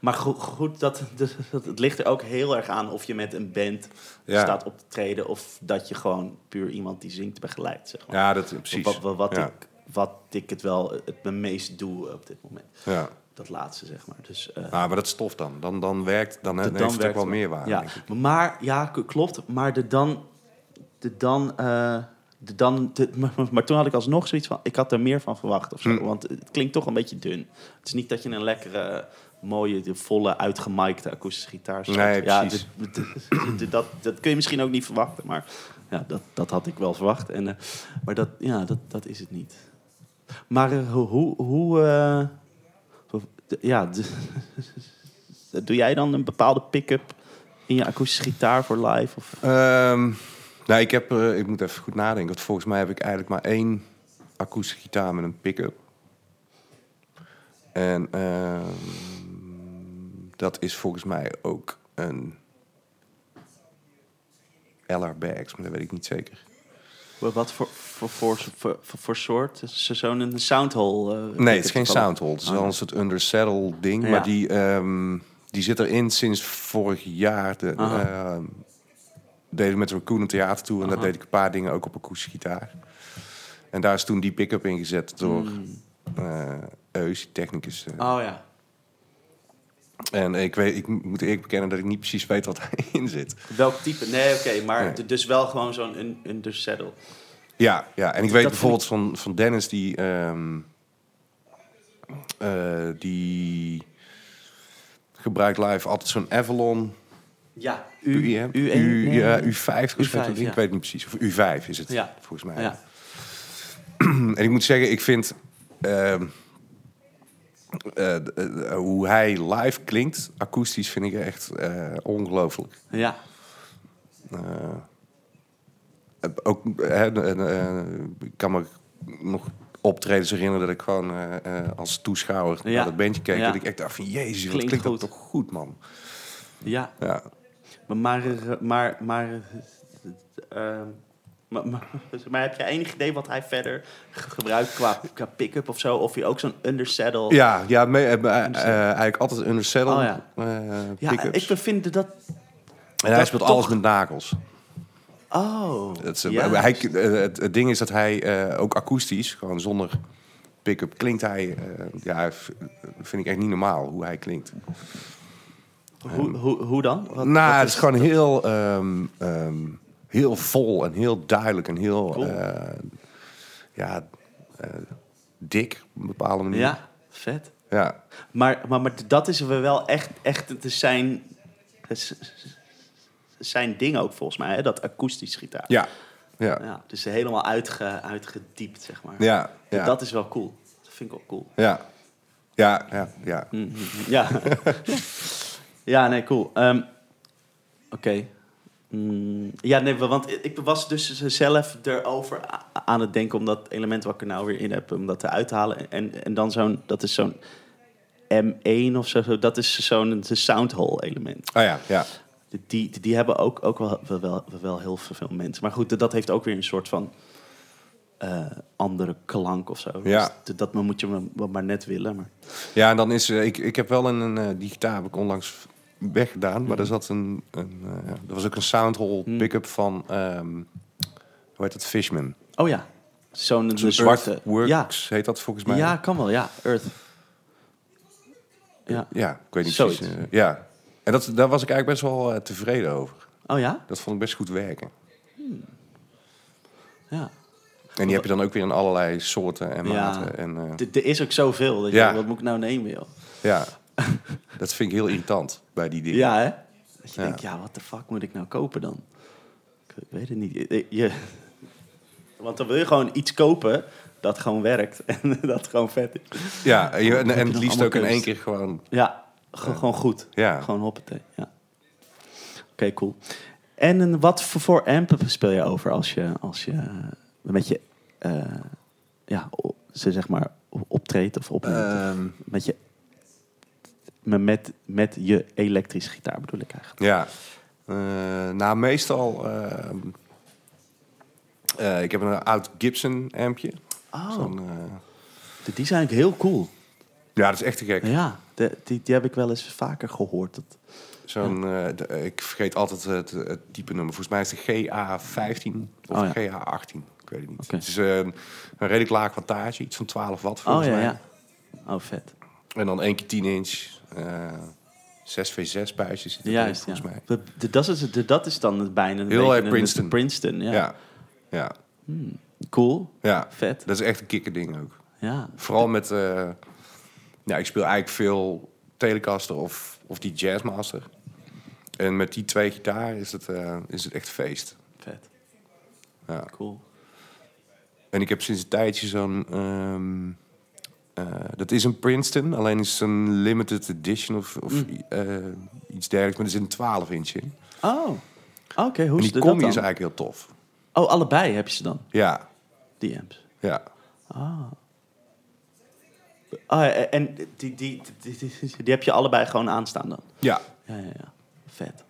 [SPEAKER 2] Maar go- goed, dat, [laughs] dat, dat- het ligt er ook heel erg aan of je met een band
[SPEAKER 1] Ja.
[SPEAKER 2] staat op te treden... of dat je gewoon puur iemand die zingt begeleidt, zeg maar.
[SPEAKER 1] Ja, dat eh, precies.
[SPEAKER 2] Wat, wat, wat
[SPEAKER 1] ja.
[SPEAKER 2] ik, wat ik het wel het meest doe op dit moment.
[SPEAKER 1] Ja.
[SPEAKER 2] Dat laatste, zeg maar. Dus, eh,
[SPEAKER 1] Ah, maar dat stof dan. Dan, dan werkt, dan,
[SPEAKER 2] de
[SPEAKER 1] heeft
[SPEAKER 2] dan
[SPEAKER 1] het ook
[SPEAKER 2] werkt
[SPEAKER 1] wel
[SPEAKER 2] het
[SPEAKER 1] meer waarde.
[SPEAKER 2] Ja,
[SPEAKER 1] denk ik.
[SPEAKER 2] maar ja, k- klopt. Maar de dan de dan... eh, de dan de- [laughs] maar, maar- maar toen had ik alsnog zoiets van... Ik had er meer van verwacht of zo.
[SPEAKER 1] Hm.
[SPEAKER 2] Want het klinkt toch een beetje dun. Het is niet dat je een lekkere, mooie, de volle, uitgemikte akoestische gitaar speelt.
[SPEAKER 1] Nee,
[SPEAKER 2] ja,
[SPEAKER 1] precies.
[SPEAKER 2] dit- dit- dit- dat, dat kun je misschien ook niet verwachten. Maar ja, dat, dat had ik wel verwacht. En, eh, maar dat, ja, dat, dat is het niet. Maar eh, hoe... hoe, hoe eh, hoe- d- ja, d- [laughs] doe jij dan een bepaalde pick-up in je akoestische gitaar voor live? Of?
[SPEAKER 1] Ehm, nou, ik, heb, eh, ik moet even goed nadenken. Want volgens mij heb ik eigenlijk maar één akoestische gitaar met een pick-up. En ehm, dat is volgens mij ook een LR Bags, maar dat weet ik niet zeker.
[SPEAKER 2] Wa- eh, Wat voor, voor, voor, voor, voor, voor soort? Is er Zo'n soundhole? eh,
[SPEAKER 1] Nee,
[SPEAKER 2] pick-up
[SPEAKER 1] het is geen
[SPEAKER 2] toevallig?
[SPEAKER 1] soundhold. Het is
[SPEAKER 2] Oh,
[SPEAKER 1] wel een soort undersaddle ding.
[SPEAKER 2] Ja.
[SPEAKER 1] Maar die, ehm, die zit erin sinds vorig jaar. De,
[SPEAKER 2] Aha.
[SPEAKER 1] ehm, deden we met Raccoon een theatertour. En daar
[SPEAKER 2] Aha.
[SPEAKER 1] deed ik een paar dingen ook op akoestische gitaar. En daar is toen die pick-up ingezet door
[SPEAKER 2] Mm.
[SPEAKER 1] eh Eus, die technicus. eh.
[SPEAKER 2] Oh ja.
[SPEAKER 1] En ik, weet, ik moet eerlijk bekennen dat ik niet precies weet wat [laughs] daarin zit.
[SPEAKER 2] Welk type? Nee, oké, maar
[SPEAKER 1] Nee.
[SPEAKER 2] d- dus wel gewoon zo'n un- undersaddle.
[SPEAKER 1] Ja, ja. en ik weet
[SPEAKER 2] Dat-
[SPEAKER 1] bijvoorbeeld van, van Dennis die. ehm, eh, die gebruikt live altijd zo'n Avalon
[SPEAKER 2] Ja,
[SPEAKER 1] U, hè?
[SPEAKER 2] U,
[SPEAKER 1] U,
[SPEAKER 2] en- nee,
[SPEAKER 1] ja,
[SPEAKER 2] nee.
[SPEAKER 1] U50 of
[SPEAKER 2] U5,
[SPEAKER 1] zo, ik
[SPEAKER 2] ja.
[SPEAKER 1] weet niet precies. Of U5 is het,
[SPEAKER 2] Ja.
[SPEAKER 1] volgens mij.
[SPEAKER 2] Ja.
[SPEAKER 1] En ik moet zeggen, ik vind ehm, eh, d- eh, hoe hij live klinkt, akoestisch, vind ik echt eh, ongelooflijk.
[SPEAKER 2] ja.
[SPEAKER 1] Eh, eh, ook, eh, eh, eh, ik kan me nog optredens herinneren dat ik gewoon eh, eh, als toeschouwer
[SPEAKER 2] Ja.
[SPEAKER 1] naar dat bandje keek.
[SPEAKER 2] Ja.
[SPEAKER 1] Dat ik echt dacht van, jezus, wat
[SPEAKER 2] Klinkt
[SPEAKER 1] klinkt,
[SPEAKER 2] goed.
[SPEAKER 1] dat toch goed, man.
[SPEAKER 2] ja.
[SPEAKER 1] Ja.
[SPEAKER 2] Maar, maar, eh, maar, maar, eh, ehm, maar, maar, [laughs] maar heb je enig idee wat hij verder ge- gebruikt qua, qua pick-up of zo? Of je ook zo'n undersaddle...
[SPEAKER 1] Ja, ja me- eh, eh, eh, eigenlijk altijd een undersaddle
[SPEAKER 2] Oh, ja.
[SPEAKER 1] eh,
[SPEAKER 2] Ja,
[SPEAKER 1] pick-ups.
[SPEAKER 2] ik vind dat...
[SPEAKER 1] En hij
[SPEAKER 2] Dat
[SPEAKER 1] speelt
[SPEAKER 2] toch-
[SPEAKER 1] alles met nagels.
[SPEAKER 2] Oh.
[SPEAKER 1] Dat is,
[SPEAKER 2] ja.
[SPEAKER 1] hij, eh, het, het ding is dat hij eh, ook akoestisch, gewoon zonder pick-up, klinkt hij... eh, ja, v- vind ik echt niet normaal hoe hij klinkt.
[SPEAKER 2] hoe, hoe, hoe dan? Wat-
[SPEAKER 1] nou,
[SPEAKER 2] wat
[SPEAKER 1] het is gewoon heel, ehm, ehm, heel vol en heel duidelijk en heel...
[SPEAKER 2] Cool.
[SPEAKER 1] eh, ja, eh, dik op een bepaalde manier.
[SPEAKER 2] Ja, vet.
[SPEAKER 1] ja.
[SPEAKER 2] Maar, maar, maar dat is we wel echt, echt het is zijn, het is zijn ding ook volgens mij, hè? dat akoestisch gitaar.
[SPEAKER 1] Ja. Ja. Ja.
[SPEAKER 2] Ja, dus helemaal uitge, uitgediept, zeg maar.
[SPEAKER 1] Ja.
[SPEAKER 2] En Dat is wel cool. Dat vind ik wel cool.
[SPEAKER 1] Ja. Ja, ja, ja.
[SPEAKER 2] Mm. Ja, ja nee, cool. Ehm, Oké. Mm, ja, nee, wa- want ik was dus zelf erover a- aan het denken om dat element wat ik er nou weer in heb, om dat eruit te halen. En, en dan zo'n, dat is zo'n M1 of zo, dat is zo'n soundhole element.
[SPEAKER 1] Oh ja, ja.
[SPEAKER 2] Die, die, die hebben ook, ook wel, wel, wel, wel heel veel mensen. Maar goed, dat heeft ook weer een soort van eh, andere klank of zo.
[SPEAKER 1] Ja.
[SPEAKER 2] Dus dat moet je maar, maar net willen. Maar...
[SPEAKER 1] Ja, en dan is eh, ik, ik heb wel een, een eh, die gitaar heb ik onlangs weggedaan,
[SPEAKER 2] Mhm.
[SPEAKER 1] maar er zat een, een eh, er was ook een soundhole
[SPEAKER 2] Hmm.
[SPEAKER 1] pick-up van ehm, hoe heet dat Fishman?
[SPEAKER 2] Oh ja, zo'n
[SPEAKER 1] Zo'n
[SPEAKER 2] een
[SPEAKER 1] zwart
[SPEAKER 2] eh, Ja.
[SPEAKER 1] works heet dat volgens mij.
[SPEAKER 2] ja, kan wel, ja. Earth. Ja.
[SPEAKER 1] ja ik weet niet
[SPEAKER 2] Zoiets.
[SPEAKER 1] precies. eh, ja, en dat, daar was ik eigenlijk best wel eh, tevreden over.
[SPEAKER 2] Oh ja?
[SPEAKER 1] Dat vond ik best goed werken.
[SPEAKER 2] Ja.
[SPEAKER 1] En die heb je dan ook weer in allerlei soorten en
[SPEAKER 2] Ja.
[SPEAKER 1] maten. En, eh,
[SPEAKER 2] D- Er is ook zoveel. Dat je,
[SPEAKER 1] Ja.
[SPEAKER 2] denkt, Wat moet ik nou nemen, joh?
[SPEAKER 1] ja, dat vind ik heel irritant bij die dingen.
[SPEAKER 2] Ja, hè? Dat je
[SPEAKER 1] Ja.
[SPEAKER 2] denkt, ja, wat de fuck moet ik nou kopen dan? Ik weet het niet. Je- je- [laughs] want dan wil je gewoon iets kopen dat gewoon werkt [laughs] en dat gewoon vet is.
[SPEAKER 1] Ja, en, je- en,
[SPEAKER 2] Heb je
[SPEAKER 1] en het
[SPEAKER 2] nog
[SPEAKER 1] liefst
[SPEAKER 2] allemaal
[SPEAKER 1] ook in één
[SPEAKER 2] kunst?
[SPEAKER 1] keer gewoon.
[SPEAKER 2] Ja, gewoon, gewoon goed.
[SPEAKER 1] Ja.
[SPEAKER 2] Gewoon hoppatee, ja. Oké, cool. En een- wat voor, voor amp speel je over als je, als je eh, met je, eh, ja, o- ze zeg maar o- optreedt of opneemt? of
[SPEAKER 1] ehm,
[SPEAKER 2] met je, met, met, met je elektrische gitaar bedoel ik eigenlijk.
[SPEAKER 1] Ja. Eh nou, meestal... ehm, eh, ik heb een oud Gibson ampje.
[SPEAKER 2] Oh,
[SPEAKER 1] Zo'n, eh,
[SPEAKER 2] die zijn eigenlijk heel cool.
[SPEAKER 1] ja, dat is echt te gek.
[SPEAKER 2] Ja, de- die, die heb ik wel eens vaker gehoord. Dat,
[SPEAKER 1] Zo'n, eh, de- eh, ik vergeet altijd het, het type nummer. Volgens mij is het de GA15 of
[SPEAKER 2] Oh,
[SPEAKER 1] GA18. Ik weet het niet.
[SPEAKER 2] Oké.
[SPEAKER 1] Het is eh, een redelijk laag wattage. Iets van 12 watt
[SPEAKER 2] oh
[SPEAKER 1] volgens
[SPEAKER 2] ja,
[SPEAKER 1] mij.
[SPEAKER 2] ja. Oh, vet.
[SPEAKER 1] En dan één keer 10 inch. eh 6v6 buisjes zitten erin,
[SPEAKER 2] Juist, ja.
[SPEAKER 1] volgens mij.
[SPEAKER 2] Dat- dat- Dat is, het- dat is dan het bijna. een
[SPEAKER 1] Heel
[SPEAKER 2] beetje
[SPEAKER 1] erg
[SPEAKER 2] een-
[SPEAKER 1] Princeton.
[SPEAKER 2] Princeton, ja.
[SPEAKER 1] Ja. Ja. ja,
[SPEAKER 2] Cool, vet.
[SPEAKER 1] Dat is echt een kikkerding ook.
[SPEAKER 2] Ja,
[SPEAKER 1] Vooral met... eh, ja, ik speel eigenlijk veel Telecaster of, of die Jazzmaster. En met die twee gitaren is het, eh, is het echt feest.
[SPEAKER 2] vet.
[SPEAKER 1] Ja.
[SPEAKER 2] Cool.
[SPEAKER 1] En ik heb sinds een tijdje zo'n... ehm, eh, dat is een Princeton, alleen is het een limited edition of, of
[SPEAKER 2] Mm.
[SPEAKER 1] eh, iets dergelijks. Maar er zit een 12 inch in.
[SPEAKER 2] Oh, oké. hoe
[SPEAKER 1] En
[SPEAKER 2] is dat
[SPEAKER 1] die
[SPEAKER 2] dan?
[SPEAKER 1] combi is eigenlijk heel tof.
[SPEAKER 2] Oh, allebei heb je ze dan,
[SPEAKER 1] Ja,
[SPEAKER 2] die amps.
[SPEAKER 1] ja.
[SPEAKER 2] Ah, ja, en die, die, die, die, die- die heb je allebei gewoon aanstaan dan?
[SPEAKER 1] Ja,
[SPEAKER 2] Ja, ja, ja. Vet.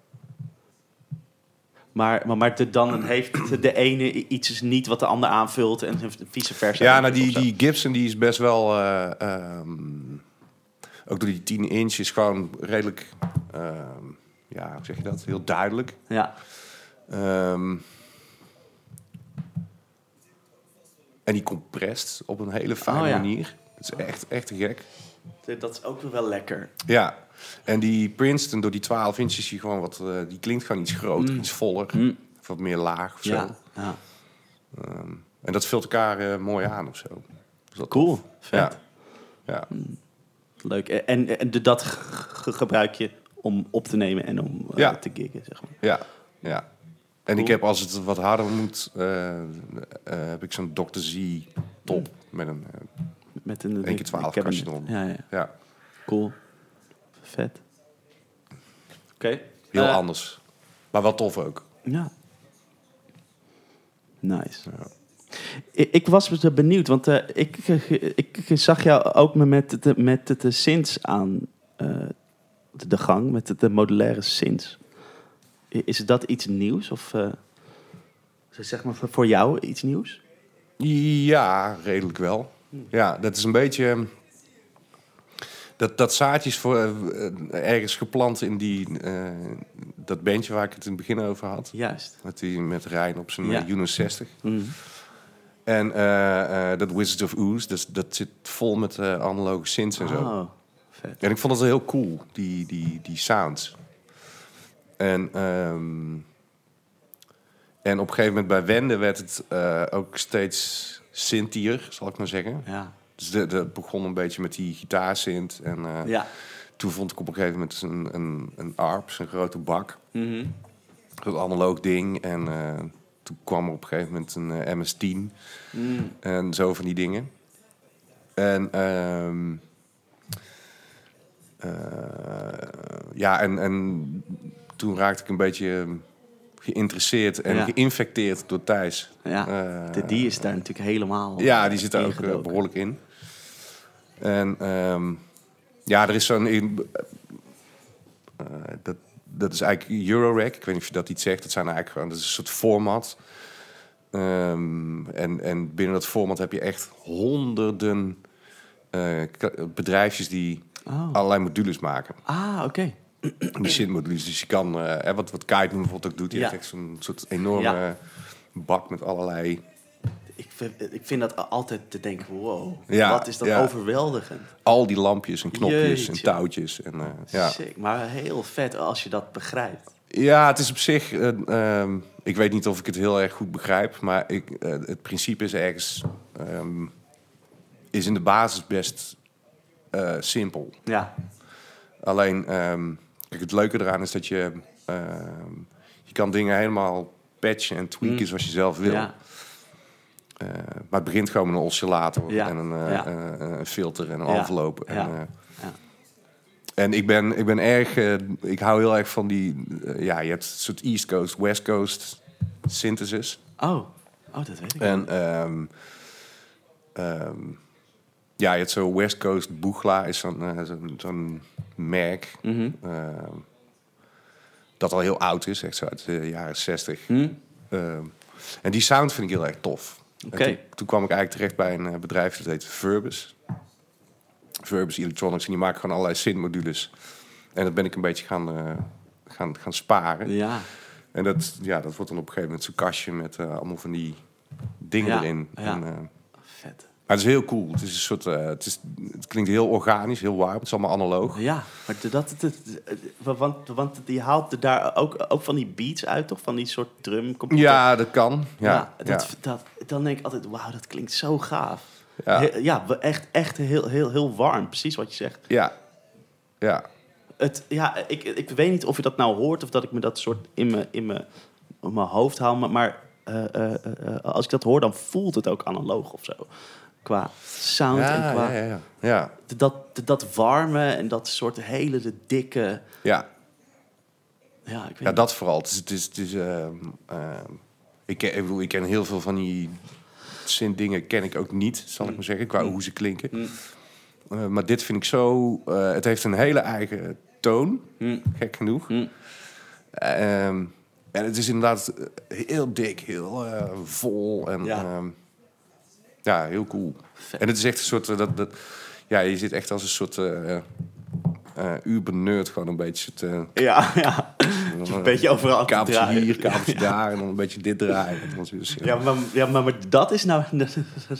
[SPEAKER 2] Maar, maar, maar de, dan heeft de ene i- iets is niet wat de ander aanvult en vice versa.
[SPEAKER 1] ja nou die,
[SPEAKER 2] Of zo.
[SPEAKER 1] die Gibson die is best wel... eh, ehm, ook door die 10 inch is gewoon redelijk... ehm, ja, hoe zeg je dat? Heel duidelijk.
[SPEAKER 2] Ja,
[SPEAKER 1] Ehm, en die compressed op een hele fijne
[SPEAKER 2] Oh, ja.
[SPEAKER 1] manier. Dat is echt, echt te gek.
[SPEAKER 2] d- dat is ook weer wel lekker.
[SPEAKER 1] Ja, en die Princeton door die 12 inch is die gewoon wat... eh, die klinkt gewoon iets groter, iets voller. Of wat meer laag of
[SPEAKER 2] Mm.
[SPEAKER 1] zo.
[SPEAKER 2] Ja, ja.
[SPEAKER 1] Ehm, en dat vult elkaar eh, mooi aan of zo. Dus dat-
[SPEAKER 2] Cool, vet.
[SPEAKER 1] Ja. ja.
[SPEAKER 2] Leuk. En, en de, dat g- g- gebruik je om op te nemen en om eh,
[SPEAKER 1] Ja.
[SPEAKER 2] te giggen, zeg maar.
[SPEAKER 1] Ja, ja. En
[SPEAKER 2] Cool.
[SPEAKER 1] ik heb, als het wat harder moet, eh, eh, heb ik zo'n Dr. Z top. Met een, eh,
[SPEAKER 2] Met een
[SPEAKER 1] Eén keer 12
[SPEAKER 2] cabinet.
[SPEAKER 1] kastje eronder.
[SPEAKER 2] Ja, ja.
[SPEAKER 1] ja,
[SPEAKER 2] Cool. Vet. Oké.
[SPEAKER 1] heel
[SPEAKER 2] Eh,
[SPEAKER 1] anders. Maar wel tof ook.
[SPEAKER 2] Ja. Nice.
[SPEAKER 1] Ja.
[SPEAKER 2] Ik, ik was dus benieuwd, want eh, ik, ik, ik zag jou ook me met de, met de, de Sins aan eh, de, de gang, met de, de modulaire Sins. I- Is dat iets nieuws? Of eh, zeg maar voor- voor jou iets nieuws?
[SPEAKER 1] Ja, redelijk wel. Ja, dat is een beetje... ehm, Dat, dat zaadje is voor, eh, eh, ergens geplant in die, eh, dat bandje waar ik het in het begin over had.
[SPEAKER 2] Juist.
[SPEAKER 1] Met, die, met Rijn op zijn
[SPEAKER 2] Ja.
[SPEAKER 1] eh, Juno 60.
[SPEAKER 2] Mhm.
[SPEAKER 1] En eh, eh, dat Wizards of Ooze, dat, dat zit vol met eh, analoge synths en zo.
[SPEAKER 2] Oh, vet.
[SPEAKER 1] En ik vond het heel cool, die, die, die sounds. En, ehm, en op een gegeven moment bij Wende werd het eh, ook steeds synthier, zal ik maar zeggen.
[SPEAKER 2] Ja.
[SPEAKER 1] Dus de- dat begon een beetje met die gitaarsynth. En eh,
[SPEAKER 2] Ja.
[SPEAKER 1] toen vond ik op een gegeven moment dus een, een, een ARP, dus een grote bak.
[SPEAKER 2] Mhm.
[SPEAKER 1] Dat analoog ding. En eh, toen kwam er op een gegeven moment een eh, MS-10.
[SPEAKER 2] Mm.
[SPEAKER 1] En zo van die dingen. En, ehm, eh, ja, en, en toen raakte ik een beetje ehm, geïnteresseerd en
[SPEAKER 2] Ja.
[SPEAKER 1] geïnfecteerd door Thijs.
[SPEAKER 2] Ja.
[SPEAKER 1] Eh,
[SPEAKER 2] De, die is daar natuurlijk helemaal
[SPEAKER 1] ja, die zit daar ook eh,
[SPEAKER 2] ingedoken.
[SPEAKER 1] behoorlijk in. En ehm, ja, er is zo'n... in- eh, dat, dat is eigenlijk Eurorack. Ik weet niet of je dat iets zegt. Dat, zijn eigenlijk gewoon, dat is een soort format. Ehm, en, en binnen dat format heb je echt honderden eh, k- bedrijfjes die
[SPEAKER 2] Oh.
[SPEAKER 1] allerlei modules maken.
[SPEAKER 2] Ah, oké.
[SPEAKER 1] Die synmodules. Dus je kan, eh, hè, wat, wat Kite bijvoorbeeld ook doet, die
[SPEAKER 2] Ja.
[SPEAKER 1] heeft echt zo'n soort enorme
[SPEAKER 2] Ja.
[SPEAKER 1] bak met allerlei
[SPEAKER 2] Ik vind, ik vind dat a- altijd te denken, wow,
[SPEAKER 1] Ja,
[SPEAKER 2] wat is dat
[SPEAKER 1] ja.
[SPEAKER 2] overweldigend.
[SPEAKER 1] al die lampjes en knopjes
[SPEAKER 2] Jeetje.
[SPEAKER 1] en touwtjes. En, eh, ja.
[SPEAKER 2] Sick, maar heel vet als je dat begrijpt.
[SPEAKER 1] ja, het is op zich. eh, ehm, ik weet niet of ik het heel erg goed begrijp, maar ik, eh, het principe is ergens. ehm, is in de basis best eh, simpel.
[SPEAKER 2] Ja,
[SPEAKER 1] Alleen, ehm, kijk, het leuke eraan is dat je. ehm, je kan dingen helemaal patchen en tweaken zoals je zelf wil.
[SPEAKER 2] Mm. ja,
[SPEAKER 1] Eh, maar het begint gewoon met een oscillator
[SPEAKER 2] Ja,
[SPEAKER 1] en een, eh,
[SPEAKER 2] ja.
[SPEAKER 1] eh, een filter en een
[SPEAKER 2] Ja,
[SPEAKER 1] envelop. En,
[SPEAKER 2] ja,
[SPEAKER 1] eh,
[SPEAKER 2] ja.
[SPEAKER 1] en ik ben, ik ben erg, eh, ik hou heel erg van die, eh, ja, je hebt een soort East Coast, West Coast synthesis.
[SPEAKER 2] Oh, oh dat weet ik.
[SPEAKER 1] En ehm, ehm, ja, je hebt zo West Coast Boegla is zo'n eh, zo'n- zo'n merk
[SPEAKER 2] Mhm.
[SPEAKER 1] ehm, dat al heel oud is, echt zo uit de jaren 60.
[SPEAKER 2] Hm?
[SPEAKER 1] Ehm, en die sound vind ik heel erg tof.
[SPEAKER 2] Oké.
[SPEAKER 1] En Toen, toen kwam ik eigenlijk terecht bij een eh, bedrijf dat heet Verbus. Verbus Electronics. En die maken gewoon allerlei synmodules. En dat ben ik een beetje gaan, eh, gaan, gaan sparen.
[SPEAKER 2] Ja,
[SPEAKER 1] En dat, ja, dat wordt dan op een gegeven moment zo'n kastje met eh, allemaal van die dingen
[SPEAKER 2] Ja,
[SPEAKER 1] erin.
[SPEAKER 2] ja.
[SPEAKER 1] En, eh,
[SPEAKER 2] vet.
[SPEAKER 1] Maar het is heel cool. Het, is een soort, eh, het, is, het klinkt heel organisch, heel warm. Het is allemaal analoog.
[SPEAKER 2] Ja, maar dat, dat- dat- want, want die haalt er daar ook, ook van die beats uit, toch? Van die soort drumcomputer.
[SPEAKER 1] Ja, dat kan. Ja,
[SPEAKER 2] Ja,
[SPEAKER 1] ja.
[SPEAKER 2] dat, Dat, dan denk ik altijd, wauw, dat klinkt zo gaaf.
[SPEAKER 1] Ja.
[SPEAKER 2] He- ja we- echt, echt heel, heel, heel warm, precies wat je zegt.
[SPEAKER 1] ja. ja.
[SPEAKER 2] Het, ja, ik, ik weet niet of je dat nou hoort of dat ik me dat soort in mijn, in mijn, in mijn hoofd haal. Maar, maar eh, eh, eh, eh, als ik dat hoor, dan voelt het ook analoog of zo. Qua sound en qua
[SPEAKER 1] ja, ja, ja. ja.
[SPEAKER 2] Dat, dat warme en dat soort hele de dikke...
[SPEAKER 1] ja.
[SPEAKER 2] Ja, ik weet
[SPEAKER 1] Ja, dat vooral. Het is, het is, het is, ehm, ehm, ik, ken, ik, bedoel, ik ken heel veel van die zin dingen ken ik ook niet, zal
[SPEAKER 2] Mm.
[SPEAKER 1] ik maar zeggen, qua hoe ze klinken. Eh, maar dit vind ik zo... eh, het heeft een hele eigen toon,
[SPEAKER 2] Mm.
[SPEAKER 1] gek genoeg. Ehm, en het is inderdaad eh, heel dik, heel eh, vol en
[SPEAKER 2] Ja.
[SPEAKER 1] ja. ja, heel cool. En het is echt een soort... eh, dat, dat, ja, je zit echt als een soort... eh eh, uber-nerd gewoon een beetje te...
[SPEAKER 2] Ja,
[SPEAKER 1] [laughs]
[SPEAKER 2] ja. Het is Een beetje overal te
[SPEAKER 1] kabeltje
[SPEAKER 2] draaien.
[SPEAKER 1] hier,
[SPEAKER 2] [laughs]
[SPEAKER 1] kabeltje daar en dan een beetje dit draaien. Dat was dus, eh, weer zo.
[SPEAKER 2] Ja, maar, ja maar, maar dat is nou, [laughs]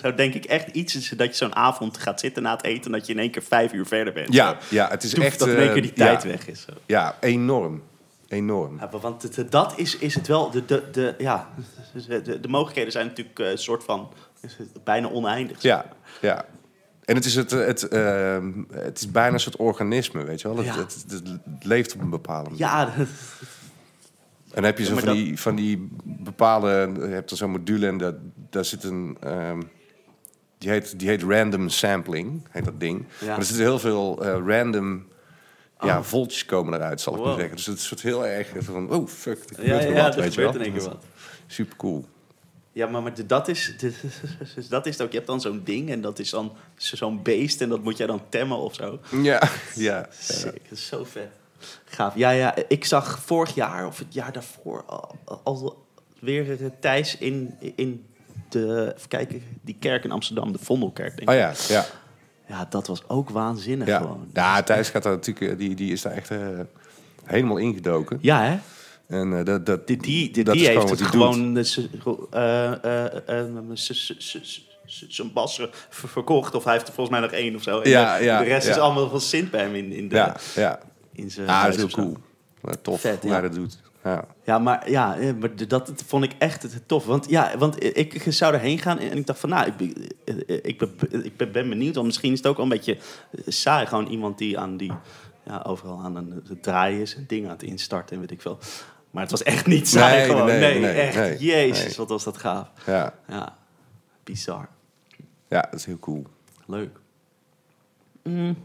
[SPEAKER 2] nou denk ik echt iets is dat je zo'n avond gaat zitten na het eten... dat je in één keer vijf uur verder bent.
[SPEAKER 1] ja, ja, het is
[SPEAKER 2] Toef,
[SPEAKER 1] echt...
[SPEAKER 2] dat in één
[SPEAKER 1] eh,
[SPEAKER 2] keer die
[SPEAKER 1] ja,
[SPEAKER 2] tijd weg is. Zo.
[SPEAKER 1] Ja, enorm. Enorm.
[SPEAKER 2] Ja, maar want het- het- dat is, is het wel. De, de, de, ja, [laughs] de, de, de mogelijkheden zijn natuurlijk eh, een soort van is het bijna oneindig.
[SPEAKER 1] Ja, ja. En het is, het, het, ehm, het is bijna een soort organisme, weet je wel? Het,
[SPEAKER 2] Ja.
[SPEAKER 1] het, het- het leeft op een bepaalde manier.
[SPEAKER 2] Ja, [laughs] dat-
[SPEAKER 1] En dan heb je zo
[SPEAKER 2] Ja, maar
[SPEAKER 1] van, die, van die bepaalde... Je hebt er zo'n module en dat, daar zit een... ehm, die, heet, die heet random sampling, heet dat ding.
[SPEAKER 2] Ja. Oh.
[SPEAKER 1] Maar er zitten heel veel eh, random... Ja, voltjes komen eruit, zal ik maar
[SPEAKER 2] Wow.
[SPEAKER 1] zeggen. Dus het is een soort heel erg van... Oh, fuck, er gebeurt
[SPEAKER 2] ja, ja,
[SPEAKER 1] er
[SPEAKER 2] ja,
[SPEAKER 1] wat,
[SPEAKER 2] er
[SPEAKER 1] weet je
[SPEAKER 2] gebeurt
[SPEAKER 1] wel.
[SPEAKER 2] in één keer wat.
[SPEAKER 1] Super cool.
[SPEAKER 2] Ja, maar, maar de- [laughs] dat, is, de- dat is het ook. Je hebt dan zo'n ding en dat is dan zo- zo'n beest en dat moet jij dan temmen of zo.
[SPEAKER 1] Ja, [laughs] ja.
[SPEAKER 2] Sick, dat is zo vet. Gaaf. Ja, ja, ik zag vorig jaar of het jaar daarvoor al, al weer eh, Thijs in, in de, even kijken, die kerk in Amsterdam, de Vondelkerk. Denk ik.
[SPEAKER 1] Oh ja, ja.
[SPEAKER 2] Ja, dat was ook waanzinnig
[SPEAKER 1] Ja,
[SPEAKER 2] gewoon.
[SPEAKER 1] ja Thijs gaat daar natuurlijk, eh, die, die is daar echt eh, helemaal ingedoken.
[SPEAKER 2] Ja, hè?
[SPEAKER 1] En eh, dat, dat,
[SPEAKER 2] Die, die, die,
[SPEAKER 1] dat
[SPEAKER 2] die
[SPEAKER 1] is
[SPEAKER 2] heeft
[SPEAKER 1] wat
[SPEAKER 2] het
[SPEAKER 1] hij doet.
[SPEAKER 2] gewoon eh, z- eh, eh, eh, z- z- z- z- z- zijn bas ver- verkocht. Of hij heeft er volgens mij nog één of zo. En
[SPEAKER 1] Ja,
[SPEAKER 2] de-
[SPEAKER 1] ja,
[SPEAKER 2] de rest
[SPEAKER 1] ja.
[SPEAKER 2] is allemaal van Sint bij hem in, in, de,
[SPEAKER 1] Ja, ja.
[SPEAKER 2] in zijn
[SPEAKER 1] ja, Ah,
[SPEAKER 2] Eh, huis
[SPEAKER 1] dat is heel
[SPEAKER 2] of zo.
[SPEAKER 1] cool. Ja, tof
[SPEAKER 2] Vet,
[SPEAKER 1] hoe
[SPEAKER 2] ja.
[SPEAKER 1] hij dat doet. Ja.
[SPEAKER 2] Ja, maar, ja, eh, maar d- dat vond ik echt het- het tof. Want, ja, want ik ik zou erheen gaan en ik dacht van... Nou, ik, ben- eh, ik, ben, ik ben- ben benieuwd. Want misschien is het ook al een beetje eh, saai. Gewoon iemand die, aan die ja, overal aan een- het draaien is. En dingen aan het instarten en weet ik veel. Maar het was echt niet saai
[SPEAKER 1] Nee,
[SPEAKER 2] gewoon. Nee,
[SPEAKER 1] nee, nee,
[SPEAKER 2] echt.
[SPEAKER 1] nee,
[SPEAKER 2] Jezus,
[SPEAKER 1] nee.
[SPEAKER 2] wat was dat gaaf.
[SPEAKER 1] Ja.
[SPEAKER 2] Ja, bizar.
[SPEAKER 1] ja, dat is heel cool.
[SPEAKER 2] Leuk. Mm.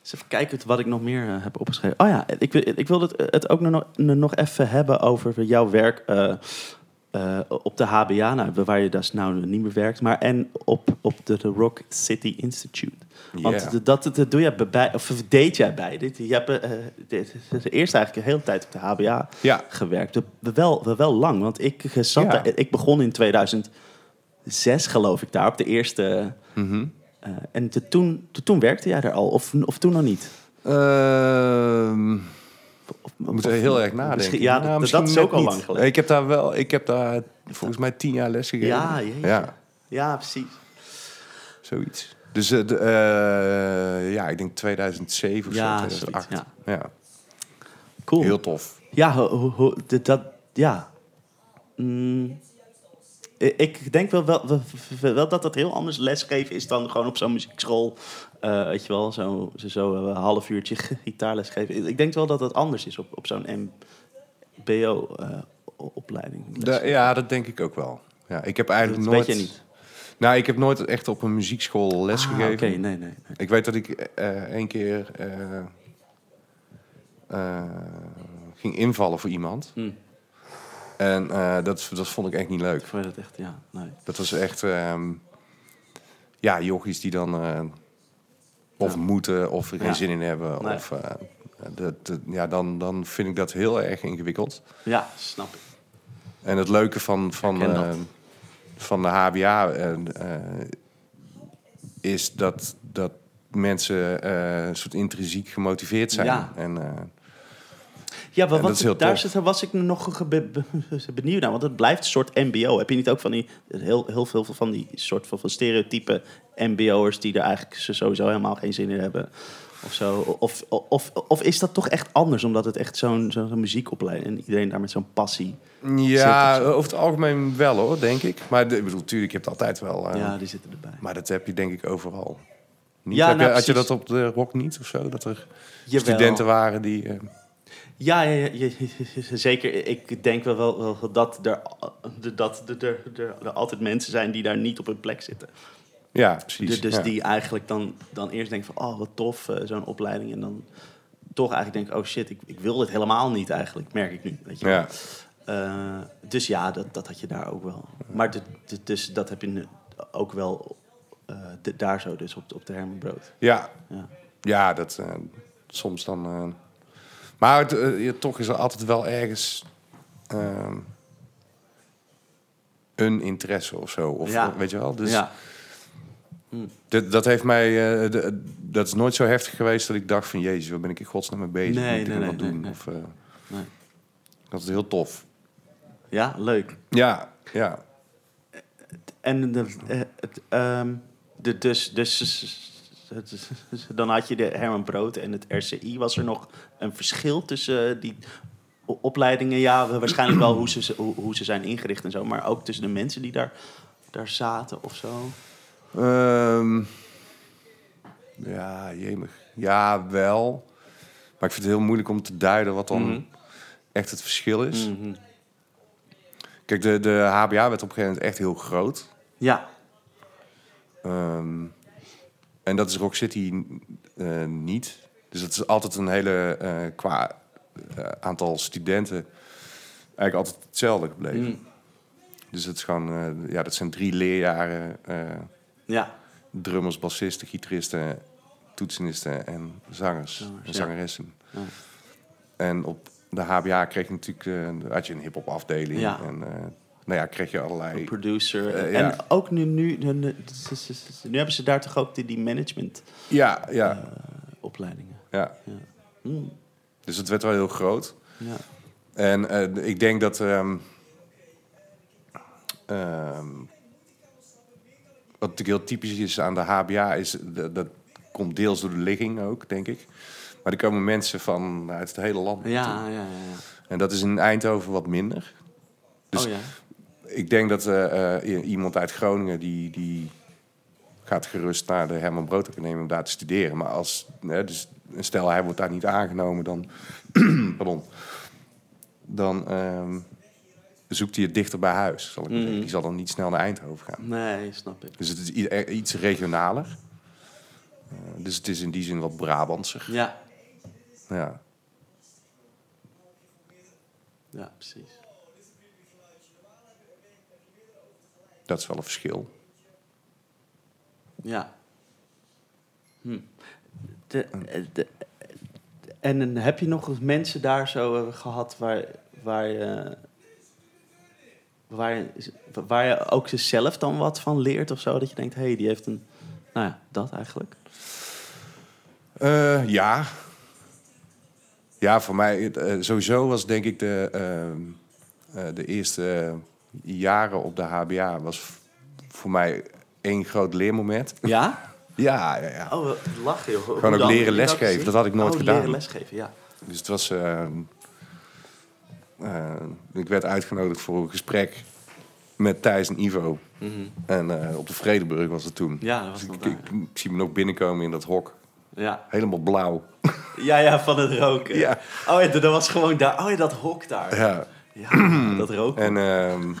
[SPEAKER 2] Eens even kijken wat ik nog meer eh, heb opgeschreven. Oh ja, ik, wil- ik wilde het, eh, het ook nog, nog even hebben over jouw werk eh, eh, op de HBA, nou, waar je dus nou niet meer werkt, maar en op, op de, de Rock City Institute. Want
[SPEAKER 1] Ja.
[SPEAKER 2] de- dat, dat doe jij bij, of deed jij bij. Dit, je hebt eh, dit, eerst eigenlijk de hele tijd op de HBA
[SPEAKER 1] Ja.
[SPEAKER 2] gewerkt. Wel, wel lang, want ik, zat
[SPEAKER 1] Ja.
[SPEAKER 2] daar, ik begon in 2006 geloof ik daar op de eerste...
[SPEAKER 1] Mhm.
[SPEAKER 2] Eh, en te- toen, te- toen werkte jij daar al, of, of toen nog niet?
[SPEAKER 1] Ehm,
[SPEAKER 2] Of,
[SPEAKER 1] we
[SPEAKER 2] of-
[SPEAKER 1] moeten heel erg nadenken.
[SPEAKER 2] misschien- ja,
[SPEAKER 1] Nou,
[SPEAKER 2] dat- dat
[SPEAKER 1] misschien
[SPEAKER 2] is
[SPEAKER 1] net
[SPEAKER 2] ook al
[SPEAKER 1] niet.
[SPEAKER 2] lang geleden.
[SPEAKER 1] Ik heb daar wel, ik heb daar volgens mij tien jaar les gegeven.
[SPEAKER 2] Ja, jeetje.
[SPEAKER 1] ja
[SPEAKER 2] Ja, precies.
[SPEAKER 1] zoiets. Dus eh, de, eh, ja, ik denk 2007 of
[SPEAKER 2] Ja,
[SPEAKER 1] zo, 2008.
[SPEAKER 2] zoiets,
[SPEAKER 1] ja.
[SPEAKER 2] Cool.
[SPEAKER 1] Heel tof.
[SPEAKER 2] Ja, ho- ho- ho- d- dat... Ja. Mm, i- ik denk wel, wel, wel, wel dat dat heel anders lesgeven is dan gewoon op zo'n muziekschool. eh, weet je wel, zo, zo, zo eh, een half uurtje [laughs] gitaarles geven. Ik denk wel dat dat anders is op, op zo'n eh, MBO-opleiding.
[SPEAKER 1] Da- ja, dat denk ik ook wel. Ja, ik heb eigenlijk
[SPEAKER 2] Dat
[SPEAKER 1] nooit.
[SPEAKER 2] weet je niet.
[SPEAKER 1] Nou, ik heb nooit echt op een muziekschool les
[SPEAKER 2] Ah,
[SPEAKER 1] gegeven.
[SPEAKER 2] Oké, nee, nee. nee.
[SPEAKER 1] Ik weet dat ik eh, één keer eh, eh, ging invallen voor iemand.
[SPEAKER 2] Hm,
[SPEAKER 1] En eh, dat, dat vond ik echt niet leuk.
[SPEAKER 2] ik vond dat echt, ja, nee.
[SPEAKER 1] Dat was echt... ehm, ja, jochies die dan... eh, of
[SPEAKER 2] Ja.
[SPEAKER 1] moeten, of er geen
[SPEAKER 2] Ja.
[SPEAKER 1] zin in hebben.
[SPEAKER 2] Nee.
[SPEAKER 1] Of, eh, dat, dat- ja, dan, dan vind ik dat heel erg ingewikkeld.
[SPEAKER 2] Ja, snap ik.
[SPEAKER 1] En het leuke van, van,
[SPEAKER 2] Herken dat.
[SPEAKER 1] eh, van de HBA en, eh, is dat, dat mensen eh, een soort intrinsiek gemotiveerd zijn.
[SPEAKER 2] Ja.
[SPEAKER 1] En, eh,
[SPEAKER 2] Ja, maar
[SPEAKER 1] En
[SPEAKER 2] wat,
[SPEAKER 1] dat is heel
[SPEAKER 2] daar
[SPEAKER 1] tof.
[SPEAKER 2] zit, was ik nog ge- be- be- [laughs] benieuwd naar. Want het blijft een soort mbo. Heb je niet ook van die, heel, heel veel van die soort van, van stereotype mbo'ers... die er eigenlijk zo- sowieso helemaal geen zin in hebben? Of, zo. of, of, of is dat toch echt anders? Omdat het echt zo'n zo'n muziekopleiding... en iedereen daar met zo'n passie...
[SPEAKER 1] Ja,
[SPEAKER 2] Zit of
[SPEAKER 1] over het algemeen wel hoor, denk ik. Maar de- ik bedoel, tuurlijk, je hebt altijd wel. eh,
[SPEAKER 2] Ja, die zitten erbij.
[SPEAKER 1] Maar dat heb je denk ik overal. Niet?
[SPEAKER 2] Ja,
[SPEAKER 1] Heb je-
[SPEAKER 2] nou,
[SPEAKER 1] had je dat
[SPEAKER 2] precies.
[SPEAKER 1] op de rock niet of zo? Dat er
[SPEAKER 2] Jawel.
[SPEAKER 1] studenten waren die. eh,
[SPEAKER 2] Ja, ja, ja, ja, ja, zeker. Ik denk wel, wel, wel dat, er, dat er, er, er, er altijd mensen zijn die daar niet op hun plek zitten.
[SPEAKER 1] ja, precies.
[SPEAKER 2] Dus, dus
[SPEAKER 1] ja.
[SPEAKER 2] die eigenlijk dan, dan eerst denken van, oh wat tof, eh, zo'n opleiding. En dan toch eigenlijk denken, oh shit, ik, ik wil dit helemaal niet eigenlijk, merk ik nu. Weet je wel.
[SPEAKER 1] Ja.
[SPEAKER 2] Eh, dus ja, dat, dat had je daar ook wel. Maar de, de- dus dat heb je nu ook wel eh, de- daar zo, dus op, de- op de Herman Brood.
[SPEAKER 1] Ja,
[SPEAKER 2] Ja.
[SPEAKER 1] ja dat eh, soms dan. eh, maar het, eh, je- toch is er altijd wel ergens. ehm, een interesse of zo. Of,
[SPEAKER 2] Ja.
[SPEAKER 1] Weet je wel? Dus
[SPEAKER 2] ja.
[SPEAKER 1] dat, dat heeft mij. eh, de- dat is nooit zo heftig geweest dat ik dacht van Jezus, waar ben ik in godsnaam mee bezig?
[SPEAKER 2] Nee,
[SPEAKER 1] Moet ik
[SPEAKER 2] nee,
[SPEAKER 1] dat
[SPEAKER 2] nee, nee,
[SPEAKER 1] doen?
[SPEAKER 2] nee.
[SPEAKER 1] Of, eh,
[SPEAKER 2] Nee.
[SPEAKER 1] dat is heel tof.
[SPEAKER 2] ja, leuk.
[SPEAKER 1] Ja, ja.
[SPEAKER 2] En de, eh, het, ehm, de, dus, dus, het [laughs] is- dan had je de Herman Brood en het RCI. Was er nog een verschil tussen eh, die o- opleidingen? Ja, wa- waarschijnlijk wel hoe ze- ze, hoe, hoe ze zijn ingericht en zo. Maar ook tussen de mensen die daar, daar zaten of zo.
[SPEAKER 1] Ehm, ja, jemig. Ja, wel. Maar ik vind het heel moeilijk om te duiden wat dan
[SPEAKER 2] Mhm.
[SPEAKER 1] echt het verschil is. Kijk, de, de HBA werd op een gegeven moment echt heel groot.
[SPEAKER 2] Ja,
[SPEAKER 1] Ehm, en dat is Rock City eh, niet. Dus dat is altijd een hele, eh, qua eh, aantal studenten, eigenlijk altijd hetzelfde gebleven.
[SPEAKER 2] Mm.
[SPEAKER 1] Dus dat, is gewoon, eh, ja, dat zijn drie leerjaren eh,
[SPEAKER 2] ja.
[SPEAKER 1] drummers, bassisten, gitaristen, toetsenisten en zangers
[SPEAKER 2] Zangers, ja.
[SPEAKER 1] en zangeressen.
[SPEAKER 2] Ja.
[SPEAKER 1] En op de HBA kreeg je natuurlijk eh, had je een hip-hop afdeling
[SPEAKER 2] Ja.
[SPEAKER 1] en eh, nou ja, kreeg je
[SPEAKER 2] Een
[SPEAKER 1] allerlei.
[SPEAKER 2] producer.
[SPEAKER 1] Eh,
[SPEAKER 2] en
[SPEAKER 1] ja.
[SPEAKER 2] ook nu, nu, nu, nu- nu hebben ze daar toch ook die, die management eh,
[SPEAKER 1] Ja, ja,
[SPEAKER 2] opleidingen.
[SPEAKER 1] ja.
[SPEAKER 2] Ja. Hm,
[SPEAKER 1] Dus het werd wel heel groot.
[SPEAKER 2] ja.
[SPEAKER 1] En eh, ik denk dat ehm, ehm, wat natuurlijk heel typisch is aan de HBA is dat, dat komt deels door de ligging ook, denk ik. Maar er komen mensen van uit het hele land. naartoe.
[SPEAKER 2] Ja, ja, ja, ja.
[SPEAKER 1] En dat is in Eindhoven wat minder. Dus-
[SPEAKER 2] oh ja.
[SPEAKER 1] Ik denk dat eh, eh, iemand uit Groningen die, die gaat gerust naar de Herman Brood Academie om daar te studeren. Maar als, hè, dus, stel hij wordt daar niet aangenomen, dan, [clears throat] pardon, dan ehm, zoekt hij het dichter bij huis. Zal ik maar
[SPEAKER 2] Mhm.
[SPEAKER 1] zeggen. Die zal dan niet snel naar Eindhoven gaan.
[SPEAKER 2] Nee, snap ik.
[SPEAKER 1] Dus het is i- eh, iets regionaler. Eh, dus het is in die zin wat Brabantser.
[SPEAKER 2] Ja,
[SPEAKER 1] Ja.
[SPEAKER 2] ja precies.
[SPEAKER 1] Dat is wel een verschil.
[SPEAKER 2] Ja. Hm. De, de- en dan heb je nog eens mensen daar zo eh, gehad waar, waar, je, waar, je, waar je ook zelf dan wat van leert of zo? Dat je denkt, hé, hey, die heeft een... Nou ja, dat eigenlijk.
[SPEAKER 1] Eh, ja. Ja, voor mij eh, sowieso was denk ik de, ehm, eh, de eerste eh, jaren op de HBA was v- voor mij één groot leermoment.
[SPEAKER 2] Ja?
[SPEAKER 1] Ja, ja, ja.
[SPEAKER 2] Oh, wat lachen joh. Hoe
[SPEAKER 1] Gewoon ook
[SPEAKER 2] dan?
[SPEAKER 1] leren
[SPEAKER 2] Heb je
[SPEAKER 1] lesgeven,
[SPEAKER 2] gezien?
[SPEAKER 1] dat had ik nooit
[SPEAKER 2] Oh,
[SPEAKER 1] gedaan.
[SPEAKER 2] leren lesgeven, ja.
[SPEAKER 1] Dus het was. ehm, eh, ik werd uitgenodigd voor een gesprek met Thijs en Ivo. En eh, op de Vredeburg was het toen.
[SPEAKER 2] Mhm. Ja, dat was
[SPEAKER 1] Dus
[SPEAKER 2] nog
[SPEAKER 1] ik,
[SPEAKER 2] daar.
[SPEAKER 1] ik- ik zie me nog binnenkomen in dat hok.
[SPEAKER 2] Ja.
[SPEAKER 1] Helemaal blauw.
[SPEAKER 2] ja, ja, van het roken.
[SPEAKER 1] Ja.
[SPEAKER 2] Oh ja, dat was gewoon daar. Oh ja, dat hok daar.
[SPEAKER 1] Ja.
[SPEAKER 2] Ja, dat roken.
[SPEAKER 1] En. ehm,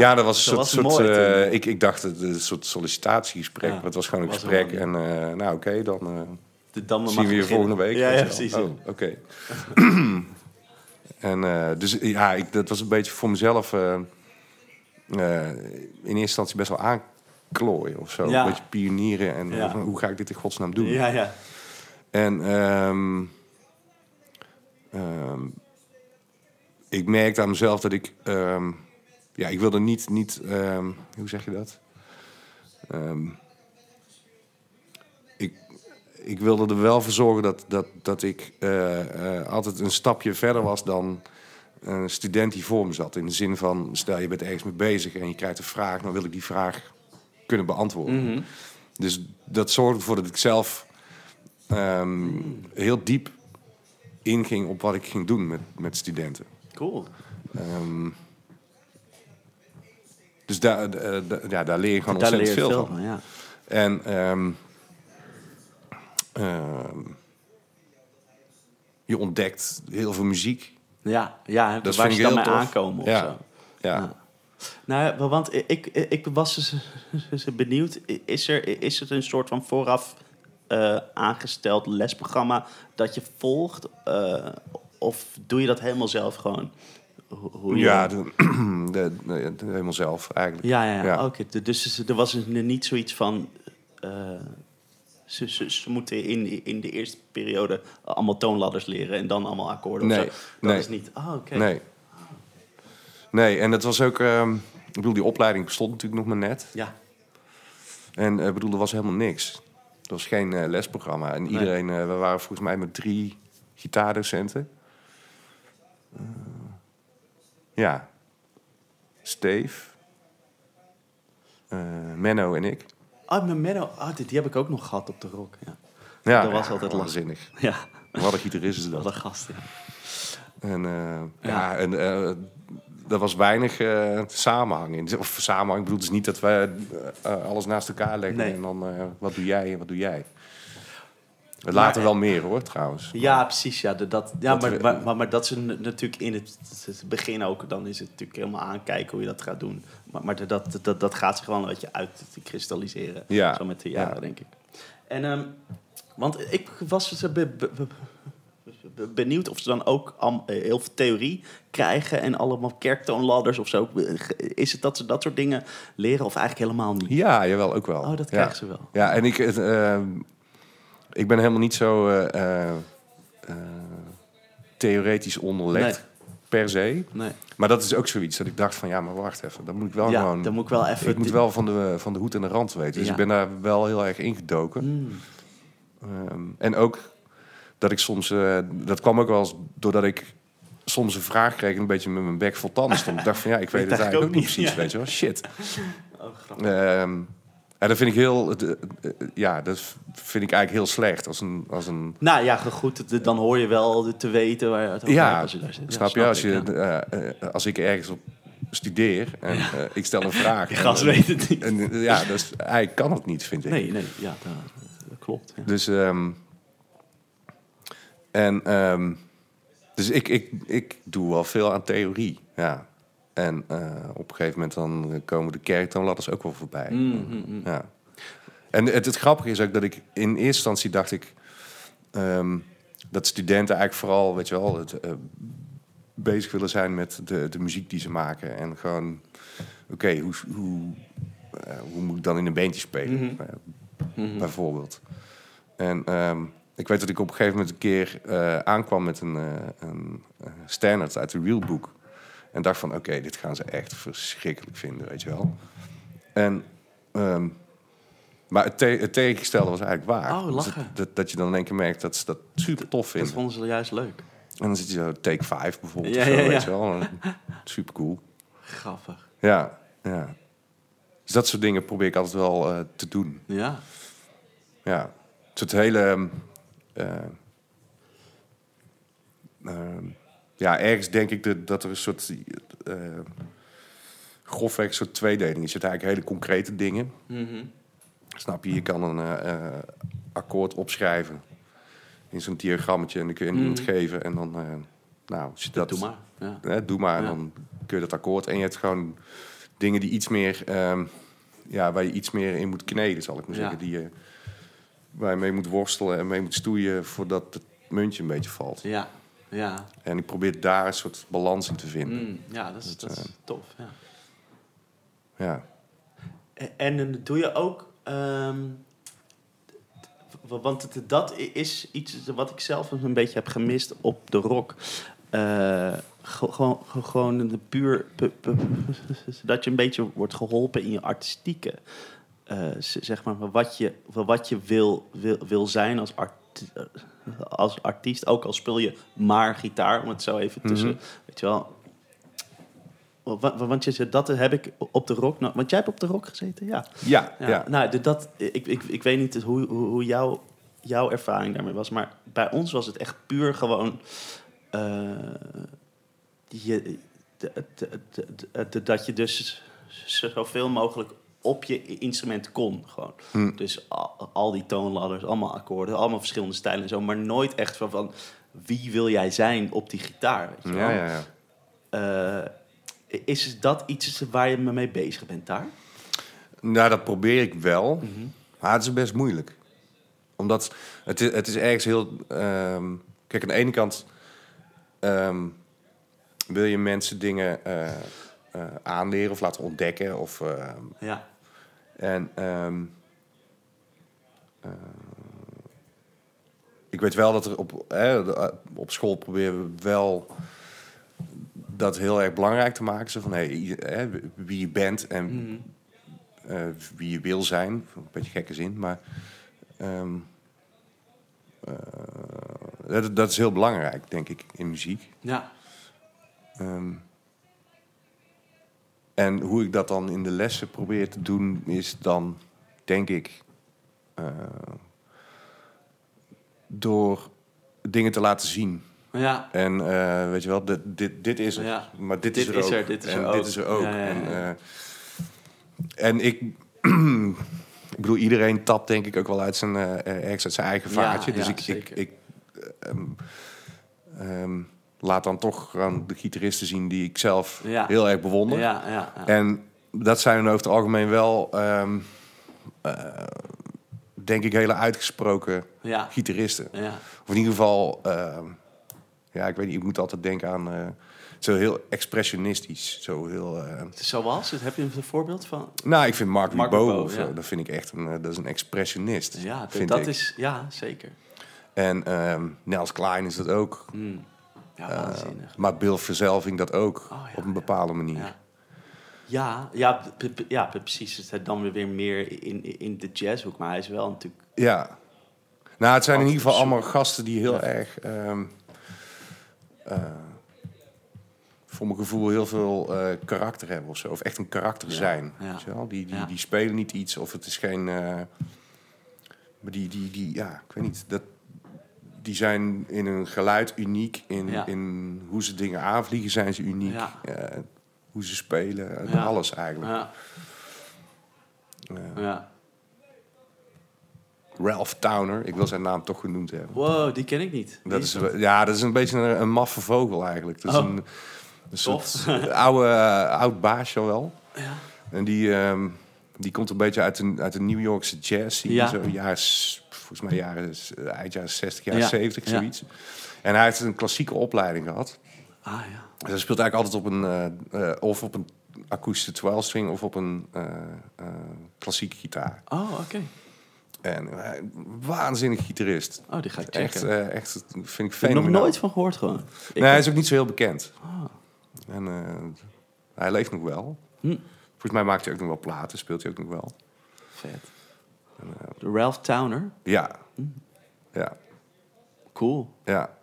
[SPEAKER 1] Ja, dat was een soort... soort
[SPEAKER 2] mooi toen.
[SPEAKER 1] eh, ik, ik dacht het, een soort sollicitatiegesprek,
[SPEAKER 2] Ja,
[SPEAKER 1] maar het was gewoon een
[SPEAKER 2] was
[SPEAKER 1] gesprek. En
[SPEAKER 2] helemaal
[SPEAKER 1] eh, nou, oké, dan eh,
[SPEAKER 2] De dam
[SPEAKER 1] zien we je volgende week.
[SPEAKER 2] Ja,
[SPEAKER 1] weet
[SPEAKER 2] ja
[SPEAKER 1] je wel.
[SPEAKER 2] precies.
[SPEAKER 1] Oh, oké. [clears throat] en eh, dus ja, ik, dat was een beetje voor mezelf eh, eh, in eerste instantie best wel aanklooien of zo.
[SPEAKER 2] Ja.
[SPEAKER 1] Een beetje pionieren en
[SPEAKER 2] Ja.
[SPEAKER 1] van, hoe ga ik dit in godsnaam doen?
[SPEAKER 2] Ja, ja.
[SPEAKER 1] En ehm, ehm, ik merkte aan mezelf dat ik... ehm, ja, ik wilde niet... niet ehm, hoe zeg je dat? Ehm, ik, ik wilde er wel voor zorgen dat, dat, dat ik eh, eh, altijd een stapje verder was dan een student die voor me zat. In de zin van, stel je bent ergens mee bezig en je krijgt een vraag, dan wil ik die vraag kunnen beantwoorden. Dus dat zorgde ervoor dat ik zelf ehm, heel diep inging op wat ik ging doen met, met studenten.
[SPEAKER 2] Cool.
[SPEAKER 1] Ehm, dus daar, eh, da- ja, daar leer je gewoon
[SPEAKER 2] Daar leer
[SPEAKER 1] ontzettend
[SPEAKER 2] je
[SPEAKER 1] veel
[SPEAKER 2] veel
[SPEAKER 1] van.
[SPEAKER 2] van, ja.
[SPEAKER 1] En ehm, ehm, je ontdekt heel veel muziek.
[SPEAKER 2] Ja, ja
[SPEAKER 1] Dat
[SPEAKER 2] waar
[SPEAKER 1] vind
[SPEAKER 2] ze
[SPEAKER 1] ik
[SPEAKER 2] dan mee
[SPEAKER 1] heel tof.
[SPEAKER 2] aankomen of
[SPEAKER 1] Ja.
[SPEAKER 2] zo.
[SPEAKER 1] Ja.
[SPEAKER 2] Ja. Nou, ja, want ik, ik was dus- [laughs] dus benieuwd, is er, is het een soort van vooraf eh, aangesteld lesprogramma dat je volgt? eh, of doe je dat helemaal zelf gewoon? Ho- hoe je-
[SPEAKER 1] Ja, de, [clears throat] de- de- de- helemaal zelf eigenlijk.
[SPEAKER 2] ja, ja, ja.
[SPEAKER 1] Ja.
[SPEAKER 2] oké. D- Dus er was dus niet zoiets van, eh, ze, ze, ze moeten in, in de eerste periode allemaal toonladders leren en dan allemaal akkoorden
[SPEAKER 1] Nee,
[SPEAKER 2] of zo. Dat
[SPEAKER 1] nee.
[SPEAKER 2] is niet, ah, oké.
[SPEAKER 1] Nee. Nee, en dat was ook... ehm, ik bedoel, die opleiding bestond natuurlijk nog maar net.
[SPEAKER 2] Ja,
[SPEAKER 1] En eh, ik bedoel, er was helemaal niks. Er was geen eh, lesprogramma. En iedereen, eh, we waren volgens mij met drie gitaardocenten. Eh, ja. Steve. eh, Menno en ik.
[SPEAKER 2] Ah, mijn Menno. Ah, die, die heb ik ook nog gehad op de rock. Ja,
[SPEAKER 1] Ja,
[SPEAKER 2] Dat was
[SPEAKER 1] ja,
[SPEAKER 2] altijd
[SPEAKER 1] waanzinnig.
[SPEAKER 2] ja.
[SPEAKER 1] Wat een gitarist is
[SPEAKER 2] wat
[SPEAKER 1] dat.
[SPEAKER 2] een gast. Ja.
[SPEAKER 1] En, eh, ja.
[SPEAKER 2] Ja.
[SPEAKER 1] en eh, er was weinig eh, samenhang in. Of samenhang, ik bedoel dus niet dat wij eh, eh, alles naast elkaar leggen.
[SPEAKER 2] Nee.
[SPEAKER 1] En dan, eh, wat doe jij en wat doe jij? We
[SPEAKER 2] Maar-
[SPEAKER 1] laten wel meer hoor, trouwens.
[SPEAKER 2] ja, precies. Ja, de- dat, ja
[SPEAKER 1] Dat
[SPEAKER 2] maar,
[SPEAKER 1] we-
[SPEAKER 2] maar, maar, maar dat is een- natuurlijk in het, het begin ook. Dan is het natuurlijk helemaal aankijken hoe je dat gaat doen. Maar, maar de- dat, dat, dat gaat zich wel een beetje uit te kristalliseren.
[SPEAKER 1] Ja.
[SPEAKER 2] Zo met de jaren,
[SPEAKER 1] Ja.
[SPEAKER 2] denk ik. En, ehm, want ik was dus, eh, be- be- be- be- benieuwd of ze dan ook am- eh, heel veel theorie krijgen... en allemaal kerktoonladders of zo. Is het dat ze dat soort dingen leren of eigenlijk helemaal niet?
[SPEAKER 1] Ja, jawel, ook wel.
[SPEAKER 2] Oh, dat
[SPEAKER 1] ja.
[SPEAKER 2] krijgen ze wel.
[SPEAKER 1] Ja, en ik, het, ehm, ik ben helemaal niet zo eh, eh, eh, theoretisch onderlegd, per se.
[SPEAKER 2] Nee.
[SPEAKER 1] Maar dat is ook zoiets dat ik dacht van, ja, maar wacht even. Dan moet ik wel
[SPEAKER 2] ja,
[SPEAKER 1] gewoon...
[SPEAKER 2] dan moet ik wel even...
[SPEAKER 1] ik moet
[SPEAKER 2] dit-
[SPEAKER 1] wel van de, van de hoed en de rand weten. Dus
[SPEAKER 2] Ja.
[SPEAKER 1] ik ben daar wel heel erg ingedoken.
[SPEAKER 2] Hmm.
[SPEAKER 1] Ehm, en ook dat ik soms... eh, dat kwam ook wel eens doordat ik soms een vraag kreeg... en een beetje met mijn bek vol tanden stond. Ik dacht van, ja,
[SPEAKER 2] [laughs]
[SPEAKER 1] ik weet
[SPEAKER 2] dacht
[SPEAKER 1] het
[SPEAKER 2] ik
[SPEAKER 1] eigenlijk
[SPEAKER 2] ook
[SPEAKER 1] ook niet
[SPEAKER 2] niet,
[SPEAKER 1] precies,
[SPEAKER 2] ja.
[SPEAKER 1] weet je wel. Shit.
[SPEAKER 2] Oh, grappig.
[SPEAKER 1] Ehm, en dat vind ik heel... het, eh, eh, ja, dat vind ik eigenlijk heel slecht als een... Als een
[SPEAKER 2] Nou ja, ge- goed, d- dan hoor je wel de- te weten waar je het over hebt
[SPEAKER 1] ja,
[SPEAKER 2] als je daar zit.
[SPEAKER 1] snap je? Als, je
[SPEAKER 2] ik, ja.
[SPEAKER 1] eh, eh, als ik ergens op studeer en eh, ik stel een vraag...
[SPEAKER 2] [laughs] Je gast
[SPEAKER 1] en-
[SPEAKER 2] weet het
[SPEAKER 1] [laughs]
[SPEAKER 2] niet.
[SPEAKER 1] en, eh, ja, dus eigenlijk kan het niet, vind ik.
[SPEAKER 2] Nee, nee, ja, dat, dat klopt. Ja.
[SPEAKER 1] Dus, ehm, en, ehm, dus ik, ik, ik doe wel veel aan theorie, ja. En eh, op een gegeven moment dan komen de kerktoonladders ook wel voorbij.
[SPEAKER 2] Mm, mm, mm.
[SPEAKER 1] Ja. En het, het grappige is ook dat ik in eerste instantie dacht ik... ehm, dat studenten eigenlijk vooral, weet je wel... Het, eh, bezig willen zijn met de, de muziek die ze maken. En gewoon, oké, hoe, hoe, eh, hoe moet ik dan in een bandje spelen?
[SPEAKER 2] Mhm.
[SPEAKER 1] Eh,
[SPEAKER 2] Mhm.
[SPEAKER 1] bijvoorbeeld. En ehm, ik weet dat ik op een gegeven moment een keer eh, aankwam met een, eh een eh, standaard uit de Realbook. En dacht van, oké, dit gaan ze echt verschrikkelijk vinden, weet je wel. En, ehm, maar het, te- het tegengestelde was eigenlijk waar.
[SPEAKER 2] Oh,
[SPEAKER 1] Dus
[SPEAKER 2] lachen.
[SPEAKER 1] dat, dat, dat je dan in één keer merkt dat ze dat super tof
[SPEAKER 2] Dat
[SPEAKER 1] vinden.
[SPEAKER 2] vonden ze juist leuk.
[SPEAKER 1] En dan zit je zo take 5 bijvoorbeeld,
[SPEAKER 2] Ja,
[SPEAKER 1] of zo,
[SPEAKER 2] ja, ja.
[SPEAKER 1] weet je wel. [laughs] Super cool.
[SPEAKER 2] Grappig.
[SPEAKER 1] Ja, ja. Dus dat soort dingen probeer ik altijd wel eh, te doen.
[SPEAKER 2] Ja.
[SPEAKER 1] Ja, het soort hele... ehm, eh, ehm, ja, ergens denk ik dat, dat er een soort... eh grofweg een soort tweedeling is. Je hebt eigenlijk hele concrete dingen.
[SPEAKER 2] Mhm.
[SPEAKER 1] Snap je? Je kan een eh, eh, akkoord opschrijven in zo'n diagrammetje... en dan kun je aan iemand
[SPEAKER 2] Mhm.
[SPEAKER 1] geven en dan... eh, nou, als je dat,
[SPEAKER 2] Doe maar. Ja.
[SPEAKER 1] hè, doe maar en
[SPEAKER 2] Ja.
[SPEAKER 1] dan kun je dat akkoord. En je hebt gewoon dingen die iets meer, ehm, ja, waar je iets meer in moet kneden, zal ik maar
[SPEAKER 2] Ja.
[SPEAKER 1] zeggen. Die je, waar je mee moet worstelen en mee moet stoeien voordat het muntje een beetje valt.
[SPEAKER 2] Ja. Ja.
[SPEAKER 1] En ik probeer daar een soort balans in te vinden. eh,
[SPEAKER 2] Mm, ja, dat is, dat is tof. Ja.
[SPEAKER 1] Ja.
[SPEAKER 2] En, en doe je ook. ehm, w- want het- dat i- is iets wat ik zelf een beetje heb gemist op de rock. Eh, ge- gewoon, ge- [laughs] gewoon de puur. pu- pu- dat je een beetje wordt geholpen in je artistieke. eh, eh, z- zeg maar, van wat je, van wat je wil, wil, wil zijn als, art- eh, als artiest. Ook al speel je maar gitaar, om het zo even tussen. Weet je wel. Wa- wa- Want je, zegt, dat heb ik op de rock. nou, want jij hebt op de rock gezeten, ja.
[SPEAKER 1] Ja,
[SPEAKER 2] Ja,
[SPEAKER 1] ja.
[SPEAKER 2] Nou, de- dat, ik, ik, ik weet niet hoe, hoe, hoe jouw, jouw ervaring daarmee was. Maar bij ons was het echt puur gewoon... eh, je, de- de- de- de- de- dat je dus zo- zoveel mogelijk op je instrument kon. Gewoon.
[SPEAKER 1] Hm.
[SPEAKER 2] Dus al, al die toonladders, allemaal akkoorden, allemaal verschillende stijlen en zo. Maar nooit echt van, van wie wil jij zijn op die gitaar? Weet je wel?
[SPEAKER 1] Ja, ja, ja.
[SPEAKER 2] Eh, is dat iets waar je mee bezig bent daar?
[SPEAKER 1] Nou, dat probeer ik wel.
[SPEAKER 2] Mm.
[SPEAKER 1] Maar het is best moeilijk. Omdat het is, het is ergens heel... ehm, kijk, aan de ene kant ehm, wil je mensen dingen eh, eh, aanleren of laten ontdekken. Of, ehm,
[SPEAKER 2] Ja.
[SPEAKER 1] en ehm, eh, ik weet wel dat er op, hè, de- eh, op school proberen we wel dat heel erg belangrijk te maken. Zo van hey, i- hè, wie je bent en
[SPEAKER 2] Hmm.
[SPEAKER 1] eh, wie je wil zijn. Een beetje gekke zin, maar ehm, eh, dat, dat is heel belangrijk, denk ik, in muziek.
[SPEAKER 2] Ja.
[SPEAKER 1] Ehm, en hoe ik dat dan in de lessen probeer te doen, is dan, denk ik, eh, door dingen te laten zien.
[SPEAKER 2] Ja.
[SPEAKER 1] En eh, weet je wel, dit, dit, dit is er.
[SPEAKER 2] Ja.
[SPEAKER 1] Maar dit,
[SPEAKER 2] Dit
[SPEAKER 1] is er
[SPEAKER 2] is
[SPEAKER 1] ook.
[SPEAKER 2] er, dit is
[SPEAKER 1] en
[SPEAKER 2] er ook.
[SPEAKER 1] dit is er ook.
[SPEAKER 2] Ja, ja, ja.
[SPEAKER 1] En, eh, en ik... [clears throat] ik bedoel, iedereen tapt denk ik ook wel uit zijn, eh, eh, ergens uit zijn eigen
[SPEAKER 2] Ja,
[SPEAKER 1] vaartje. dus
[SPEAKER 2] ja,
[SPEAKER 1] ik, ik,
[SPEAKER 2] zeker.
[SPEAKER 1] ik eh, ehm, ehm, laat dan toch aan de gitaristen zien die ik zelf
[SPEAKER 2] Ja.
[SPEAKER 1] heel erg bewonder.
[SPEAKER 2] Ja, ja, ja.
[SPEAKER 1] En dat zijn over het algemeen wel, ehm, eh, denk ik, hele uitgesproken
[SPEAKER 2] Ja,
[SPEAKER 1] gitaristen.
[SPEAKER 2] ja,
[SPEAKER 1] Of in ieder geval, ehm, ja, ik weet niet, ik moet altijd denken aan eh, zo heel expressionistisch. Zo heel, eh,
[SPEAKER 2] Zoals? Heb je een voorbeeld van?
[SPEAKER 1] nou, ik vind Mark
[SPEAKER 2] Mark
[SPEAKER 1] Ribot,
[SPEAKER 2] Ribot,
[SPEAKER 1] of,
[SPEAKER 2] ja.
[SPEAKER 1] eh, dat vind ik echt een, eh, dat is een expressionist.
[SPEAKER 2] Ja, d-
[SPEAKER 1] vind
[SPEAKER 2] dat
[SPEAKER 1] ik.
[SPEAKER 2] is... Ja, zeker.
[SPEAKER 1] En ehm, Nels Klein is dat ook.
[SPEAKER 2] Hmm. Ja,
[SPEAKER 1] Eh,
[SPEAKER 2] waanzinnig.
[SPEAKER 1] maar Bill Verzelving dat ook,
[SPEAKER 2] Oh, ja,
[SPEAKER 1] op een bepaalde manier.
[SPEAKER 2] Ja. Ja, ja, p- p- ja, p- precies. Het is dan weer meer in, in de jazzhoek. Maar hij is wel natuurlijk...
[SPEAKER 1] Ja. Nou, het zijn
[SPEAKER 2] Altijd
[SPEAKER 1] in ieder geval
[SPEAKER 2] op zoek.
[SPEAKER 1] allemaal gasten die heel
[SPEAKER 2] Ja.
[SPEAKER 1] erg... ehm, eh, voor mijn gevoel heel veel eh, karakter hebben of zo. Of echt een karakter
[SPEAKER 2] Ja,
[SPEAKER 1] zijn.
[SPEAKER 2] ja.
[SPEAKER 1] weet je wel? Die, die,
[SPEAKER 2] Ja.
[SPEAKER 1] die spelen niet iets of het is geen... eh, maar die, die, die, ja, ik weet niet. Dat, die zijn in hun geluid uniek. In,
[SPEAKER 2] Ja.
[SPEAKER 1] in hoe ze dingen aanvliegen zijn ze uniek.
[SPEAKER 2] Ja.
[SPEAKER 1] Eh, hoe ze spelen, eh,
[SPEAKER 2] Ja.
[SPEAKER 1] alles eigenlijk.
[SPEAKER 2] Ja,
[SPEAKER 1] Eh,
[SPEAKER 2] ja.
[SPEAKER 1] Ralph Towner, ik wil zijn naam toch genoemd hebben.
[SPEAKER 2] Wow, die ken ik niet. Die
[SPEAKER 1] Dat is, wel- ja, dat is een beetje een, een maffe vogel eigenlijk. Dat is
[SPEAKER 2] Oh.
[SPEAKER 1] een, een soort [laughs] oude, eh, oud baasje wel.
[SPEAKER 2] Ja.
[SPEAKER 1] En die, ehm, die komt een beetje uit de, uit de New Yorkse jazz. scene,
[SPEAKER 2] Ja.
[SPEAKER 1] Zo jaren, s- volgens mij jaren, s- eh, eind jaren 60, jaren
[SPEAKER 2] Ja,
[SPEAKER 1] 70,
[SPEAKER 2] ja.
[SPEAKER 1] zoiets. En hij heeft een klassieke opleiding gehad.
[SPEAKER 2] Ah, ja.
[SPEAKER 1] Dus hij speelt eigenlijk altijd op een, eh, eh, of op een akoestische 12-string of op een eh, eh, klassieke gitaar.
[SPEAKER 2] Oh, oké.
[SPEAKER 1] En eh, waanzinnig gitarist.
[SPEAKER 2] Oh, die ga ik checken.
[SPEAKER 1] Echt, eh, echt, vind
[SPEAKER 2] ik
[SPEAKER 1] ik
[SPEAKER 2] heb er nog
[SPEAKER 1] fenomenaal.
[SPEAKER 2] nooit van gehoord gewoon. Ik
[SPEAKER 1] nee, hij is ook niet zo heel bekend.
[SPEAKER 2] Ah.
[SPEAKER 1] En eh, hij leeft nog wel.
[SPEAKER 2] Hm.
[SPEAKER 1] Volgens mij maakt hij ook nog wel platen, speelt hij ook nog wel.
[SPEAKER 2] Vet. De Ralph Towner.
[SPEAKER 1] Ja.
[SPEAKER 2] Hm.
[SPEAKER 1] Ja,
[SPEAKER 2] Cool.
[SPEAKER 1] ja.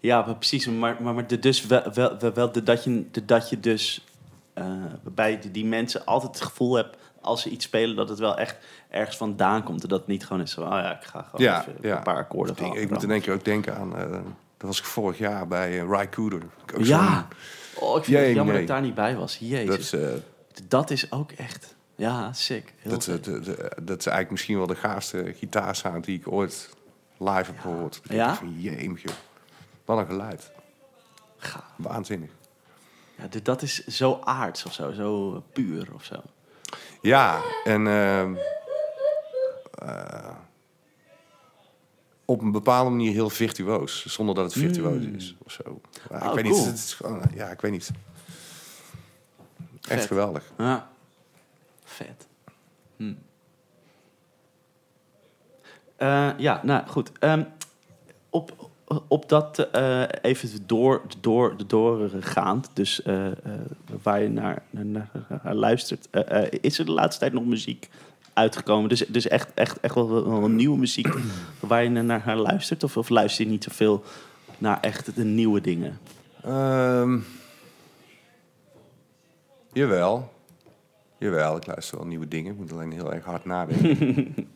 [SPEAKER 2] Ja, maar precies. Maar, maar, maar de- dus wel, wel, wel, wel de- dat, je, de- dat je dus eh, bij die- die mensen altijd het gevoel hebt als ze iets spelen dat het wel echt ergens vandaan komt. En dat het niet gewoon is van, oh ja, ik ga gewoon
[SPEAKER 1] Ja,
[SPEAKER 2] even
[SPEAKER 1] ja.
[SPEAKER 2] een paar akkoorden
[SPEAKER 1] Ik, ik moet
[SPEAKER 2] gaan.
[SPEAKER 1] in één keer ook denken aan... eh, dat was ik vorig jaar bij uh, Rycooder.
[SPEAKER 2] Ja, oh, ik vind
[SPEAKER 1] Jee,
[SPEAKER 2] het jammer dat
[SPEAKER 1] nee.
[SPEAKER 2] ik daar niet bij was.
[SPEAKER 1] Dat,
[SPEAKER 2] Jezus,
[SPEAKER 1] is, eh,
[SPEAKER 2] dat, is ook echt, ja, sick. Heel
[SPEAKER 1] dat, eh,
[SPEAKER 2] vet.
[SPEAKER 1] dat, dat- dat is eigenlijk misschien wel de gaafste gitaarsound die ik ooit live heb gehoord. Ik denk
[SPEAKER 2] Ja?
[SPEAKER 1] Van jeemje. Wat een geluid.
[SPEAKER 2] Gaaf.
[SPEAKER 1] Waanzinnig.
[SPEAKER 2] Ja, dit- dat is zo aards of zo, zo eh, puur of zo.
[SPEAKER 1] Ja, en ehm, eh, op een bepaalde manier heel virtuoos, zonder dat het virtuoos is of zo. Ja, ik
[SPEAKER 2] Hmm. Oh,
[SPEAKER 1] weet
[SPEAKER 2] cool.
[SPEAKER 1] niet, het is gewoon, eh, ja, ik weet niet. Echt
[SPEAKER 2] Vet.
[SPEAKER 1] geweldig.
[SPEAKER 2] Ja. Vet. Hm. Eh, ja, nou goed. Ehm, op, op dat eh, even door, door, doorgaand, dus eh, eh, waar je naar, naar, naar- naar luistert, eh, eh, is er de laatste tijd nog muziek uitgekomen? Dus, dus echt, echt, echt wel, wel een nieuwe muziek waar je naar, naar luistert? Of, of luister je niet zoveel naar echt de nieuwe dingen?
[SPEAKER 1] Ehm, jawel. Jawel, ik luister wel nieuwe dingen. Ik moet alleen heel erg hard nadenken.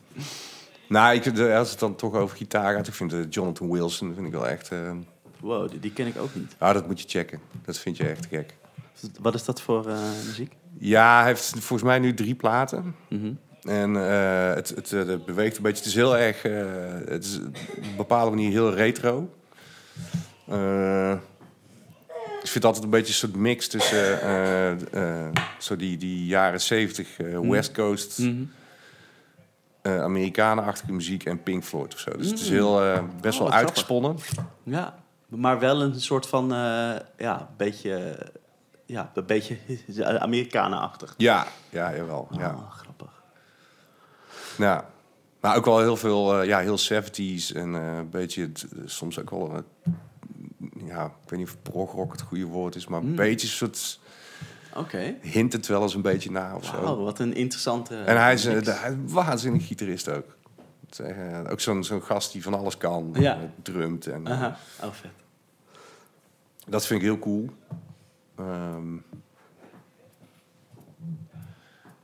[SPEAKER 2] [laughs]
[SPEAKER 1] nou, ik, vind, eh, als het dan toch over gitaar gaat, ik vind eh, Jonathan Wilson vind ik wel echt... ehm,
[SPEAKER 2] Wow, die, die ken ik ook niet.
[SPEAKER 1] ah, dat moet je checken. Dat vind je echt gek.
[SPEAKER 2] Wat is dat voor eh, muziek? Mhm.
[SPEAKER 1] Ja, hij heeft volgens mij nu drie platen. En eh, het, het, eh, dat beweegt een beetje. Het is heel erg, eh, het is op een bepaalde manier heel retro. Eh, ik vind altijd een beetje een soort mix tussen eh, eh, zo die, die jaren 70 eh,
[SPEAKER 2] Mhm.
[SPEAKER 1] West Coast eh Amerikanenachtige muziek en Pink Floyd of zo. Dus het is heel, eh, best
[SPEAKER 2] Oh,
[SPEAKER 1] wel
[SPEAKER 2] wat grappig.
[SPEAKER 1] uitgesponnen.
[SPEAKER 2] Ja, maar wel een soort van, eh, ja, beetje, ja, een beetje [laughs] Amerikanenachtig.
[SPEAKER 1] Ja, ja, jawel.
[SPEAKER 2] Ja.
[SPEAKER 1] Ja.
[SPEAKER 2] grappig.
[SPEAKER 1] Ja. Maar ook wel heel veel, eh, ja, heel 70s en eh, een beetje, het- soms ook wel, eh, ja, ik weet niet of progrock het goede woord is, maar
[SPEAKER 2] Hmm.
[SPEAKER 1] een beetje een soort,
[SPEAKER 2] Oké.
[SPEAKER 1] hint het wel eens een beetje na of zo.
[SPEAKER 2] Wauw, wat een interessante...
[SPEAKER 1] En hij is, eh,
[SPEAKER 2] mix.
[SPEAKER 1] de- hij is een waanzinnig gitarist ook. Het is, eh, ook zo'n zo'n gast die van alles kan,
[SPEAKER 2] Ja.
[SPEAKER 1] eh, drumt en eh,
[SPEAKER 2] Aha, oh vet.
[SPEAKER 1] dat vind ik heel cool. Ehm,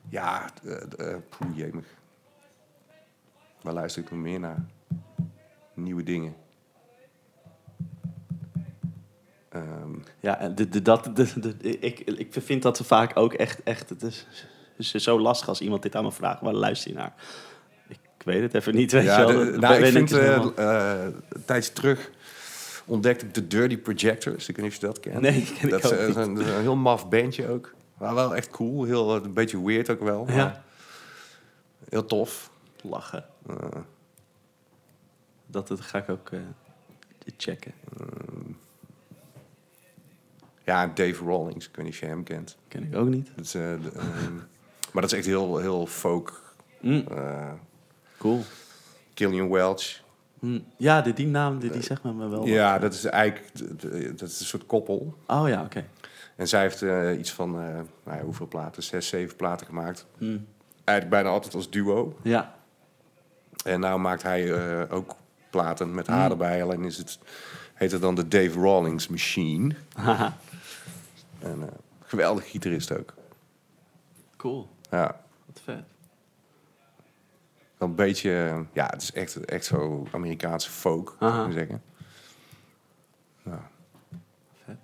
[SPEAKER 1] ja, eh, eh, poeh, jemig. Waar luister ik nog meer naar? Nieuwe dingen. Ehm,
[SPEAKER 2] Ja, en de, de, dat, de, de- ik, ik vind dat vaak ook echt, echt... Het is, het is zo lastig als iemand dit aan me vraagt. Waar luister je naar? Ik weet het even niet, weet
[SPEAKER 1] ja,
[SPEAKER 2] je wel.
[SPEAKER 1] de-
[SPEAKER 2] Dat
[SPEAKER 1] nou, ik
[SPEAKER 2] ben
[SPEAKER 1] vind
[SPEAKER 2] dus
[SPEAKER 1] eh,
[SPEAKER 2] helemaal-
[SPEAKER 1] eh, een tijdje terug ontdekte ik de Dirty Projectors. Ik weet niet of je dat kent.
[SPEAKER 2] Nee, die ken
[SPEAKER 1] dat
[SPEAKER 2] ik ook
[SPEAKER 1] is, eh,
[SPEAKER 2] niet.
[SPEAKER 1] Een, dat is een heel maf bandje ook. Maar wel echt cool. Heel, eh, een beetje weird ook wel. maar
[SPEAKER 2] Ja.
[SPEAKER 1] Heel tof.
[SPEAKER 2] Lachen.
[SPEAKER 1] Eh,
[SPEAKER 2] Dat, dat ga ik ook eh, checken.
[SPEAKER 1] Ja, en Dave Rawlings, ik weet niet of je hem kent.
[SPEAKER 2] Ken ik ook niet.
[SPEAKER 1] Dat is, eh, de, ehm, maar dat is echt heel, heel folk.
[SPEAKER 2] Mm,
[SPEAKER 1] eh
[SPEAKER 2] cool.
[SPEAKER 1] Killian Welch.
[SPEAKER 2] Hm, Ja, die, die naam, die, die zegt me wel. wat.
[SPEAKER 1] Ja, dat is eigenlijk d- d- dat is een soort koppel.
[SPEAKER 2] Oh ja, oké.
[SPEAKER 1] En zij heeft eh, iets van, eh, nou ja, hoeveel platen? Zes, zeven platen gemaakt.
[SPEAKER 2] Hm,
[SPEAKER 1] Eigenlijk bijna altijd als duo.
[SPEAKER 2] Ja, [laughs]
[SPEAKER 1] En nou maakt hij eh, ook platen met haar erbij. Alleen is het, heet het dan de Dave Rawlings Machine.
[SPEAKER 2] Haha,
[SPEAKER 1] En, eh geweldig gitarist ook.
[SPEAKER 2] cool.
[SPEAKER 1] Ja,
[SPEAKER 2] Wat vet.
[SPEAKER 1] wel een beetje, eh, ja, het is echt, echt zo Amerikaanse folk,
[SPEAKER 2] Aha.
[SPEAKER 1] zou ik maar zeggen. Ja.
[SPEAKER 2] Vet.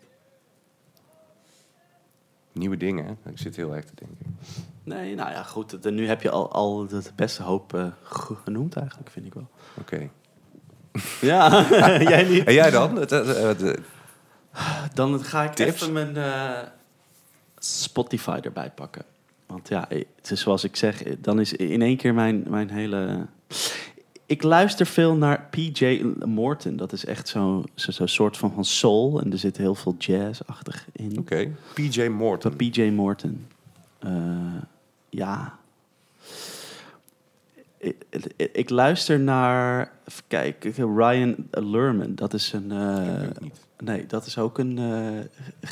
[SPEAKER 1] Nieuwe dingen, hè? Ik zit heel erg te denken.
[SPEAKER 2] Nee, nou ja, goed. het- Nu heb je al, al het beste hoop eh, ge- genoemd eigenlijk, vind ik wel.
[SPEAKER 1] Oké.
[SPEAKER 2] Ja, [laughs] jij niet.
[SPEAKER 1] En jij dan? Het, het, het, het-
[SPEAKER 2] Dan ga ik
[SPEAKER 1] Tips?
[SPEAKER 2] even mijn eh, Spotify erbij pakken. Want ja, eh, het is zoals ik zeg, eh, dan is in één keer mijn, mijn hele... Ik luister veel naar PJ Morton. Dat is echt zo'n zo, zo'n soort van, van soul. En er zit heel veel jazz-achtig in.
[SPEAKER 1] Oké. PJ Morton.
[SPEAKER 2] Van PJ Morton. Eh, ja. Ik, ik- ik luister naar. Even kijken, Ryan Lerman. Dat is een. eh,
[SPEAKER 1] Ik weet niet.
[SPEAKER 2] nee, dat is ook een eh,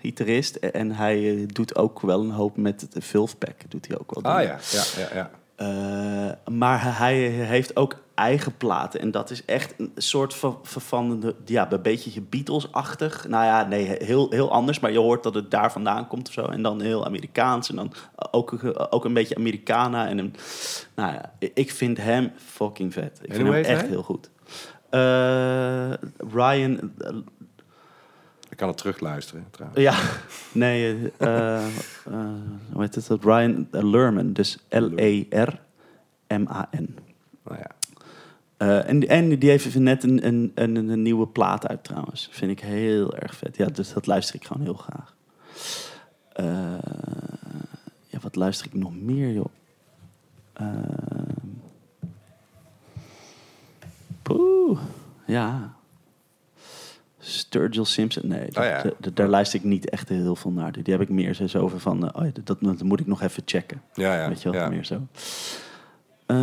[SPEAKER 2] gitarist. En hij eh, doet ook wel een hoop met het Vilfpack. Doet hij ook wel.
[SPEAKER 1] Ah ja, ja, ja. ja.
[SPEAKER 2] Eh, maar hij heeft ook eigen platen. En dat is echt een soort van, van, van de- ja, een beetje Beatles-achtig. Nou ja, nee, heel, heel anders. Maar je hoort dat het daar vandaan komt of zo. En dan heel Amerikaans. En dan ook, ook een beetje Americana. En een, nou ja, ik vind hem fucking vet. Ik
[SPEAKER 1] En
[SPEAKER 2] vind hem
[SPEAKER 1] hoe heet
[SPEAKER 2] echt
[SPEAKER 1] hij?
[SPEAKER 2] heel goed. Eh, Ryan...
[SPEAKER 1] Ik kan het terugluisteren trouwens.
[SPEAKER 2] ja, nee. eh, eh, hoe heet het? Ryan Lerman. Dus L-E-R-M-A-N.
[SPEAKER 1] Nou ja.
[SPEAKER 2] Eh, en, en die heeft net een, een, een, een nieuwe plaat uit trouwens. Vind ik heel erg vet. Ja, dus dat luister ik gewoon heel graag. Eh, ja, wat luister ik nog meer, joh? Ehm. poeh, ja. Sturgill Simpson, nee. dat-
[SPEAKER 1] ja.
[SPEAKER 2] dat- dat- daar luister ik niet echt heel veel naar. Die die heb ik meer zo- zo over van... eh, oh ja, dat, dat, dat moet ik nog even checken.
[SPEAKER 1] Ja, ja.
[SPEAKER 2] Weet je wel,
[SPEAKER 1] ja.
[SPEAKER 2] meer zo. Eh,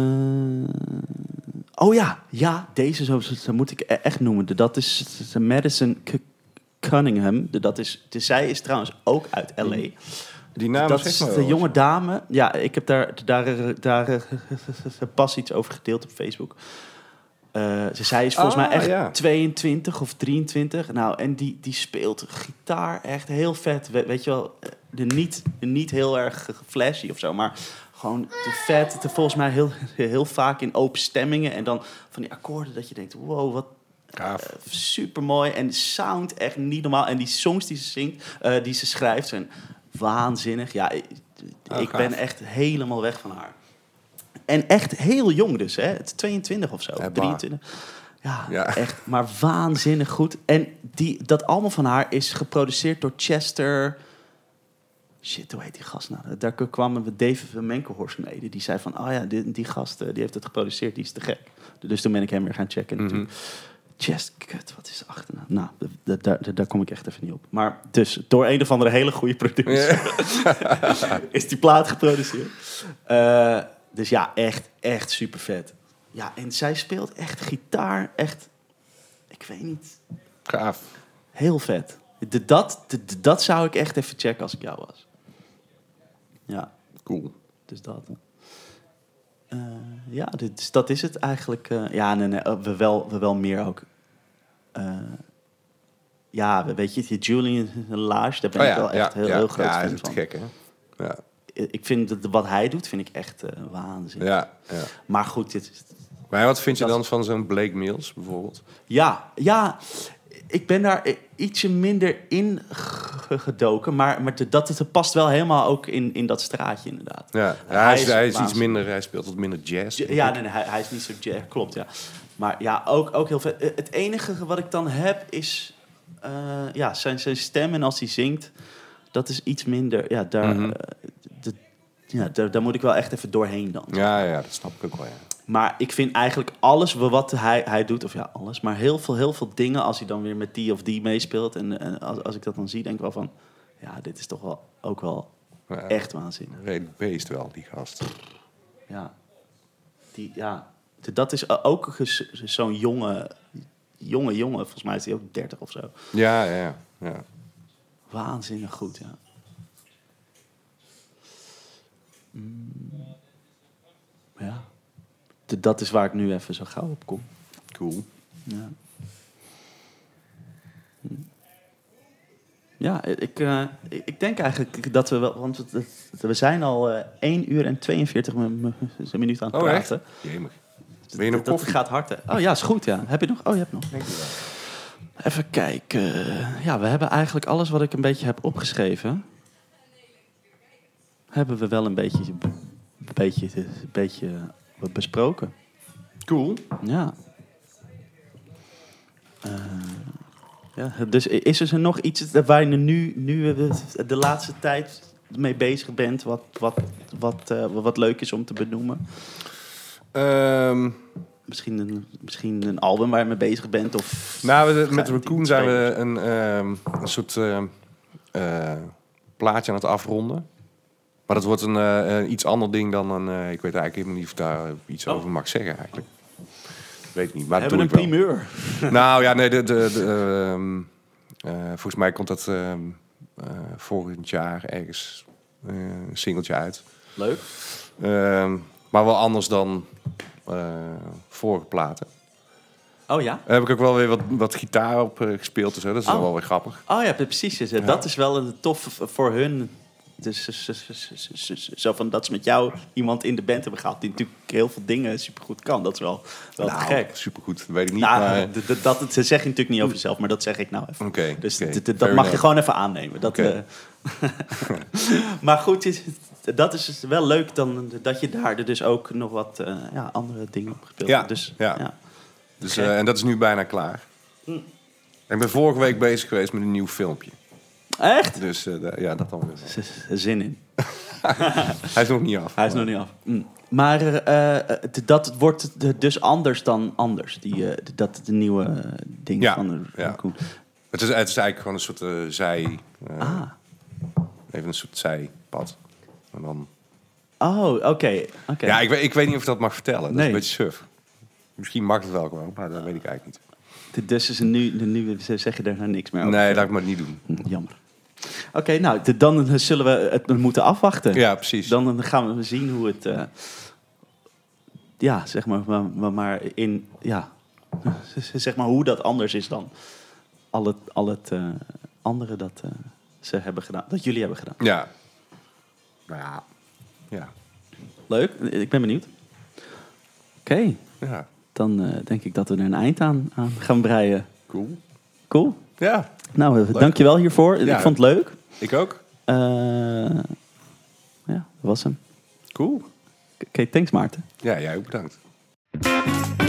[SPEAKER 2] Oh ja, ja, deze zo, zo, zo moet ik e- echt noemen. De- Dat is de Madison C- Cunningham. De- Dat is, de, zij is trouwens ook uit L.A.
[SPEAKER 1] Die naam
[SPEAKER 2] dat
[SPEAKER 1] zegt
[SPEAKER 2] is
[SPEAKER 1] me
[SPEAKER 2] de
[SPEAKER 1] wel
[SPEAKER 2] jonge dame. Ja, ik heb daar, daar, daar [laughs] eh, pas iets over gedeeld op Facebook. Eh, ze- zij is volgens
[SPEAKER 1] Ah,
[SPEAKER 2] mij echt
[SPEAKER 1] ja.
[SPEAKER 2] 22 of 23. Nou, en die, die speelt gitaar echt heel vet. We- weet je wel, eh, de niet, de niet heel erg flashy of zo, maar gewoon te vet. Te volgens mij heel, heel vaak in open stemmingen. En dan van die akkoorden dat je denkt, wow, wat,
[SPEAKER 1] Gaaf.
[SPEAKER 2] super mooi Eh, en de sound echt niet normaal. En die songs die ze zingt, eh, die ze schrijft, zijn waanzinnig. Ja, ik,
[SPEAKER 1] Oh,
[SPEAKER 2] ik
[SPEAKER 1] gaaf.
[SPEAKER 2] ben echt helemaal weg van haar. En echt heel jong dus, hè? Het is 22 of zo,
[SPEAKER 1] Eh, waar.
[SPEAKER 2] 23. Ja,
[SPEAKER 1] Ja.
[SPEAKER 2] echt, maar waanzinnig goed. En die, dat allemaal van haar is geproduceerd door Chester... Shit, hoe heet die gast nou? Daar kwamen we Dave Menkelhorst mee. Die zei van, oh ja, die, die gast eh, die heeft het geproduceerd, die is te gek. Dus toen ben ik hem weer gaan
[SPEAKER 1] Mhm.
[SPEAKER 2] checken natuurlijk. Chest, kut, wat is de achternaam? Nou, d- d- daar- d- daar kom ik echt even niet op. Maar dus, door een of andere hele goede producer... [laughs] is die plaat geproduceerd. Eh, dus ja, echt, echt super vet. Ja, en zij speelt echt gitaar, echt... Ik weet niet,
[SPEAKER 1] Gaaf.
[SPEAKER 2] heel vet. De, dat, de- de- dat zou ik echt even checken als ik jou was. Ja,
[SPEAKER 1] Cool.
[SPEAKER 2] dus dat. Eh, ja, dit, dus dat is het eigenlijk. eh, ja, nee, nee, eh, we, wel, we wel meer ook. Eh, ja, we- weet je, die Julian Lage, daar ben ik wel echt heel,
[SPEAKER 1] Oh ja.
[SPEAKER 2] heel groot
[SPEAKER 1] Ja, hij
[SPEAKER 2] fan
[SPEAKER 1] is te
[SPEAKER 2] van.
[SPEAKER 1] gek, hè? Ja,
[SPEAKER 2] Ik ik vind dat wat hij doet, vind ik echt eh waanzin.
[SPEAKER 1] ja, ja.
[SPEAKER 2] Maar goed, dit, is-
[SPEAKER 1] Maar wat vind je
[SPEAKER 2] Dat-
[SPEAKER 1] dan van zo'n Blake Mills bijvoorbeeld?
[SPEAKER 2] Ja, ja. Ik ben daar eh, ietsje minder in ge- gedoken. Maar, maar de- dat, het past wel helemaal ook in, in dat straatje, inderdaad.
[SPEAKER 1] Ja, hij, is, hij is iets minder, hij speelt wat minder jazz. denk
[SPEAKER 2] Ja,
[SPEAKER 1] ik.
[SPEAKER 2] nee, nee, hij, hij is niet zo ja, Klopt, ja. Maar ja, ook, ook heel vet. Eh, Het enige wat ik dan heb is eh, ja, zijn, zijn stem en als hij zingt, dat is iets minder. Ja, daar,
[SPEAKER 1] Mhm.
[SPEAKER 2] eh, d- ja, daar, daar moet ik wel echt even doorheen dan.
[SPEAKER 1] ja, ja, dat snap ik ook wel, ja.
[SPEAKER 2] Maar ik vind eigenlijk alles wat hij, hij doet, of ja, alles, maar heel veel, heel veel dingen als hij dan weer met die of die meespeelt. En, en als, als ik dat dan zie, denk ik wel van, ja, dit is toch wel ook wel
[SPEAKER 1] Ja,
[SPEAKER 2] echt waanzinnig.
[SPEAKER 1] Een redelijk beest wel, die gast.
[SPEAKER 2] Ja, die, ja. D- dat is eh, ook ges- zo'n jonge, jonge jongen, volgens mij is hij ook 30 of zo.
[SPEAKER 1] Ja, ja, ja, ja.
[SPEAKER 2] Waanzinnig goed, ja. Mm. Ja. D- Dat is waar ik nu even zo gauw op kom.
[SPEAKER 1] Cool.
[SPEAKER 2] Ja. Hm. Ja, ik, eh, ik ik denk eigenlijk dat we wel... Want we- we zijn al eh 1 uur en 42 mi- mi- minuten aan het
[SPEAKER 1] Oh, echt?
[SPEAKER 2] praten.
[SPEAKER 1] Jemig. Wil je nog
[SPEAKER 2] dat
[SPEAKER 1] koffie?
[SPEAKER 2] gaat hard, hè? Oh ja, is goed, ja. Heb je nog? Oh, je hebt nog. Even kijken. Ja, we hebben eigenlijk alles wat ik een beetje heb opgeschreven... hebben we wel een beetje, een beetje, een beetje besproken.
[SPEAKER 1] Cool.
[SPEAKER 2] Ja. Eh, ja. Dus i- is er nog iets waar je nu, nu eh, de laatste tijd mee bezig bent, wat, wat, wat, eh, wat leuk is om te benoemen?
[SPEAKER 1] Ehm,
[SPEAKER 2] Misschien een, misschien een album waar je mee bezig bent? Of...
[SPEAKER 1] nou, we- met
[SPEAKER 2] Ga-
[SPEAKER 1] Raccoon zijn we een, ehm, een soort ehm, eh, plaatje aan het afronden. Maar dat wordt een eh, eh, iets ander ding dan een... eh, ik weet eigenlijk helemaal niet of ik daar eh, iets
[SPEAKER 2] Oh.
[SPEAKER 1] over mag zeggen eigenlijk. Weet ik niet, maar
[SPEAKER 2] we
[SPEAKER 1] dat
[SPEAKER 2] hebben
[SPEAKER 1] doe
[SPEAKER 2] een
[SPEAKER 1] ik wel.
[SPEAKER 2] primeur.
[SPEAKER 1] Nou ja, nee, de, de, de, ehm, eh, volgens mij komt dat ehm, eh, volgend jaar ergens eh, een singeltje uit.
[SPEAKER 2] Leuk.
[SPEAKER 1] Ehm, maar wel anders dan eh, vorige platen.
[SPEAKER 2] Oh ja?
[SPEAKER 1] Daar heb ik ook wel weer wat, wat gitaar op eh, gespeeld en zo. Dat is dan
[SPEAKER 2] Oh.
[SPEAKER 1] wel weer grappig.
[SPEAKER 2] Oh ja, precies. Dus, eh, Dat is wel een tof v- voor hun. Dus z- z- z- z- z- z- zo van dat ze met jou iemand in de band hebben gehaald... die natuurlijk heel veel dingen supergoed kan. Dat is wel, wel te gek.
[SPEAKER 1] supergoed. Weet ik Nou, niet, maar...
[SPEAKER 2] Nou, d- d- dat, dat zeg je natuurlijk niet over jezelf, maar dat zeg ik nou even.
[SPEAKER 1] Oké,
[SPEAKER 2] dus
[SPEAKER 1] oké,
[SPEAKER 2] d- d- dat
[SPEAKER 1] fair
[SPEAKER 2] mag je
[SPEAKER 1] enough.
[SPEAKER 2] gewoon even aannemen. Dat,
[SPEAKER 1] Oké.
[SPEAKER 2] eh, [laughs] maar goed, is- dat is dus wel leuk dan, dat je daar dus ook nog wat eh, ja, andere dingen op gespeeld
[SPEAKER 1] Ja,
[SPEAKER 2] hebt. Dus,
[SPEAKER 1] ja. Dus, eh, en dat is nu bijna klaar.
[SPEAKER 2] Hm.
[SPEAKER 1] Ik ben vorige week bezig geweest met een nieuw filmpje.
[SPEAKER 2] Echt?
[SPEAKER 1] Dus eh, da- ja, dat dan weer.
[SPEAKER 2] Z- z- Zin in.
[SPEAKER 1] Hij is nog niet af.
[SPEAKER 2] Hij is nog niet af. Mm. Maar eh, eh, d- dat wordt d- dus anders dan anders. Die, eh, d- dat de nieuwe eh, ding
[SPEAKER 1] Ja,
[SPEAKER 2] van de
[SPEAKER 1] ja.
[SPEAKER 2] Raccoon.
[SPEAKER 1] Het, is, het is eigenlijk gewoon een soort eh, zij... eh,
[SPEAKER 2] Ah.
[SPEAKER 1] Even een soort zijpad. En dan...
[SPEAKER 2] Oh, oké. oké.
[SPEAKER 1] Ja, ik, weet- ik weet niet of ik dat mag vertellen. Dat
[SPEAKER 2] Nee.
[SPEAKER 1] is een beetje suf. Misschien mag het wel gewoon, maar dat weet ik eigenlijk niet.
[SPEAKER 2] De- Dus is een nu, de nu zeg je daar nou niks meer over.
[SPEAKER 1] Nee, laat ik maar niet doen.
[SPEAKER 2] Hm, Jammer. Oké, nou, de- dan zullen we het moeten afwachten.
[SPEAKER 1] Ja, precies.
[SPEAKER 2] Dan gaan we zien hoe het... eh, ja, zeg maar, maar, maar- maar in... Ja, [laughs] zeg maar hoe dat anders is dan al het, al het eh, andere dat eh, ze hebben gedaan. Dat jullie hebben gedaan.
[SPEAKER 1] Ja. Nou ja. Ja.
[SPEAKER 2] Leuk, ik ben benieuwd. Oké,
[SPEAKER 1] Ja.
[SPEAKER 2] dan eh, denk ik dat we er een eind aan, aan gaan breien.
[SPEAKER 1] Cool.
[SPEAKER 2] Cool.
[SPEAKER 1] Ja,
[SPEAKER 2] Nou, eh, dankjewel hiervoor.
[SPEAKER 1] Ja.
[SPEAKER 2] Ik vond het leuk.
[SPEAKER 1] ik ook.
[SPEAKER 2] Eh, ja, dat was hem.
[SPEAKER 1] Cool.
[SPEAKER 2] Oké, thanks Maarten.
[SPEAKER 1] Ja, jij ook bedankt.